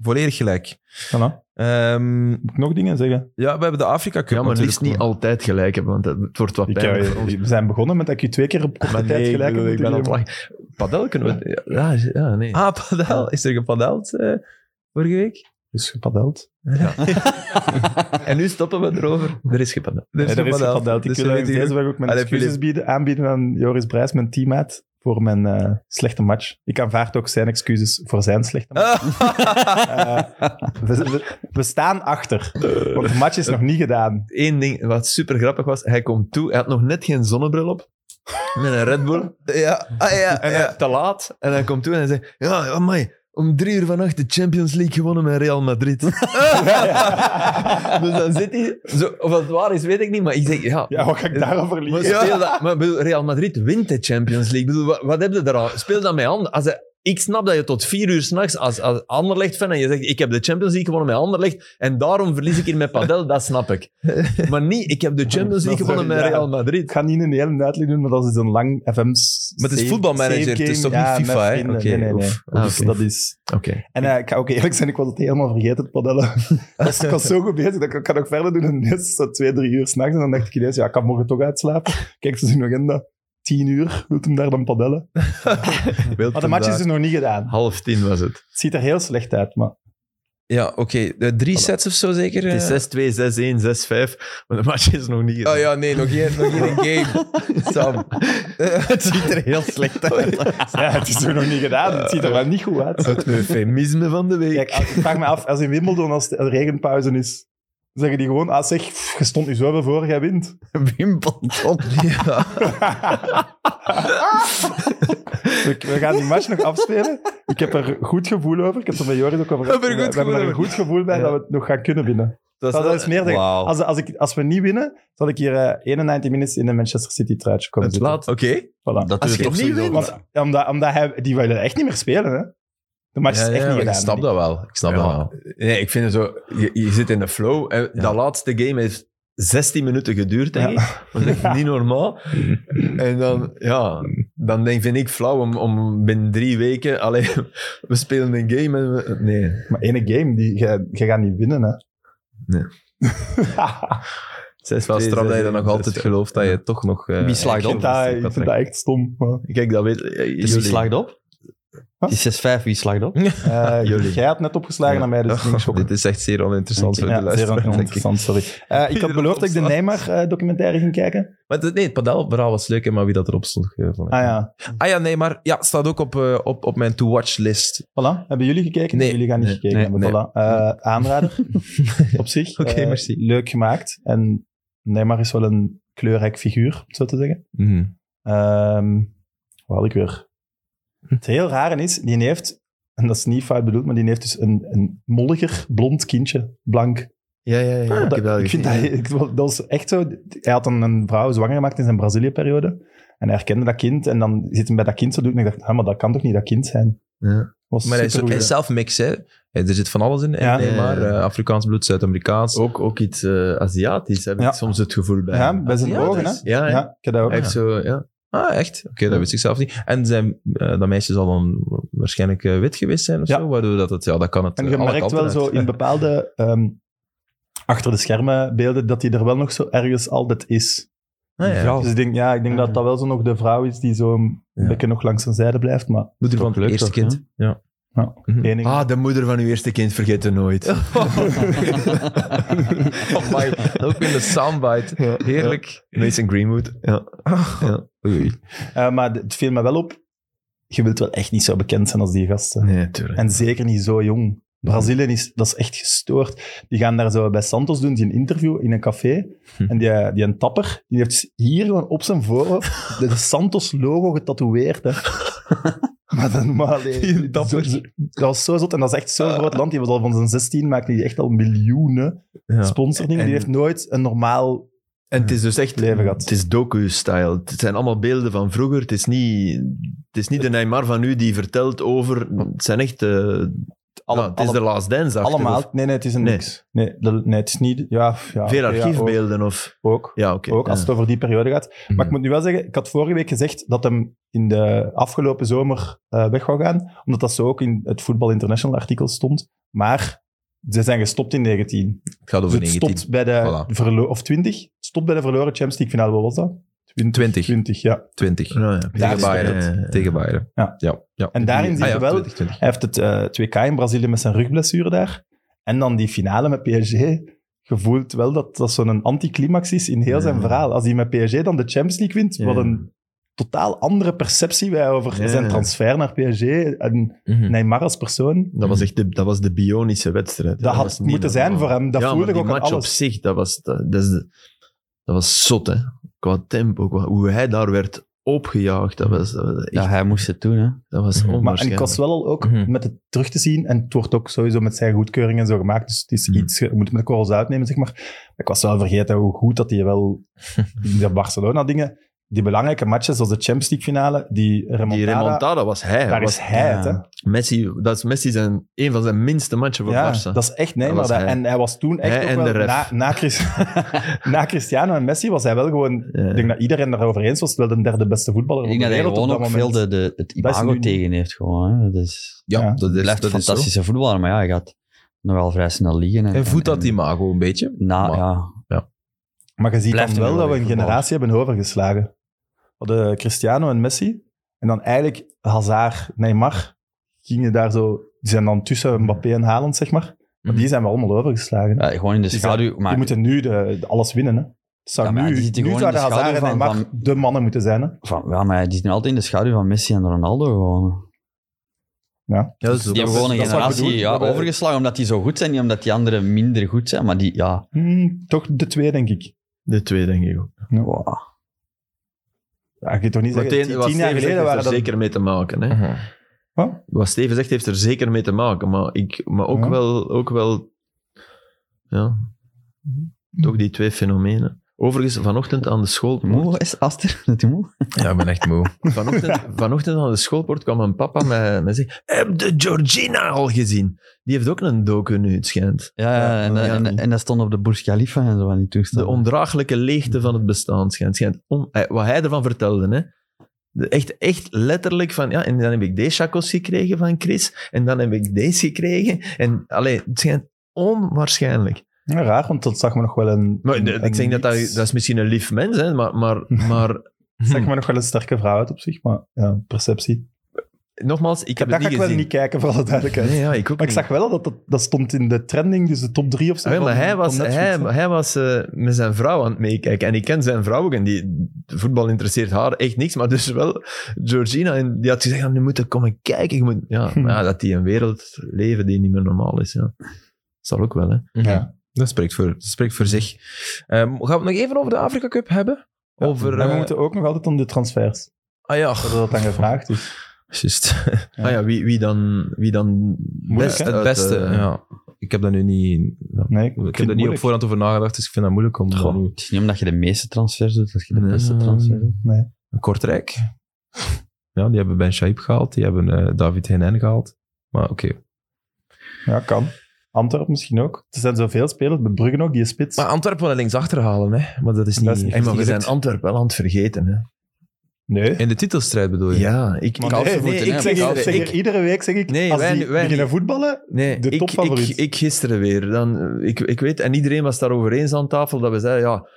Volledig gelijk. voilà. Ehm, Moet ik nog dingen zeggen? ja, we hebben de Afrika Cup Ja, maar natuurlijk liefst niet nog. altijd gelijk hebben, want het wordt wat Ik, pijnlijk (laughs) eh, voor ons. we zijn begonnen met dat ik je twee keer op korte Maar tijd nee, ik, gelijk bedoel, heb ik ben aan het moeten lachen. Padel kunnen we... Ja, ja nee. Ah, padel. Is er gepadeld eh, vorige week? Dus gepadeld. En nu stoppen we erover. Er is gepadel. Er Nee, er is gepadeld. Ik Dus wil we eigenlijk weten- deze week ook mijn Allee, excuses Filip. bieden, aanbieden aan Joris Brijs, mijn teammaat, voor mijn eh, slechte match. Ik aanvaard ook zijn excuses voor zijn slechte match. (laughs) Eh, we, we- we staan achter, want de match is nog niet gedaan. (laughs) Eén ding wat super grappig was, hij komt toe, hij had nog net geen zonnebril op. Met een Red Bull. ja, ah, ja, En ja. hij- te laat. En hij komt toe en hij zegt, ja, amai, om drie uur vannacht de Champions League gewonnen met Real (laughs) Madrid. dus dan zit hij... Zo, of het waar is, weet ik niet, maar ik zeg, ja... Ja, wat ga ik daarover Maar, leren? speel dat, maar ik bedoel, Real Madrid wint de Champions League. Ik Bedoel, wat, wat heb je daar al? Speel dat met handen. Als je- ik snap dat je tot vier uur s'nachts als, als Anderlecht-fan en je zegt, ik heb de Champions League gewonnen met Anderlecht en daarom verlies ik hier met Padel, dat snap ik. Maar niet, ik heb de Champions League gewonnen met Real Ik Madrid. ga niet een hele uitleg doen, maar dat is een lang FM's. Maar het is voetbalmanager, het is toch niet FIFA, hè? Oké, Oké, nee, nee, nee. oef. Dat is- Ah, oké. Dat is... Oké. En eh, ik ga ook eerlijk zijn, ik was het helemaal vergeten, het (laughs) padellen. Dat was- ik was zo goed bezig, dat ik ik kan nog verder doen. En net zo twee, drie uur s'nachts. En dan dacht ik ineens, ja, ik kan morgen toch uitslapen. Kijk, ze zien nog in dat tien uur, wilt hem daar dan padellen? Maar de match is dus nog niet gedaan. Half tien was het. Het ziet er heel slecht uit, maar... Ja, oké. Eh, Drie sets of zo zeker? Het eh? is 6-2, 6-1, 6-5, maar de match is nog niet Oh ja, nee, nog geen, nog geen (laughs) game. Sam. Het ziet er heel slecht (laughs) uit. (laughs) Ja, het is er nog niet gedaan. Het ziet er wel niet goed uit. Het eufemisme van de week. (laughs) Kijk, als- ik vraag me af, als in Wimbledon, als de regenpauze is, zeggen die gewoon, ah zeg, pff, je stond nu zoveel voor, jij wint. Wimbledon. Ja. We, we gaan die match nog afspelen. Ik heb er goed gevoel over. Ik heb er met Joris ook over Heb er we, goed we hebben gevoel er een over. goed gevoel bij dat we het nog gaan kunnen winnen. Dat, dat is meer dan- Wauw. als, als, ik, als we niet winnen, zal ik hier eh 91 minuten in een Manchester City truitje komen Het zitten. laat. Oké. Voilà. Dat Als is je toch het niet sowieso. wint. Want, omdat, omdat hij, die willen echt niet meer spelen. Hè? De match Ja, is echt ja, niet ik gedaan. snap dat wel. Ik snap dat wel. Nee, ik vind het zo... Je, je zit in de flow. En Dat laatste game heeft 16 minuten geduurd, denk Ja. ik. Dat is echt niet normaal. En dan, ja... Dan denk, vind ik flauw om, om binnen drie weken... Alleen, (laughs) we spelen een game en we... Nee. Maar ene game, die, jij, jij gaat niet winnen. Hè? (laughs) Nee. Het is wel straf dat je dat nog altijd gelooft, dat je toch nog... eh, Wie slaagt ik, vind op? dat, ik vind dat echt stom. Maar, Kijk, dat weet... eh, Dus wie slaagt op? Huh? Het is 6-5, wie slaagt op? eh, Jullie. jij had net opgeslagen naar mij, dus ik denk Oh, shock. dit is echt zeer oninteressant voor Ja, de luisteraar, zeer denk ik. interessant, sorry. Eh, ik had beloofd dat ik de Neymar-documentaire ging kijken. Maar het, nee, het padelverhaal was leuk, hè, maar wie dat erop stond... eh, vond ik- Ah ja, Ah ja, nee, maar ja, het staat ook op, eh, op, op mijn to-watch list. voilà. Hebben jullie gekeken? Nee. jullie gaan niet Nee. gekeken Nee, hebben. Voilà. Eh, (laughs) aanrader, op zich. Oké, Eh, merci. Leuk gemaakt. En Neymar is wel een kleurrijk figuur, om het zo te zeggen. Mhm. Ehm wat had ik weer? Het heel rare is, die heeft, en dat is niet fout bedoeld, maar die heeft dus een, een molliger, blond kindje, blank. Ja, ja, ja. Ja, ik Ah, dat- heb dat ik vind dat, gezien. ik, dat was echt zo. Hij had dan een vrouw zwanger gemaakt in zijn Brazilië-periode. En hij herkende dat kind. En dan zit hij bij dat kind zo doen. En ik dacht, ah, maar dat kan toch niet dat kind zijn? Ja. Was Maar hij is, ook, hij supergoed. is zelf mix, hè. Hij- Er zit van alles in, Ja. nee, maar eh, Afrikaans bloed, Zuid-Amerikaans. Ook, ook iets eh, Aziatisch heb Ja. ik soms het gevoel bij. Ja, bij zijn Ja, ogen, hè? dat is- Ja, Ja, ik heb dat ook. Hij heeft zo... Ja. Ah, echt? Oké, dat wist ik zelf niet. En zijn, eh, dat meisje zal dan waarschijnlijk eh, wit geweest zijn of Ja. zo, waardoor dat het... Ja, dat kan het En eh, je alle merkt kanten wel zo uit. in bepaalde ehm, achter de schermen beelden dat hij er wel nog zo ergens altijd is. Ah, (laughs) ja. Dus ik denk, ja, ik denk dat dat wel zo nog de vrouw is die zo een Ja. beetje nog langs zijn zijde blijft. Maar Moeder van het leuk (laughs) eerste toch, kind. Ja. Hm. één ding- Ah, de moeder van uw eerste kind vergeet het (laughs) nooit. (laughs) Oh my, ook in de soundbite. Heerlijk. Mason Greenwood. Ja. Ja. Oei. Eh, maar d- het viel me wel op. Je wilt wel echt niet zo bekend zijn als die gasten. Nee, tuurlijk. En zeker niet zo jong. Brazilië is, dat is echt gestoord. Die gaan daar zo bij Santos doen, die een interview in een café. Hm. En die, die een tapper, die heeft dus hier gewoon op zijn voorhoofd de Santos-logo getatoeëerd. (laughs) Hè. Maar dan, maar allee, Die tapper. zo- zo- dat was zo zot. En dat is echt (laughs) zo'n groot land. Die was al van zijn 16, maakte die echt al miljoenen Ja. sponsordingen. En- Die heeft nooit een normaal... En het is dus echt... Leven gehad. Het is docu-style. Het zijn allemaal beelden van vroeger. Het is niet, het is niet de Neymar van nu die vertelt over... Het zijn echt... eh, Alle- nou, het is alle- de Last Dance achter, Allemaal... of Nee, nee, het is een Nee. niks. Nee, dat, nee, het is niet... Ja, ja, Veel oké, ja, archiefbeelden of... ook, ook. Ja, oké. Ook als het over die periode gaat. Maar ik Hmm. moet nu wel zeggen, ik had vorige week gezegd dat hem in de afgelopen zomer eh, weg wou gaan. Omdat dat zo ook in het Voetbal International artikel stond. Maar ze zijn gestopt in 19. Het gaat Dus over het 19. stopt bij de Voilà. verlo- of 20. Het stopt bij de verloren Champions League finale. Wat was dat? 20. 20, ja. 20. Ja, ja. Tegen Daar is Bayern. het. Ja. Tegen Bayern. Ja. ja. En daarin Ah zie je ja, wel- 20, 20. Hij heeft het, eh, het WK in Brazilië met zijn rugblessure daar. En dan die finale met PSG. Gevoelt wel dat dat zo'n anticlimax is in heel zijn Ja. verhaal. Als hij met PSG dan de Champions League wint, Ja. wat een totaal andere perceptie wij over Ja. zijn transfer naar PSG en Mhm. Neymar als persoon. Hm. Dat was echt de, dat was de bionische wedstrijd. Dat had was niet moeten zijn normaal. voor hem. Dat ja, voelde maar ik die ook aan match op alles. zich, dat was, dat, dat is de- dat was zot, hè. Qua tempo, qua, hoe hij daar werd opgejaagd. Dat was, dat was, echt, Ja, hij moest het doen, hè. dat was Maar- en Maar, en ik onwaarschijnlijk. was wel ook Mhm. met het terug te zien, en het wordt ook sowieso met zijn goedkeuring en zo gemaakt, dus het is Mhm. iets, je moet het met de korrels uitnemen, zeg maar. Ik was wel vergeten hoe goed dat (laughs) hij wel in de Barcelona-dingen, die belangrijke matches, zoals de Champions League-finale, die remontada, Die remontada was hij. daar was is hij het, ja. hè. Messi, dat is Messi zijn, een van zijn minste matchen voor Ja, Barça. dat is echt... Nee, Dat maar was dat- hij. en hij was toen echt Hij ook en wel... de ref. Na, na, Chris- (laughs) na Cristiano en Messi was hij wel gewoon... Ja. Ik denk dat iedereen daarover eens was. Wel de derde beste voetballer Ik van denk de dat hij wereld op gewoon dat ook veel moment. de, de- het is imago nu- tegen heeft gewoon, hè. Dat is, Ja, Ja, dat is, blijft dat een is zo. fantastische voetballer, maar ja, hij gaat nog wel vrij snel liggen. Hij voedt dat die imago een beetje. Na, Maar- ja. Maar je ziet Blijft dan een wel dat we een geweldige generatie hebben overgeslagen. We hadden Cristiano en Messi. En dan eigenlijk Hazard, Neymar. Gingen daar zo... Die zijn dan tussen Mbappé en Haaland, zeg maar. Maar Mhm. die zijn we allemaal overgeslagen. Mm. Ja, gewoon in de Die schaduw. Die Maar moeten nu de, de- alles winnen, hè. Het Zou Ja, maar die nu, zitten nu gewoon in zouden de Hazard en schaduw Neymar van- de mannen moeten zijn, hè. Van, ja, maar die zitten altijd in de schaduw van Messi en Ronaldo gewoon. Ja, dat is dus Die hebben ook- gewoon een dat is wat ik generatie bedoel. ja, Dat we- overgeslagen omdat die zo goed zijn, niet omdat die anderen minder goed zijn. Maar die, ja, Hmm, toch de twee, denk ik. De twee, denk ik ook. wow. Ja, je kunt toch niet Wat zeggen, Steven tien, wat tien jaar Steven zegt, heeft geleden er waren dat... zeker mee te maken. Hè? Mhm. Wat Steven zegt, heeft er zeker mee te maken. Maar, ik, maar ook, Ja. wel, ook wel... Ja. Mhm. Toch die twee fenomenen. Overigens, vanochtend aan de schoolpoort... Moe is Aster, (laughs) dat hij moe? Ja, ik ben echt moe. (laughs) Vanochtend, vanochtend aan de schoolpoort kwam mijn papa met, met zich... Heb de Georgina al gezien? Die heeft ook een docu nu, het schijnt. Ja, ja, en, Ja, en, niet. en dat stond op de Burj Khalifa en zo van die De toestanden. ondraaglijke leegte van het bestaan schijnt. schijnt on- eh, wat hij ervan vertelde, hè. De- Echt, echt letterlijk van, ja, en dan heb ik deze chacos gekregen van Chris, en dan heb ik deze gekregen, en alleen het schijnt onwaarschijnlijk. Ja, raar, want dat zag me nog wel een... Maar, een- de- een ik denk dat, dat mix. dat is misschien een lief mens, hè, maar, maar, (laughs) maar zag me nog wel een sterke vrouw uit op zich, maar ja, perceptie. nogmaals, ik heb dat ga het ik niet wel gezien. niet kijken, voor alle duidelijkheid. Nee, ja, ik ook maar ik niet. zag wel dat, dat dat stond in de trending, dus de top drie of zo. Ah, wel, maar van- hij van was, Netflix, hij, hè. hij was eh, met zijn vrouw aan het meekijken. En ik ken zijn vrouw ook. En die, voetbal interesseert haar echt niks. Maar dus wel Georgina. En die had gezegd, "Ja, nu moet ik komen kijken. Ik moet... ja, maar ja, dat die een wereld leven die niet meer normaal is. Ja. Zal ook wel, hè. Ja. Dat spreekt voor, dat spreekt voor zich. Ehm, gaan we het nog even over de Afrika Cup hebben? Ja, Over, maar we eh, moeten ook nog altijd om de transfers. Ah ja, Dat dat dan gevraagd dus is. juist. Ja. (laughs) Ah ja, wie, wie dan, wie dan best hè? Het uit, beste, eh, ja. Ik heb daar nu niet... ja. Nee, ik, Ik heb daar niet op voorhand over nagedacht, dus ik vind dat moeilijk om... Goh, Gewoon het is niet omdat je de meeste transfers doet, dat je de Nee. beste transfer doet. Nee. Kortrijk. Ja, die hebben Ben Shaib gehaald, die hebben eh, David Hennen gehaald. Maar oké. Ja, kan. Antwerpen misschien ook. Er zijn zoveel spelers, bij Bruggen ook, die is spits. Maar Antwerpen wel linksachter halen, hè. Maar dat is niet... Dat is niet echt Hey, maar we gelukt. zijn Antwerpen wel aan het vergeten, hè. nee. In de titelstrijd bedoel je? Ja, ik... Maar ik- nee, nee, moeten, ik hè, Ik zeg, zeg- ik zeg ik- hier iedere week zeg ik, Nee, als wij- die wij beginnen niet. voetballen... Nee, De ik, topfavoriet. Ik, ik gisteren weer. Dan, eh, ik, ik weet, en iedereen was daarover eens aan tafel, dat we zeiden, ja,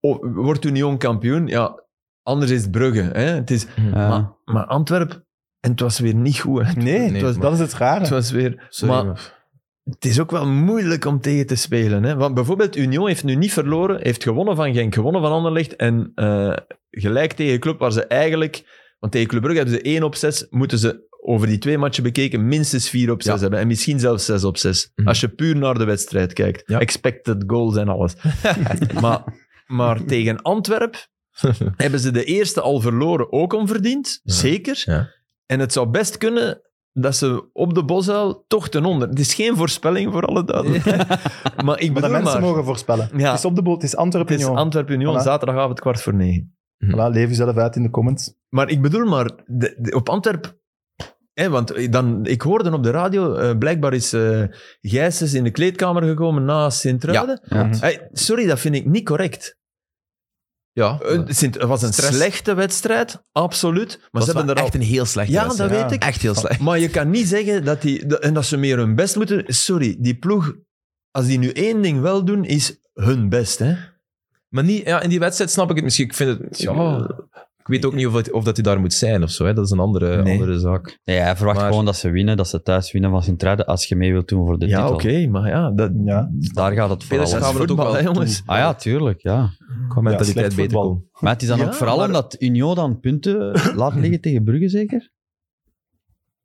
oh, wordt Union kampioen? Ja, anders is het Brugge. Hè? Het is, Ja. maar, maar Antwerp, en het was weer niet goed. Hè? Nee, Nee, dat, maar- dat is het rare. Het was weer... Sorry, maar- maar- Het is ook wel moeilijk om tegen te spelen. Hè? Want bijvoorbeeld Union heeft nu niet verloren, heeft gewonnen van Genk, gewonnen van Anderlecht en eh, gelijk tegen een club waar ze eigenlijk... Want tegen Club Brugge hebben ze 1 op 6, moeten ze over die twee matchen bekeken minstens 4 op 6 Ja. hebben en misschien zelfs 6 op 6. Mhm. Als je puur naar de wedstrijd kijkt. Ja. Expected goals en (laughs) alles. maar, maar tegen Antwerp hebben ze de eerste al verloren, ook onverdiend. Ja. Zeker. Ja. En het zou best kunnen dat ze op de bosuil toch ten onder... Het is geen voorspelling voor alle duidelijkheid. maar ik Maar dat bedoel mensen maar... mogen voorspellen. Ja. Het is op de boot, het is het is Antwerpen. Antwerpen-Union, Voilà. zaterdagavond kwart voor negen. Voilà, leef jezelf uit in de comments. Maar ik bedoel maar, de- de- op Antwerp... Hè, want eh, dan, ik hoorde op de radio, eh, blijkbaar is eh Gijsens in de kleedkamer gekomen na Sint-Truiden. Ja. Hey, sorry, dat vind ik niet correct. Ja. Eh, Sint, het was een Stress. slechte wedstrijd, absoluut. Maar Maar ze hebben er al... echt een heel slecht Ja, dat Ja. weet ik. Echt heel slecht. Maar je kan niet zeggen dat die... dat- en dat ze meer hun best moeten... Sorry, die ploeg... Als die nu één ding wel doen, is hun best, hè. Maar niet, ja, in die wedstrijd snap ik het misschien. Ik vind het... Ja. Ik weet ook niet of, het- of dat hij daar moet zijn of zo. Hè. Dat is een andere, Nee. andere zaak. Nee, hij verwacht Maar- gewoon dat ze winnen, dat ze thuis winnen van Sint-Truiden als je mee wilt doen voor de ja, titel. oké, maar ja, dat... Ja. Daar gaat het Spelers vooral gaan om. we het ook voetbal, wel hè, toe. jongens. Ah ja, tuurlijk, ja. Qua mentaliteit slecht beter voetbal. kon. Maar het is dan Ja, ook vooral maar- (coughs) omdat Union dan punten laat liggen tegen Brugge, zeker?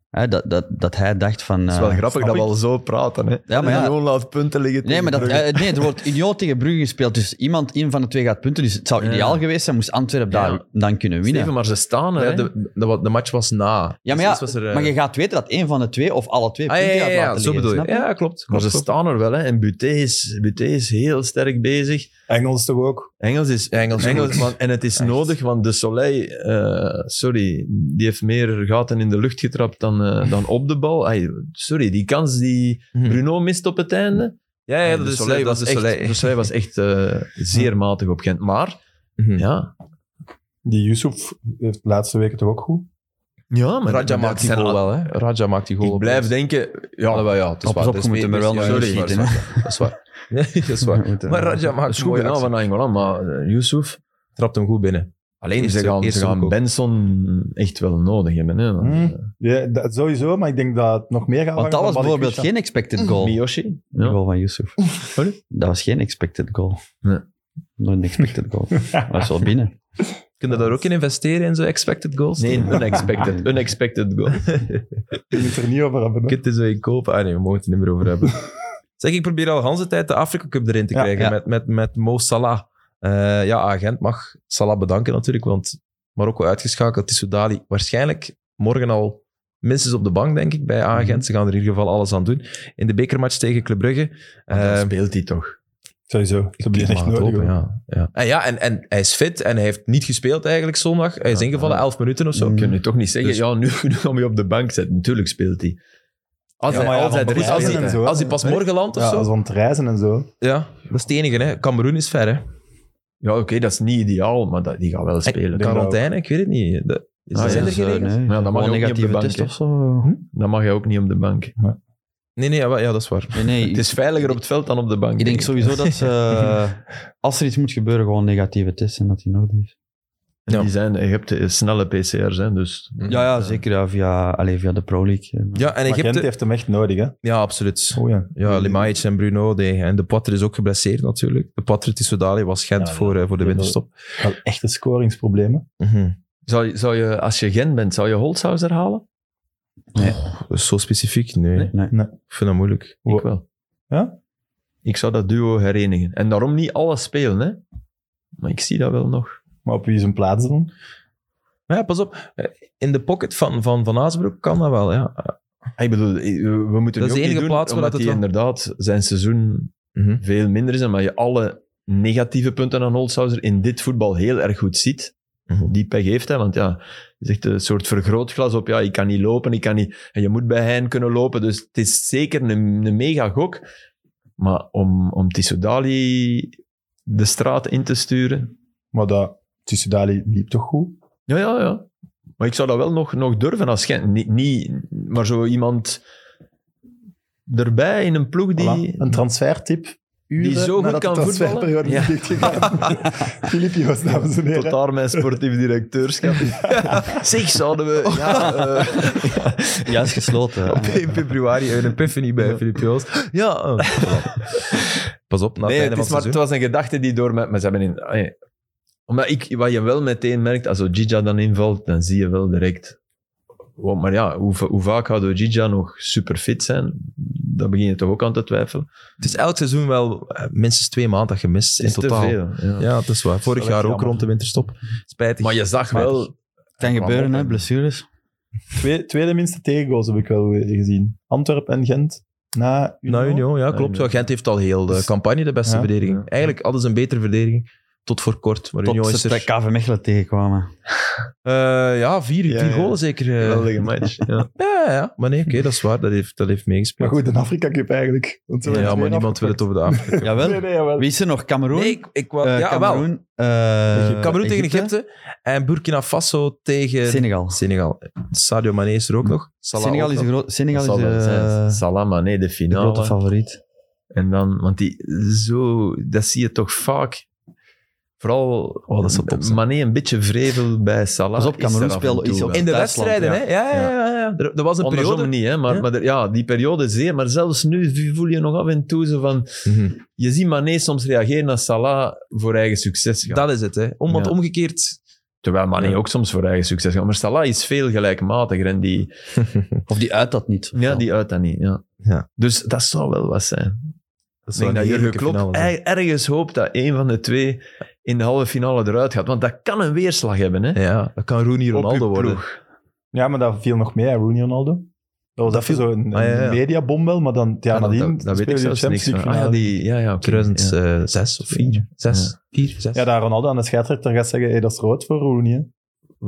Hè, dat, dat, dat hij dacht van... Het is eh, wel grappig snap dat we ik. al zo praten. Hè. Ja, maar ja. Gewoon laat punten liggen. Nee, maar dat, tegen Brugge. eh, nee, er wordt idioot tegen Brugge gespeeld. Dus iemand, een van de twee gaat punten. Dus het zou Ja. ideaal geweest zijn, moest Antwerpen Ja. daar dan kunnen winnen. Steven, maar ze staan er. Ja, hè. de, de, wa- de match was na. ja, Dus maar, ja, eerst was er, eh, maar je gaat weten dat één van de twee of alle twee Ah, ja, punten ja, ja, gaat ja, laten zo liggen, bedoel je. snap je? Ja, klopt. maar klopt, ze klopt. staan er wel. Hè. En Buté is, Buté is heel sterk bezig. Engels toch ook? Engels is... Engels, Engels, goed. man, en het is Echt. nodig, want de Soleil, eh, sorry, die heeft meer gaten in de lucht getrapt dan, eh, dan op de bal. Ai, sorry, die kans die Mhm. Bruno mist op het einde. Ja, ja, Ai, dat de is Soleil eh, dat is de echt, Soleil. de Soleil was echt eh, zeer matig op Gent. Maar, Mhm. ja, Die Yusuf heeft de laatste weken toch ook goed? ja maar Raja maakt die goal wel, hè. Raja maakt die goal Ik op. blijf denken, ja, Alhoewel, ja, het is Op waar. pas op, Het je is moet hem meer- er wel ja, mee sorry, dat is schieten. waar, hè. Dat is waar. (laughs) Nee, dat is (laughs) waar. We moeten- Maar Raja maakt eh, dat is een goed mooie gedaan actie. van Angolan, maar eh, Yusuf, Trapt hem goed binnen. alleen Eerste- ze gaan, eerste ze gaan goal. Benson echt wel nodig hebben. Hè, want, Hmm. eh, Ja, dat, sowieso, maar ik denk dat het nog meer gaat Want dat was bijvoorbeeld geen expected goal. Miyoshi? De Ja. goal van Yusuf. Dat was geen expected goal. Nee. Nooit een expected (laughs) goal. Maar dat is wel binnen. Kunnen daar ook in investeren, in zo'n expected goals? (laughs) Nee, unexpected, unexpected goal. Je moet er niet over hebben. hè. Kit is in kopen. Ah nee, we mogen het er niet meer (laughs) over hebben. zeg, ik probeer al de hele tijd de Afrika Cup erin te Ja, krijgen ja. Met, met, met Mo Salah. Eh, ja, agent mag Salah bedanken natuurlijk, want Marokko uitgeschakeld is Soudali. Waarschijnlijk morgen al minstens op de bank, denk ik, bij Mhm. agent. Ze gaan er in ieder geval alles aan doen. In de bekermatch tegen Club Brugge. Dan Ah, eh, speelt hij toch. Sowieso. Ze hebben die ik echt mag het nodig. hopen, hoor. ja, ja. En, ja en, en hij is fit en hij heeft niet gespeeld eigenlijk zondag. Hij is Ja, ingevallen, ja. 11 minuten of zo. Mm. kun je toch niet zeggen, Dus- ja, nu, nu (laughs) gaan we je op de bank zetten. Natuurlijk speelt hij. Als Ja, hij, maar ja, als hij want er is, hij als is hij, en zo, hè. als hij pas Pas morgen land of Ja, zo. als we aan het reizen en zo. Ja, dat is het enige. Hè. Cameroen is ver, hè. Ja, oké, dat is niet ideaal, maar dat, die gaat wel spelen. denk- Quarantaine, ik weet het niet. Dat, is Ah, er ja, zijn er Dus, geen eh, regels? nee. Ja, dan mag Gewoon je ook niet op de negatieve bank, test hè. of zo. Hm? Dan mag je ook niet op de bank. Nee, nee, ja, wel- ja, dat is waar. Nee, nee. Het is veiliger op het veld dan op de bank. Ik denk sowieso dat ze, eh, als er iets moet gebeuren, gewoon negatieve testen en dat die nodig is. En Die Ja. zijn, je hebt eh, snelle PCR's, hè, dus... Ja, ja zeker. Ja, via, allez, via de Pro League. eh. Mm. Ja, en Maar Gent Egypte... heeft hem echt nodig, hè? Ja, absoluut. Oh ja. Mm. Ja, Limaïc en Bruno. die- en De Poitre is ook geblesseerd natuurlijk. De Poitre Tissoudali was Gent Ja, ja. Voor, eh, voor de Ja, winterstop. Wel echte scoringsproblemen. Mhm. Zou, je- zou je, als je Gent bent, zou je Holshouser halen? Zo specifiek? Nee. Nee, nee. Ik vind dat moeilijk. Ik wel. Ja? Ik zou dat duo herenigen. En daarom niet alles spelen, hè. Maar ik zie dat wel nog. Maar op wie zijn plaats dan? Maar ja, pas op. eh, In de pocket van Van, van Aasbroek kan dat wel, ja. Ah, Ik bedoel, eh, we moeten Dat is de nu ook enige niet doen, plaats waar omdat dat hij het wel- inderdaad zijn seizoen Mhm. veel minder is en maar je alle negatieve punten aan Holshouser in dit voetbal heel erg goed ziet. Mhm. Die pech heeft hij, want ja, het is echt een soort vergrootglas op, ja, ik kan niet lopen, ik kan niet... En je moet bij hen kunnen lopen, dus het is zeker een, een mega gok. Maar om, om Tissoudali de straat in te sturen... Maar dat Tissoudali liep toch goed? Ja, ja, ja. Maar ik zou dat wel nog, nog durven als Gent. Niet, niet, maar zo iemand erbij in een ploeg die... Voilà. Een transfertip. Uren Die zo goed nadat de kan transferperiode voetballen? is (laughs) dichtgegaan. Filipio's, dames en Tot heren. daar mijn sportief directeurschap. zeg, zouden we... Ja, eh. Ja, is gesloten. Op 1 februari een epiphany bij Ja. Filip Joos. Ja. eh, voilà. Pas op, na het nee, einde het, is van het maar, seizoen. het was een gedachte die door me... Maar ze hebben in... ah, nee. Omdat ik, wat je wel meteen merkt, als Gija dan invalt, dan zie je wel direct... Wow, maar ja, hoe, va- hoe vaak gaat Gija nog superfit zijn? Dan begin je toch ook aan te twijfelen. Het is elk seizoen wel eh, minstens twee maanden dat je mist Het in is te totaal. veel. Ja. Ja, dat is waar. Vorig Dat is jaar ook jammer. rond de winterstop. Spijtig. Maar je zag Spijtig. wel... kan gebeuren, hè, blessures. Twee, tweede minste tegengoals heb ik wel weer gezien. Antwerpen en Gent. Na Nou, Union. Na Union, ja, klopt. Union. Ja, Gent heeft al heel de Dus- campagne de beste Ja. verdediging. Ja. Eigenlijk hadden ze een betere verdediging. Tot voor kort. Maar Union Tot is ze er... de KV Mechelen tegenkwamen. Eh, ja, vier, Ja, vier ja. goals zeker. eh. Geweldige match. Ja. Ja, ja, ja. Maar nee, oké, dat is waar. Dat heeft, dat heeft Maar meegespeeld. goed, een Afrika Cup eigenlijk. Want ze ja, werden maar weer niemand wil het over de Afrika. af- Jawel. Nee, nee, jawel. Wie is er nog? Cameroen? Nee, ik, ik wou... Eh, ja, wel. Cameroen, eh, Cameroen tegen Egypte. En Burkina Faso tegen Senegal. Senegal. Sadio Mane is er ook nog. Salah Senegal ook is, nog. een groot, Senegal Dat zal is wel eh, zijn. Salama, nee, de de grote finale. favoriet. En dan, want die zo, dat zie je toch vaak. Vooral Oh, dat zou top zijn. Mané een beetje vrevel bij Salah. Pas op, Cameroen er af en speelde- toe is wel. op- In de Duitsland, wedstrijden, ja. hè? Ja, ja, ja. ja. Er, er was een Andersom periode... niet, hè? Maar, Ja. maar er- ja, die periode zeer. Maar zelfs nu voel je nog af en toe zo van... Mhm. Je ziet Mané soms reageren als Salah voor eigen succes gaat. Dat is het, hè. Om, want Ja. omgekeerd Terwijl Mané Ja. ook soms voor eigen succes gaat. Maar Salah is veel gelijkmatiger en die, Of die uit dat niet. ja, die uit dat niet. Ja. Ja. Dus dat zou wel wat zijn. Dat Ik zou denk een dat Jurgen heerlijke Klopp finale zijn. er- ergens hoopt dat een van de twee in de halve finale eruit gaat. Want dat kan een weerslag hebben. Hè? Ja, dat kan Rooney Op Ronaldo uw worden. ploeg. Ja, maar dat viel nog mee, hè, Rooney Ronaldo. Dat was Dat even viel- zo'n een Ah, ja, ja. mediabom wel, maar dan het jaar Ja, dat- nadien dat, dat weet ik speelde hij zelfs niks Champions van. League Ah, ja, finale. die, ja, ja, oké. Ja. 2006 eh, of 4, 6, 4, 6. Ja, daar Ronaldo aan de scheidsrechter gaat zeggen, hey, dat is rood voor Rooney. hè.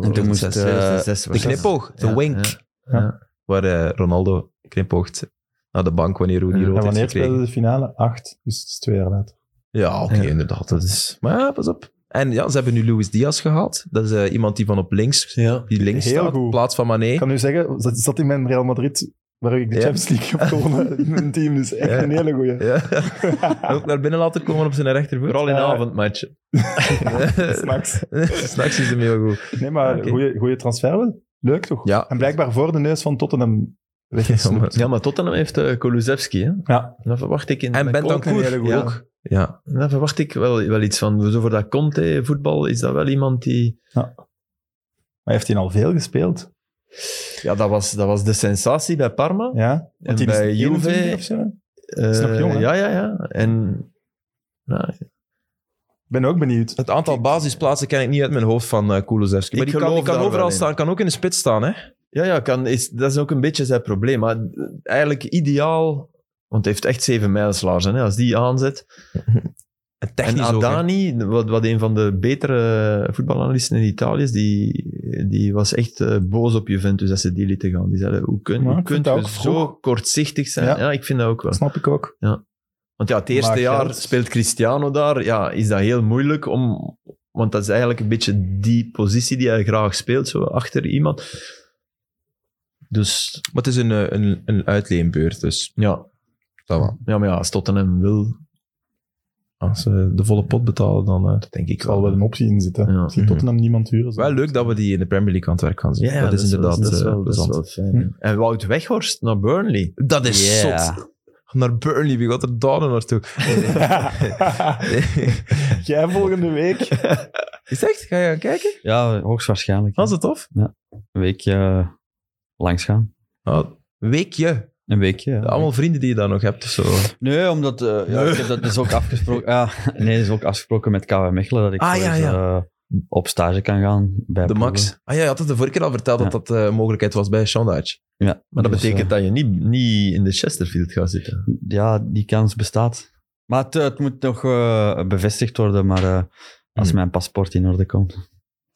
En toen moest Zes, eh, zes, zes, de zes. knipoog, de Ja, wink, ja. Ja. waar eh, Ronaldo knipoogt naar de bank wanneer Rooney Ja, rood En heeft wanneer gekregen. speelde de finale? Acht, dus het is twee jaar later. Ja, oké, Ja. inderdaad. Dat is... Maar ja, pas op. En ja, ze hebben nu Luis Diaz gehad. Dat is eh, iemand die van op links, Ja. die links Heel staat, goed. in plaats van Mané. Ik kan nu zeggen, zat, zat in mijn Real Madrid, waar ik de Ja. Champions League heb (laughs) gewonnen. in mijn team, dus echt Ja. een hele goeie. Ja. (laughs) Ook naar binnen laten komen op zijn rechtervoet. Vooral in Eh, (laughs) avondmatchen. (laughs) S'nachts. S'nachts is hem heel goed. Nee, maar Oké. goeie, goeie transfer wel. Leuk toch? Ja. En blijkbaar voor de neus van Tottenham weggesnoept. Ja, maar Tottenham heeft eh Kulusevski. Hè? Ja. Dan verwacht ik in En bij Bentancur Conte- een hele goeie. ja. ook. Ja, Dan verwacht ik wel, wel iets van. Zo voor dat Conte voetbal is dat wel iemand die. Maar heeft hij al veel gespeeld? Ja, dat was, dat was de sensatie bij Parma. Ja. en die is bij 21 Juve. of zo. eh, is nog jong, hè? ja, ja, ja. En. Nou, Ik ben ook benieuwd. het aantal basisplaatsen ken ik niet uit mijn hoofd van eh Kulusevski. Maar Ik die kan, geloof die kan daar wel overal in. staan, kan ook in de spits staan. Hè? Ja, ja kan, is, dat is ook een beetje zijn probleem. Maar eigenlijk ideaal, want hij heeft echt zeven mijlslaars hè, als die aanzet. En En technisch ook. hè. Adani, wat, wat een van de betere voetbalanalisten in Italië is, die, die was echt eh, boos op Juventus dat ze die lieten gaan. Die zeiden, hoe, kun, hoe Ja, ik vind kunt dat je ook zo vroeg. kortzichtig zijn? Ja. Ja. ik vind dat ook wel. Dat snap ik ook. Want ja, het eerste Maar jaar geld- speelt Cristiano daar. Ja, is dat heel moeilijk om... Want dat is eigenlijk een beetje die positie die hij graag speelt, zo achter iemand. Dus Maar het is een, eh, een, een uitleenbeurt, dus ja, dat wel. Ja, maar ja, als Tottenham wil, Als ze de volle pot betalen, dan... eh, dat denk ik Er zal wel een optie in zitten. Ja. Misschien Tottenham niemand huren. zo. Mhm. Wel leuk dat we die in de Premier League aan het werk gaan zien. Ja, ja, dat, is inderdaad dat is wel, eh, dat is plezant. wel fijn. hè. Hm? En Wout Weghorst naar Burnley. (laughs) Dat is Ja. zot. Naar Burnley, wie gaat er daar nou naartoe? (laughs) Jij volgende (laughs) week. is het echt? Ga je gaan kijken? Ja, hoogstwaarschijnlijk. Was het tof? Een weekje eh, langs gaan. Oh, weekje. Een weekje. ja. Allemaal vrienden die je daar nog hebt of zo. Nee, omdat eh, ja, ik heb dat dus ook afgesproken. Ja, nee, dat is ook afgesproken met KW Mechelen dat ik Ah, zo ja, eens, ja. eh, op stage kan gaan bij De Max. Ah ja, je had het de vorige keer al verteld Ja. dat dat eh, een mogelijkheid was bij Shandaatje. Ja, Maar dat dus, betekent dat je niet, niet in de Chesterfield gaat zitten. eh, ja, die kans bestaat. Maar het, het moet nog eh, bevestigd worden. Maar eh, als Hmm. mijn paspoort in orde komt.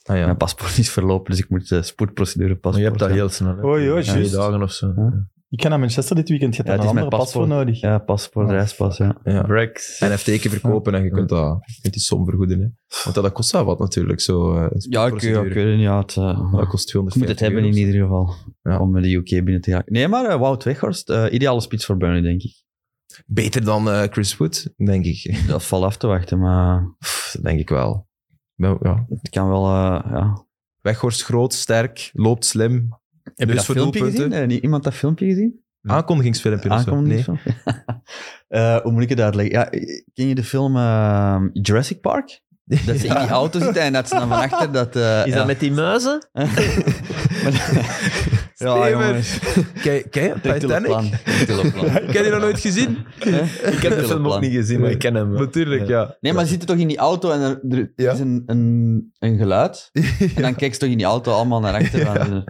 Ah ja. Mijn paspoort is verlopen, dus ik moet de spoedprocedure paspoort. Maar je hebt dat ja. heel snel. hè. Oh, joh, Twee juist. dagen of zo. Ja. Ik ga naar Manchester dit weekend. Je hebt Ja, daar het een is andere met pas voor paspoort. nodig. Ja, paspoort, Oh. reispas, ja. ja. Brex. En FT'ken verkopen en je kunt, dat, je kunt die som vergoeden. Hè. Want dat, dat kost wel wat natuurlijk. Zo, eh, Ja, een ik, ja, ik procedure. weet het niet. Ja, het, eh, Dat ik kost moet het 250 hebben in euro. ieder geval, Ja. om eh, de UK binnen te gaan. Nee, maar eh, Wout Weghorst, eh, ideale spits voor Burnley, denk ik. Beter dan eh, Chris Wood, denk ik. (laughs) Dat valt af te wachten, maar Pff, dat denk ik wel. Ben- Ja. het kan wel... eh, ja. Weghorst groot, sterk, loopt slim. Heb je Dus dat voor filmpje doelpunten? gezien? Eh, niet- iemand dat filmpje gezien? Ah, Aankondigingsfilmpje of zo. Nee. Aankondiging? (laughs) Eh, hoe moet ik het uitleggen? Ja, eh, ken je de film eh, Jurassic Park? Dat ze in die auto zitten en dat ze dan van (laughs) achter dat... eh, Is ja. dat met die muizen? (laughs) Maar- ja, Steven. jongens. Kijk, kijk, Titanic. Ik heb die nog nooit (laughs) gezien. Ik heb de film ook niet gezien, maar ik ken hem. wel. (laughs) Natuurlijk, ja. Nee, maar ze zitten toch in die auto en er, er Ja. is een, een, een (laughs) geluid. En dan kijkt ze toch in die auto allemaal naar achter. En, eh,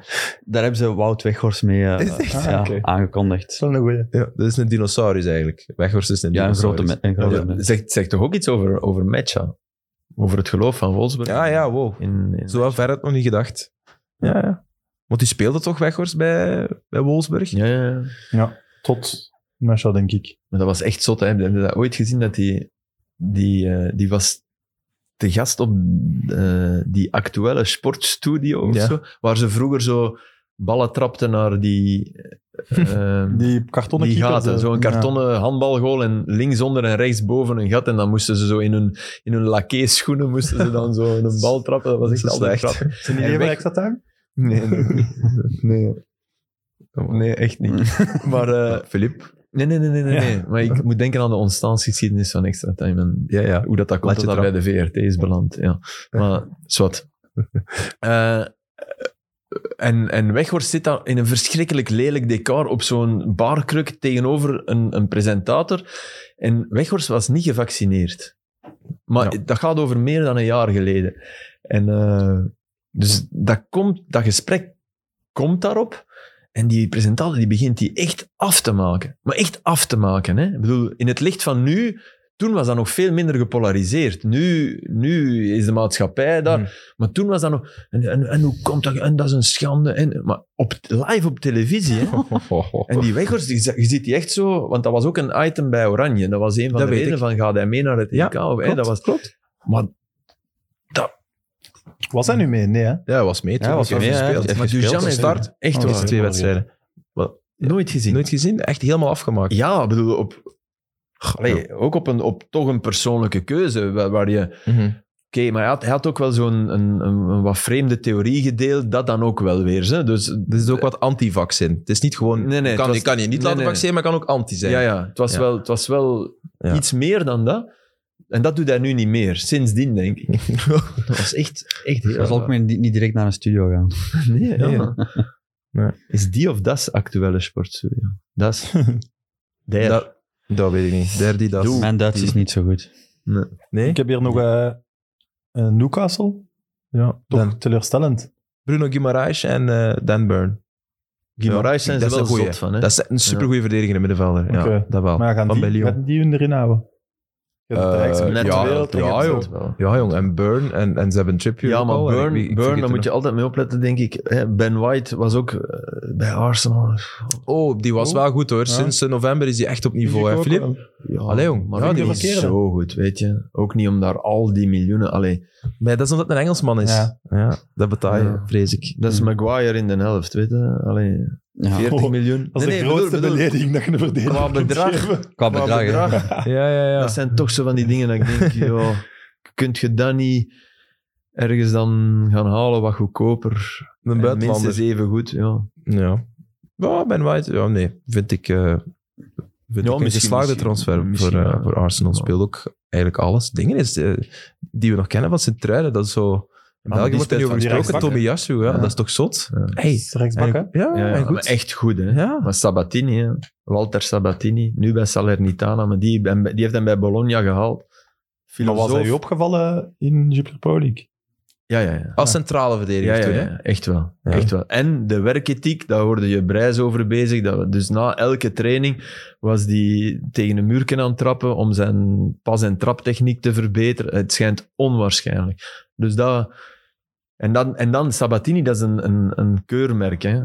Daar hebben ze Wout Weghorst mee eh, Is het echt? ja, Ah, oké. aangekondigd. Dat is wel een goeie. ja. Dat is een dinosaurus eigenlijk. Weghorst is een Ja, een dinosaurus. grote, me- een grote Ja, mens. Zegt, zegt toch ook iets over, over Ah, Mecha? Over het geloof van Wolfsburg? Ja, Ah, ja, wow. In, in- Zo ver had ik nog niet gedacht. Ja, ja. Want die speelde toch Weghorst bij, bij Wolfsburg? Ja, ja, ja. Tot Masha, denk ik. Maar dat was echt zot. Hè. Heb je dat ooit gezien? Dat die, die, eh, die was te gast op eh, die actuele sportstudio of Ja. zo, waar ze vroeger zo ballen trapten naar (laughs) die, eh, die, Die kartonnen keeper, eh, gaten. de- Zo'n kartonnen handbalgoal en linksonder en rechtsboven een gat. En dan moesten ze zo in hun, in hun lakeeschoenen moesten ze dan (laughs) zo in een bal trappen. Dat was echt Zo altijd slecht. grappig. Ja. Zijn die En even weg- extra time? (laughs) Nee, (laughs) nee. Nee, echt niet. (laughs) Maar eh, Mm. Filip? Nee, nee, nee, nee, nee. nee. Maar ik moet denken aan de ontstaansgeschiedenis van Extra Time en Ja, ja. hoe dat, dat komt Laat je (laughs) dat dat bij de VRT is beland. Ja. Maar, zwart. Eh, en, en Weghorst zit dan in een verschrikkelijk lelijk decor op zo'n barkruk tegenover een, een presentator. En Weghorst was niet gevaccineerd. Maar dat gaat over meer dan een jaar geleden. En eh, dus dat, komt, dat gesprek komt daarop. En die presentator die begint die echt af te maken. Maar echt af te maken. Hè? Ik bedoel, in het licht van nu, toen was dat nog veel minder gepolariseerd. Nu, nu is de maatschappij daar. Hmm. Maar toen was dat nog... En, en, en hoe komt dat? En dat is een schande. En, maar op, live op televisie, hè? (laughs) En die Weghorst, die z- je ziet die echt zo... Want dat was ook een item bij Oranje. Dat was een van Dat de weet redenen ik. van, gaat hij mee naar het EK? Ja, of, hè, dat was, klopt. Maar Was hij nu mee? Nee, hè? Ja, hij was mee. toen. Ja, hij was Hij mee, heeft hè. gespeeld. Hij Maar heeft Dujan gespeeld, start. heeft start. Echt Oh, waar. ja. twee wedstrijden. nooit gezien. Nooit gezien. Echt helemaal afgemaakt. Ja, ik bedoel, op, allee, ook op, een, op toch een persoonlijke keuze. Waar, waar je, oké, Mhm. maar hij had, hij had ook wel zo'n een, een, een wat vreemde theorie gedeeld. Dat dan ook wel weer. Hè? Dus, Dit is ook wat anti-vaccin. Het is niet gewoon... Nee, nee, kan, het was- je kan je niet nee, laten nee. vaccineren, maar kan ook anti zijn. ja, ja, het was Ja. wel, het was wel Ja. iets meer dan dat. En dat doet hij nu niet meer. Sindsdien, denk (laughs) ik. dat was echt, echt heel Dan zal ik raar. meer niet niet direct naar een studio gaan. Nee, ja. (laughs) Nee. Is die of das actuele sportstudio? (laughs) Das. Der. Dat, dat weet ik niet. Derdi, dat. Doe. Mijn Duits is niet zo goed. Nee? Ik heb hier nog eh, eh, Newcastle. Ja. Toch Dan teleurstellend. Bruno Guimaraes en eh, Dan Byrne. Guimaraes zijn ze wel Ja, dat is zot een goeie. van. Hè? Dat is een supergoeie verdediger in middenvelder. Ja, Oké. Dat wel. Maar gaan Van die, bij Lyon. gaan die hun erin houden? Je hebt Eh, de rijkste net club ter wel. wereld en je Ja, hebt- joh. Ja, jong. En Burn en, en ze hebben Trippier. Ja, ook maar al. En ik- Burn, ik vergeet Burn er daar moet nog- je altijd mee opletten, denk ik. Hè, Ben White was ook eh, bij Arsenal. Oh, die was Oh. wel goed hoor. Ja. Sinds eh, november is die echt op Vind niveau, ik hè, ook Filip? wel. Ja, Allee, jong. Maar Ja, die die is verkeren. zo goed, weet je. Ook niet om daar al die miljoenen... Allee, Maar dat is omdat het een Engelsman is. Ja. Ja. dat betaal je, Ja. vrees ik. dat is Maguire in de helft, weet je. Allee, Ja. 40 Oh, miljoen. Dat is de grootste belediging dat je een verdediger Qua kunt bedrag. geven. Qua Qua bedrag, hè. bedrag. Ja, ja, ja. Dat zijn toch zo van die dingen dat ik (laughs) denk, joh, kunt je dat niet ergens dan gaan halen wat goedkoper? Een En buitenlander. minstens even goed, ja. Ja. Ja, Ben White, ja, nee. Vind ik, eh vind Ja, ik een misschien, geslaagde misschien. transfer Misschien voor, eh, wel. voor Arsenal. Ja. Speelt ook eigenlijk alles. Dingen is, eh, die we nog kennen van Sint-Truiden, dat is zo... In Ah, maar België die wordt er niet speelt over van die gesproken. rechtsbak, Tommy Yasu, ja, Ja. dat is toch zot? Ja. Hey. Is rechtsbak, hè? En- ja, Ja, en ja, goed. maar echt goed, hè. Ja. Maar Sabatini, hè. Walter Sabatini, nu bij Salernitana, maar die, ben- die heeft hem bij Bologna gehaald. Maar was hij Filosoof. u opgevallen in Jupiler Pro League? Ja, ja, ja. Als centrale verdediger Ja, ja, toen, hè? ja, echt wel. Ja. Echt wel. En de werkethiek, daar hoorde je Brijs over bezig. Dat, dus na elke training was die tegen een muurken aan het trappen om zijn pas- en traptechniek te verbeteren. Het schijnt onwaarschijnlijk. Dus dat... En dan, en dan Sabatini, dat is een, een, een keurmerk. Hè.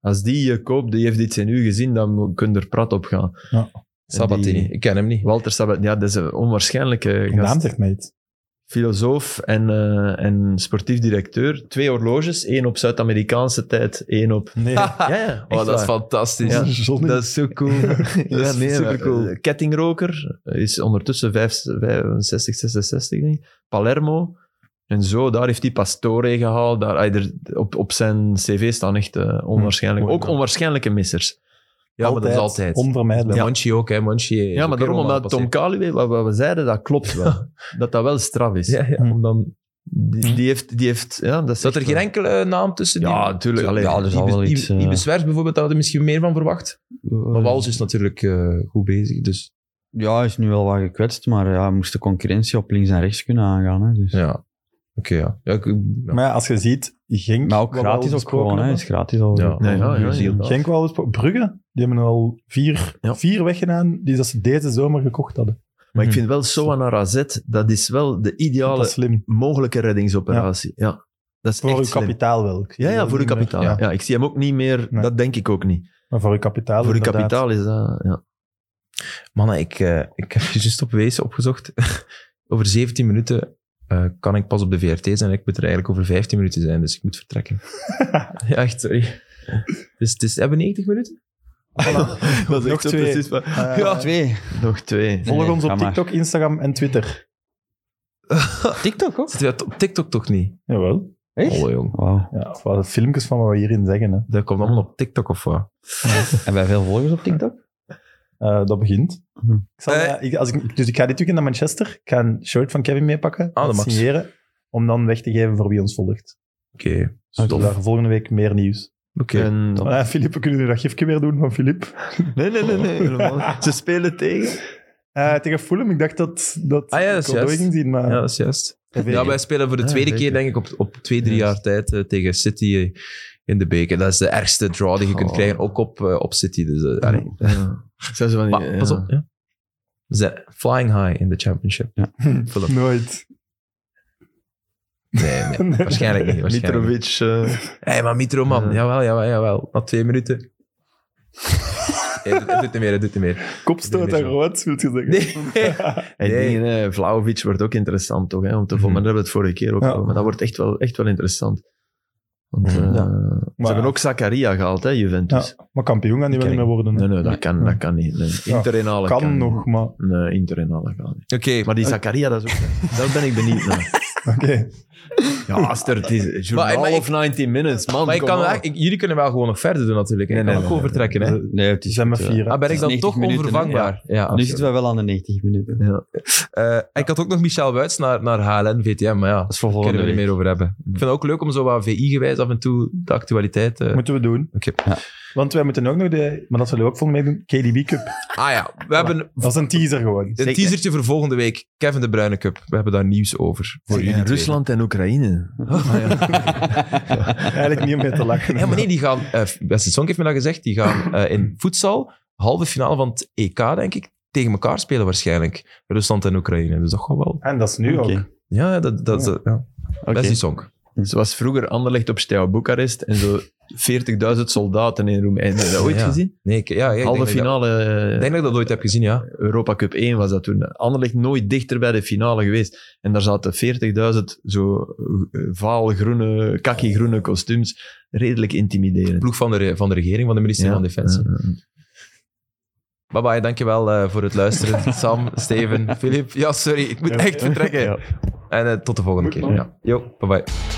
Als die je koopt, die heeft iets in u gezien, dan mo- kun je er prat op gaan. Ja. En Sabatini, die- ik ken hem niet. Walter Sabatini, ja, dat is een onwaarschijnlijke De gast naam zegt mij iets. filosoof en, eh, en sportief directeur. Twee horloges, één op Zuid-Amerikaanse tijd, één op... (laughs) Nee. Ja, ja. Oh, echt dat is waar. fantastisch. Ja. Zonne- Dat is zo (laughs) cool. Ja, dat is nee, supercool. maar, eh, Kettingroker, is ondertussen 65, 66, denk ik. Palermo. En zo, daar heeft hij Pastore gehaald. Daar, hij er- op, op zijn cv staan echt eh, onwaarschijnlijk. Mooi, Ook mooi. onwaarschijnlijke missers. Ja, maar dat is altijd. Onvermijdelijk. Bij Monchi ook, hè. Monchi is Ja, ook maar weer daarom, omdat Tom onafgepasseerd. Kaluwe, wat, wat we zeiden, dat klopt (laughs) wel. dat dat wel straf is. Ja, ja, om dan... Die, die heeft... Die heeft ja, dat is Zat er echt geen wel- enkele naam tussen? die- Ja, tuurlijk. Allee, eh, ja, er zal wel die, iets, die, eh, die Beswers bijvoorbeeld, daar hadden we misschien meer van verwacht. Maar Wals is natuurlijk eh, goed bezig, dus... Ja, hij is nu wel wat gekwetst, maar ja, hij moest de concurrentie op links en rechts kunnen aangaan. Hè, dus. Ja. Oké, ja. ja, ik- ja. Maar ja, als je ziet, Genk... Maar ook wat we al gratis ook besproken gewoon, hè. hebben. is gratis al. Ja. Nee, ja, ja, Nieuw-Zeeland. inderdaad. Genk wel besproken. Brugge, die hebben al vier, Ja. vier weggedaan die dat ze deze zomer gekocht hadden. Maar Hm. (laughs) ik vind Mhm. wel Soan Arazet, dat is wel de Dat ideale is slim. mogelijke reddingsoperatie. Ja. Dat is Voor echt uw slim. kapitaal wel. Ik zie Ja, ja, dat voor uw niet meer. kapitaal. Ja. Ja. ik zie hem ook niet meer, Nee. dat denk ik ook niet. Maar voor uw kapitaal voor uw inderdaad. kapitaal is dat... Ja. Mannen, ik, eh, ik heb je juist op Wezen opgezocht. (laughs) over 17 minuten eh, kan ik pas op de VRT zijn. Ik moet er eigenlijk over 15 minuten zijn, dus ik moet (laughs) vertrekken. ja, echt, sorry. Dus het is, hebben we 90 minuten? dat Nog twee. waar. (laughs) Eh, ja. Twee. Nog twee. Volg Nee, ons ga op maar. TikTok, Instagram en Twitter. TikTok, hoor. Zitten we op TikTok toch niet? Jawel. Echt? Oh, jong. Wauw. Ja, of wat filmpjes van wat we hierin zeggen. Hè. Dat komt allemaal op TikTok of wat? Hebben wij veel volgers op TikTok? Eh, dat begint. Hm. Ik zal, eh, ik- als ik, dus ik ga dit weekend naar Manchester. Ik ga een shirt van Kevin meepakken. Ah, dat mag. signeren. om dan weg te geven voor wie ons volgt. Oké. Dus Tof. daar volgende week meer nieuws. Oké. En- Maar ja, Philippe, kunnen jullie dat gifje weer doen van Philippe? Nee, nee, nee. nee helemaal. Ze spelen tegen. Eh, tegen Fulham, ik dacht dat, dat Ah ja, dat ik is wel juist. ging zien, maar... Ja, dat is juist. dat weet Ja, ik. wij spelen voor de Ah, tweede weet keer, ik. denk ik, op, op twee, drie Juist. jaar tijd eh, tegen City eh, in de beker. Dat is de ergste draw die je kunt Oh. krijgen, ook op, eh, op City. Dus, eh, allee. Ja. Zijn ze van die, Maar pas (laughs) op. Ja. Ze zijn flying high in de championship. Fulham. Nooit. Nee, nee. (laughs) (laughs) Waarschijnlijk niet. Waarschijnlijk. niet. Mitrovic. (laughs) eh, hey, maar Mitro, man. Ja. Jawel, jawel, jawel. Na twee minuten. Hey, het, het doet niet meer, het doet niet meer. Kopstoot en rood, wil je zeggen. Nee. en Nee. dingen, hè, Vlahovic wordt ook interessant, toch? Hè, om te volgen. Maar Mhm. daar hebben we het vorige keer ook Ja. over. Maar dat wordt echt wel, echt wel interessant. Want, eh, Mhm. Ja. Ze hebben ook Zakaria gehaald, hè, Juventus. Maar kampioen gaan die wel Ken niet meer worden. hè. Nee, nee, dat kan, dat kan niet. Nee. Ja. Interinale kan, niet. nog, maar... (laughs) Oké. Nee, internale kan niet. Oké, Maar Eh, die Zakaria, dat is ook... daar ben ik benieuwd (laughs) naar. Ja, als er het is, journaal Maar- maar ik- of 90 minutes, man. maar ik come kan, on. eigenlijk- ik- jullie kunnen wel gewoon nog verder doen natuurlijk. hè. Nee, ik kan nee, ook nee, overtrekken. hè. Nee, het Die is zijn maar vier. hè. Ah, ben ik is dan 90 toch minuten, hè? onvervangbaar? Ja, Nu absoluut. zitten we wel aan de 90 minuten. Ja. Eh, en ik had ook nog Michel Wuits naar, naar HLN, VTM, maar ja, Dat is voor daar volgende kunnen we week. het meer over hebben. Ik vind het ook leuk om zo wat VI-gewijs af en toe de actualiteit... eh, Moeten we doen. Oké. Ja. Want wij moeten ook nog de... Maar dat zullen we ook volgende week doen. KDB Cup. Ah ja, we hebben Dat is een teaser gewoon. een teasertje voor volgende week. Kevin de Bruyne Cup. We hebben daar nieuws over. Zeg, Voor jullie en twee. Ah, Rusland en (laughs) Oekraïne. (laughs) Eigenlijk niet om mee te lachen. Ja, maar nee, die gaan... eh Wesley Song heeft me dat gezegd. Die (laughs) gaan eh, in voedsel, halve finale van het EK, denk ik, tegen elkaar spelen waarschijnlijk. Rusland en Oekraïne. Dus dat gaat wel... En dat is nu Oké. ook. Ja, dat... dat, Oh, dat ja. Oké. Wesley Song. Zoals vroeger Anderlecht op Steaua Boekarest en (laughs) zo 40.000 soldaten in Roemenië. Heb je dat ooit Ja. gezien? Nee, ik, ja, ja, Halve ik denk dat ik dat- finale eh, Ik denk dat ik dat ooit heb gezien, ja. Europa Cup 1 was dat toen. Anderlecht nooit dichter bij de finale geweest. En daar zaten 40.000 zo eh, vaalgroene, kakkie-groene kostuums. Redelijk intimiderend. Ploeg van de, re- van de regering, van de minister van Defensie. Ja, ja, ja. Bye bye, dankjewel eh, voor het (laughs) luisteren. Sam, Steven, Filip. Ja, sorry, ik moet echt vertrekken. En eh, tot de volgende keer. Ja. Yo, bye bye.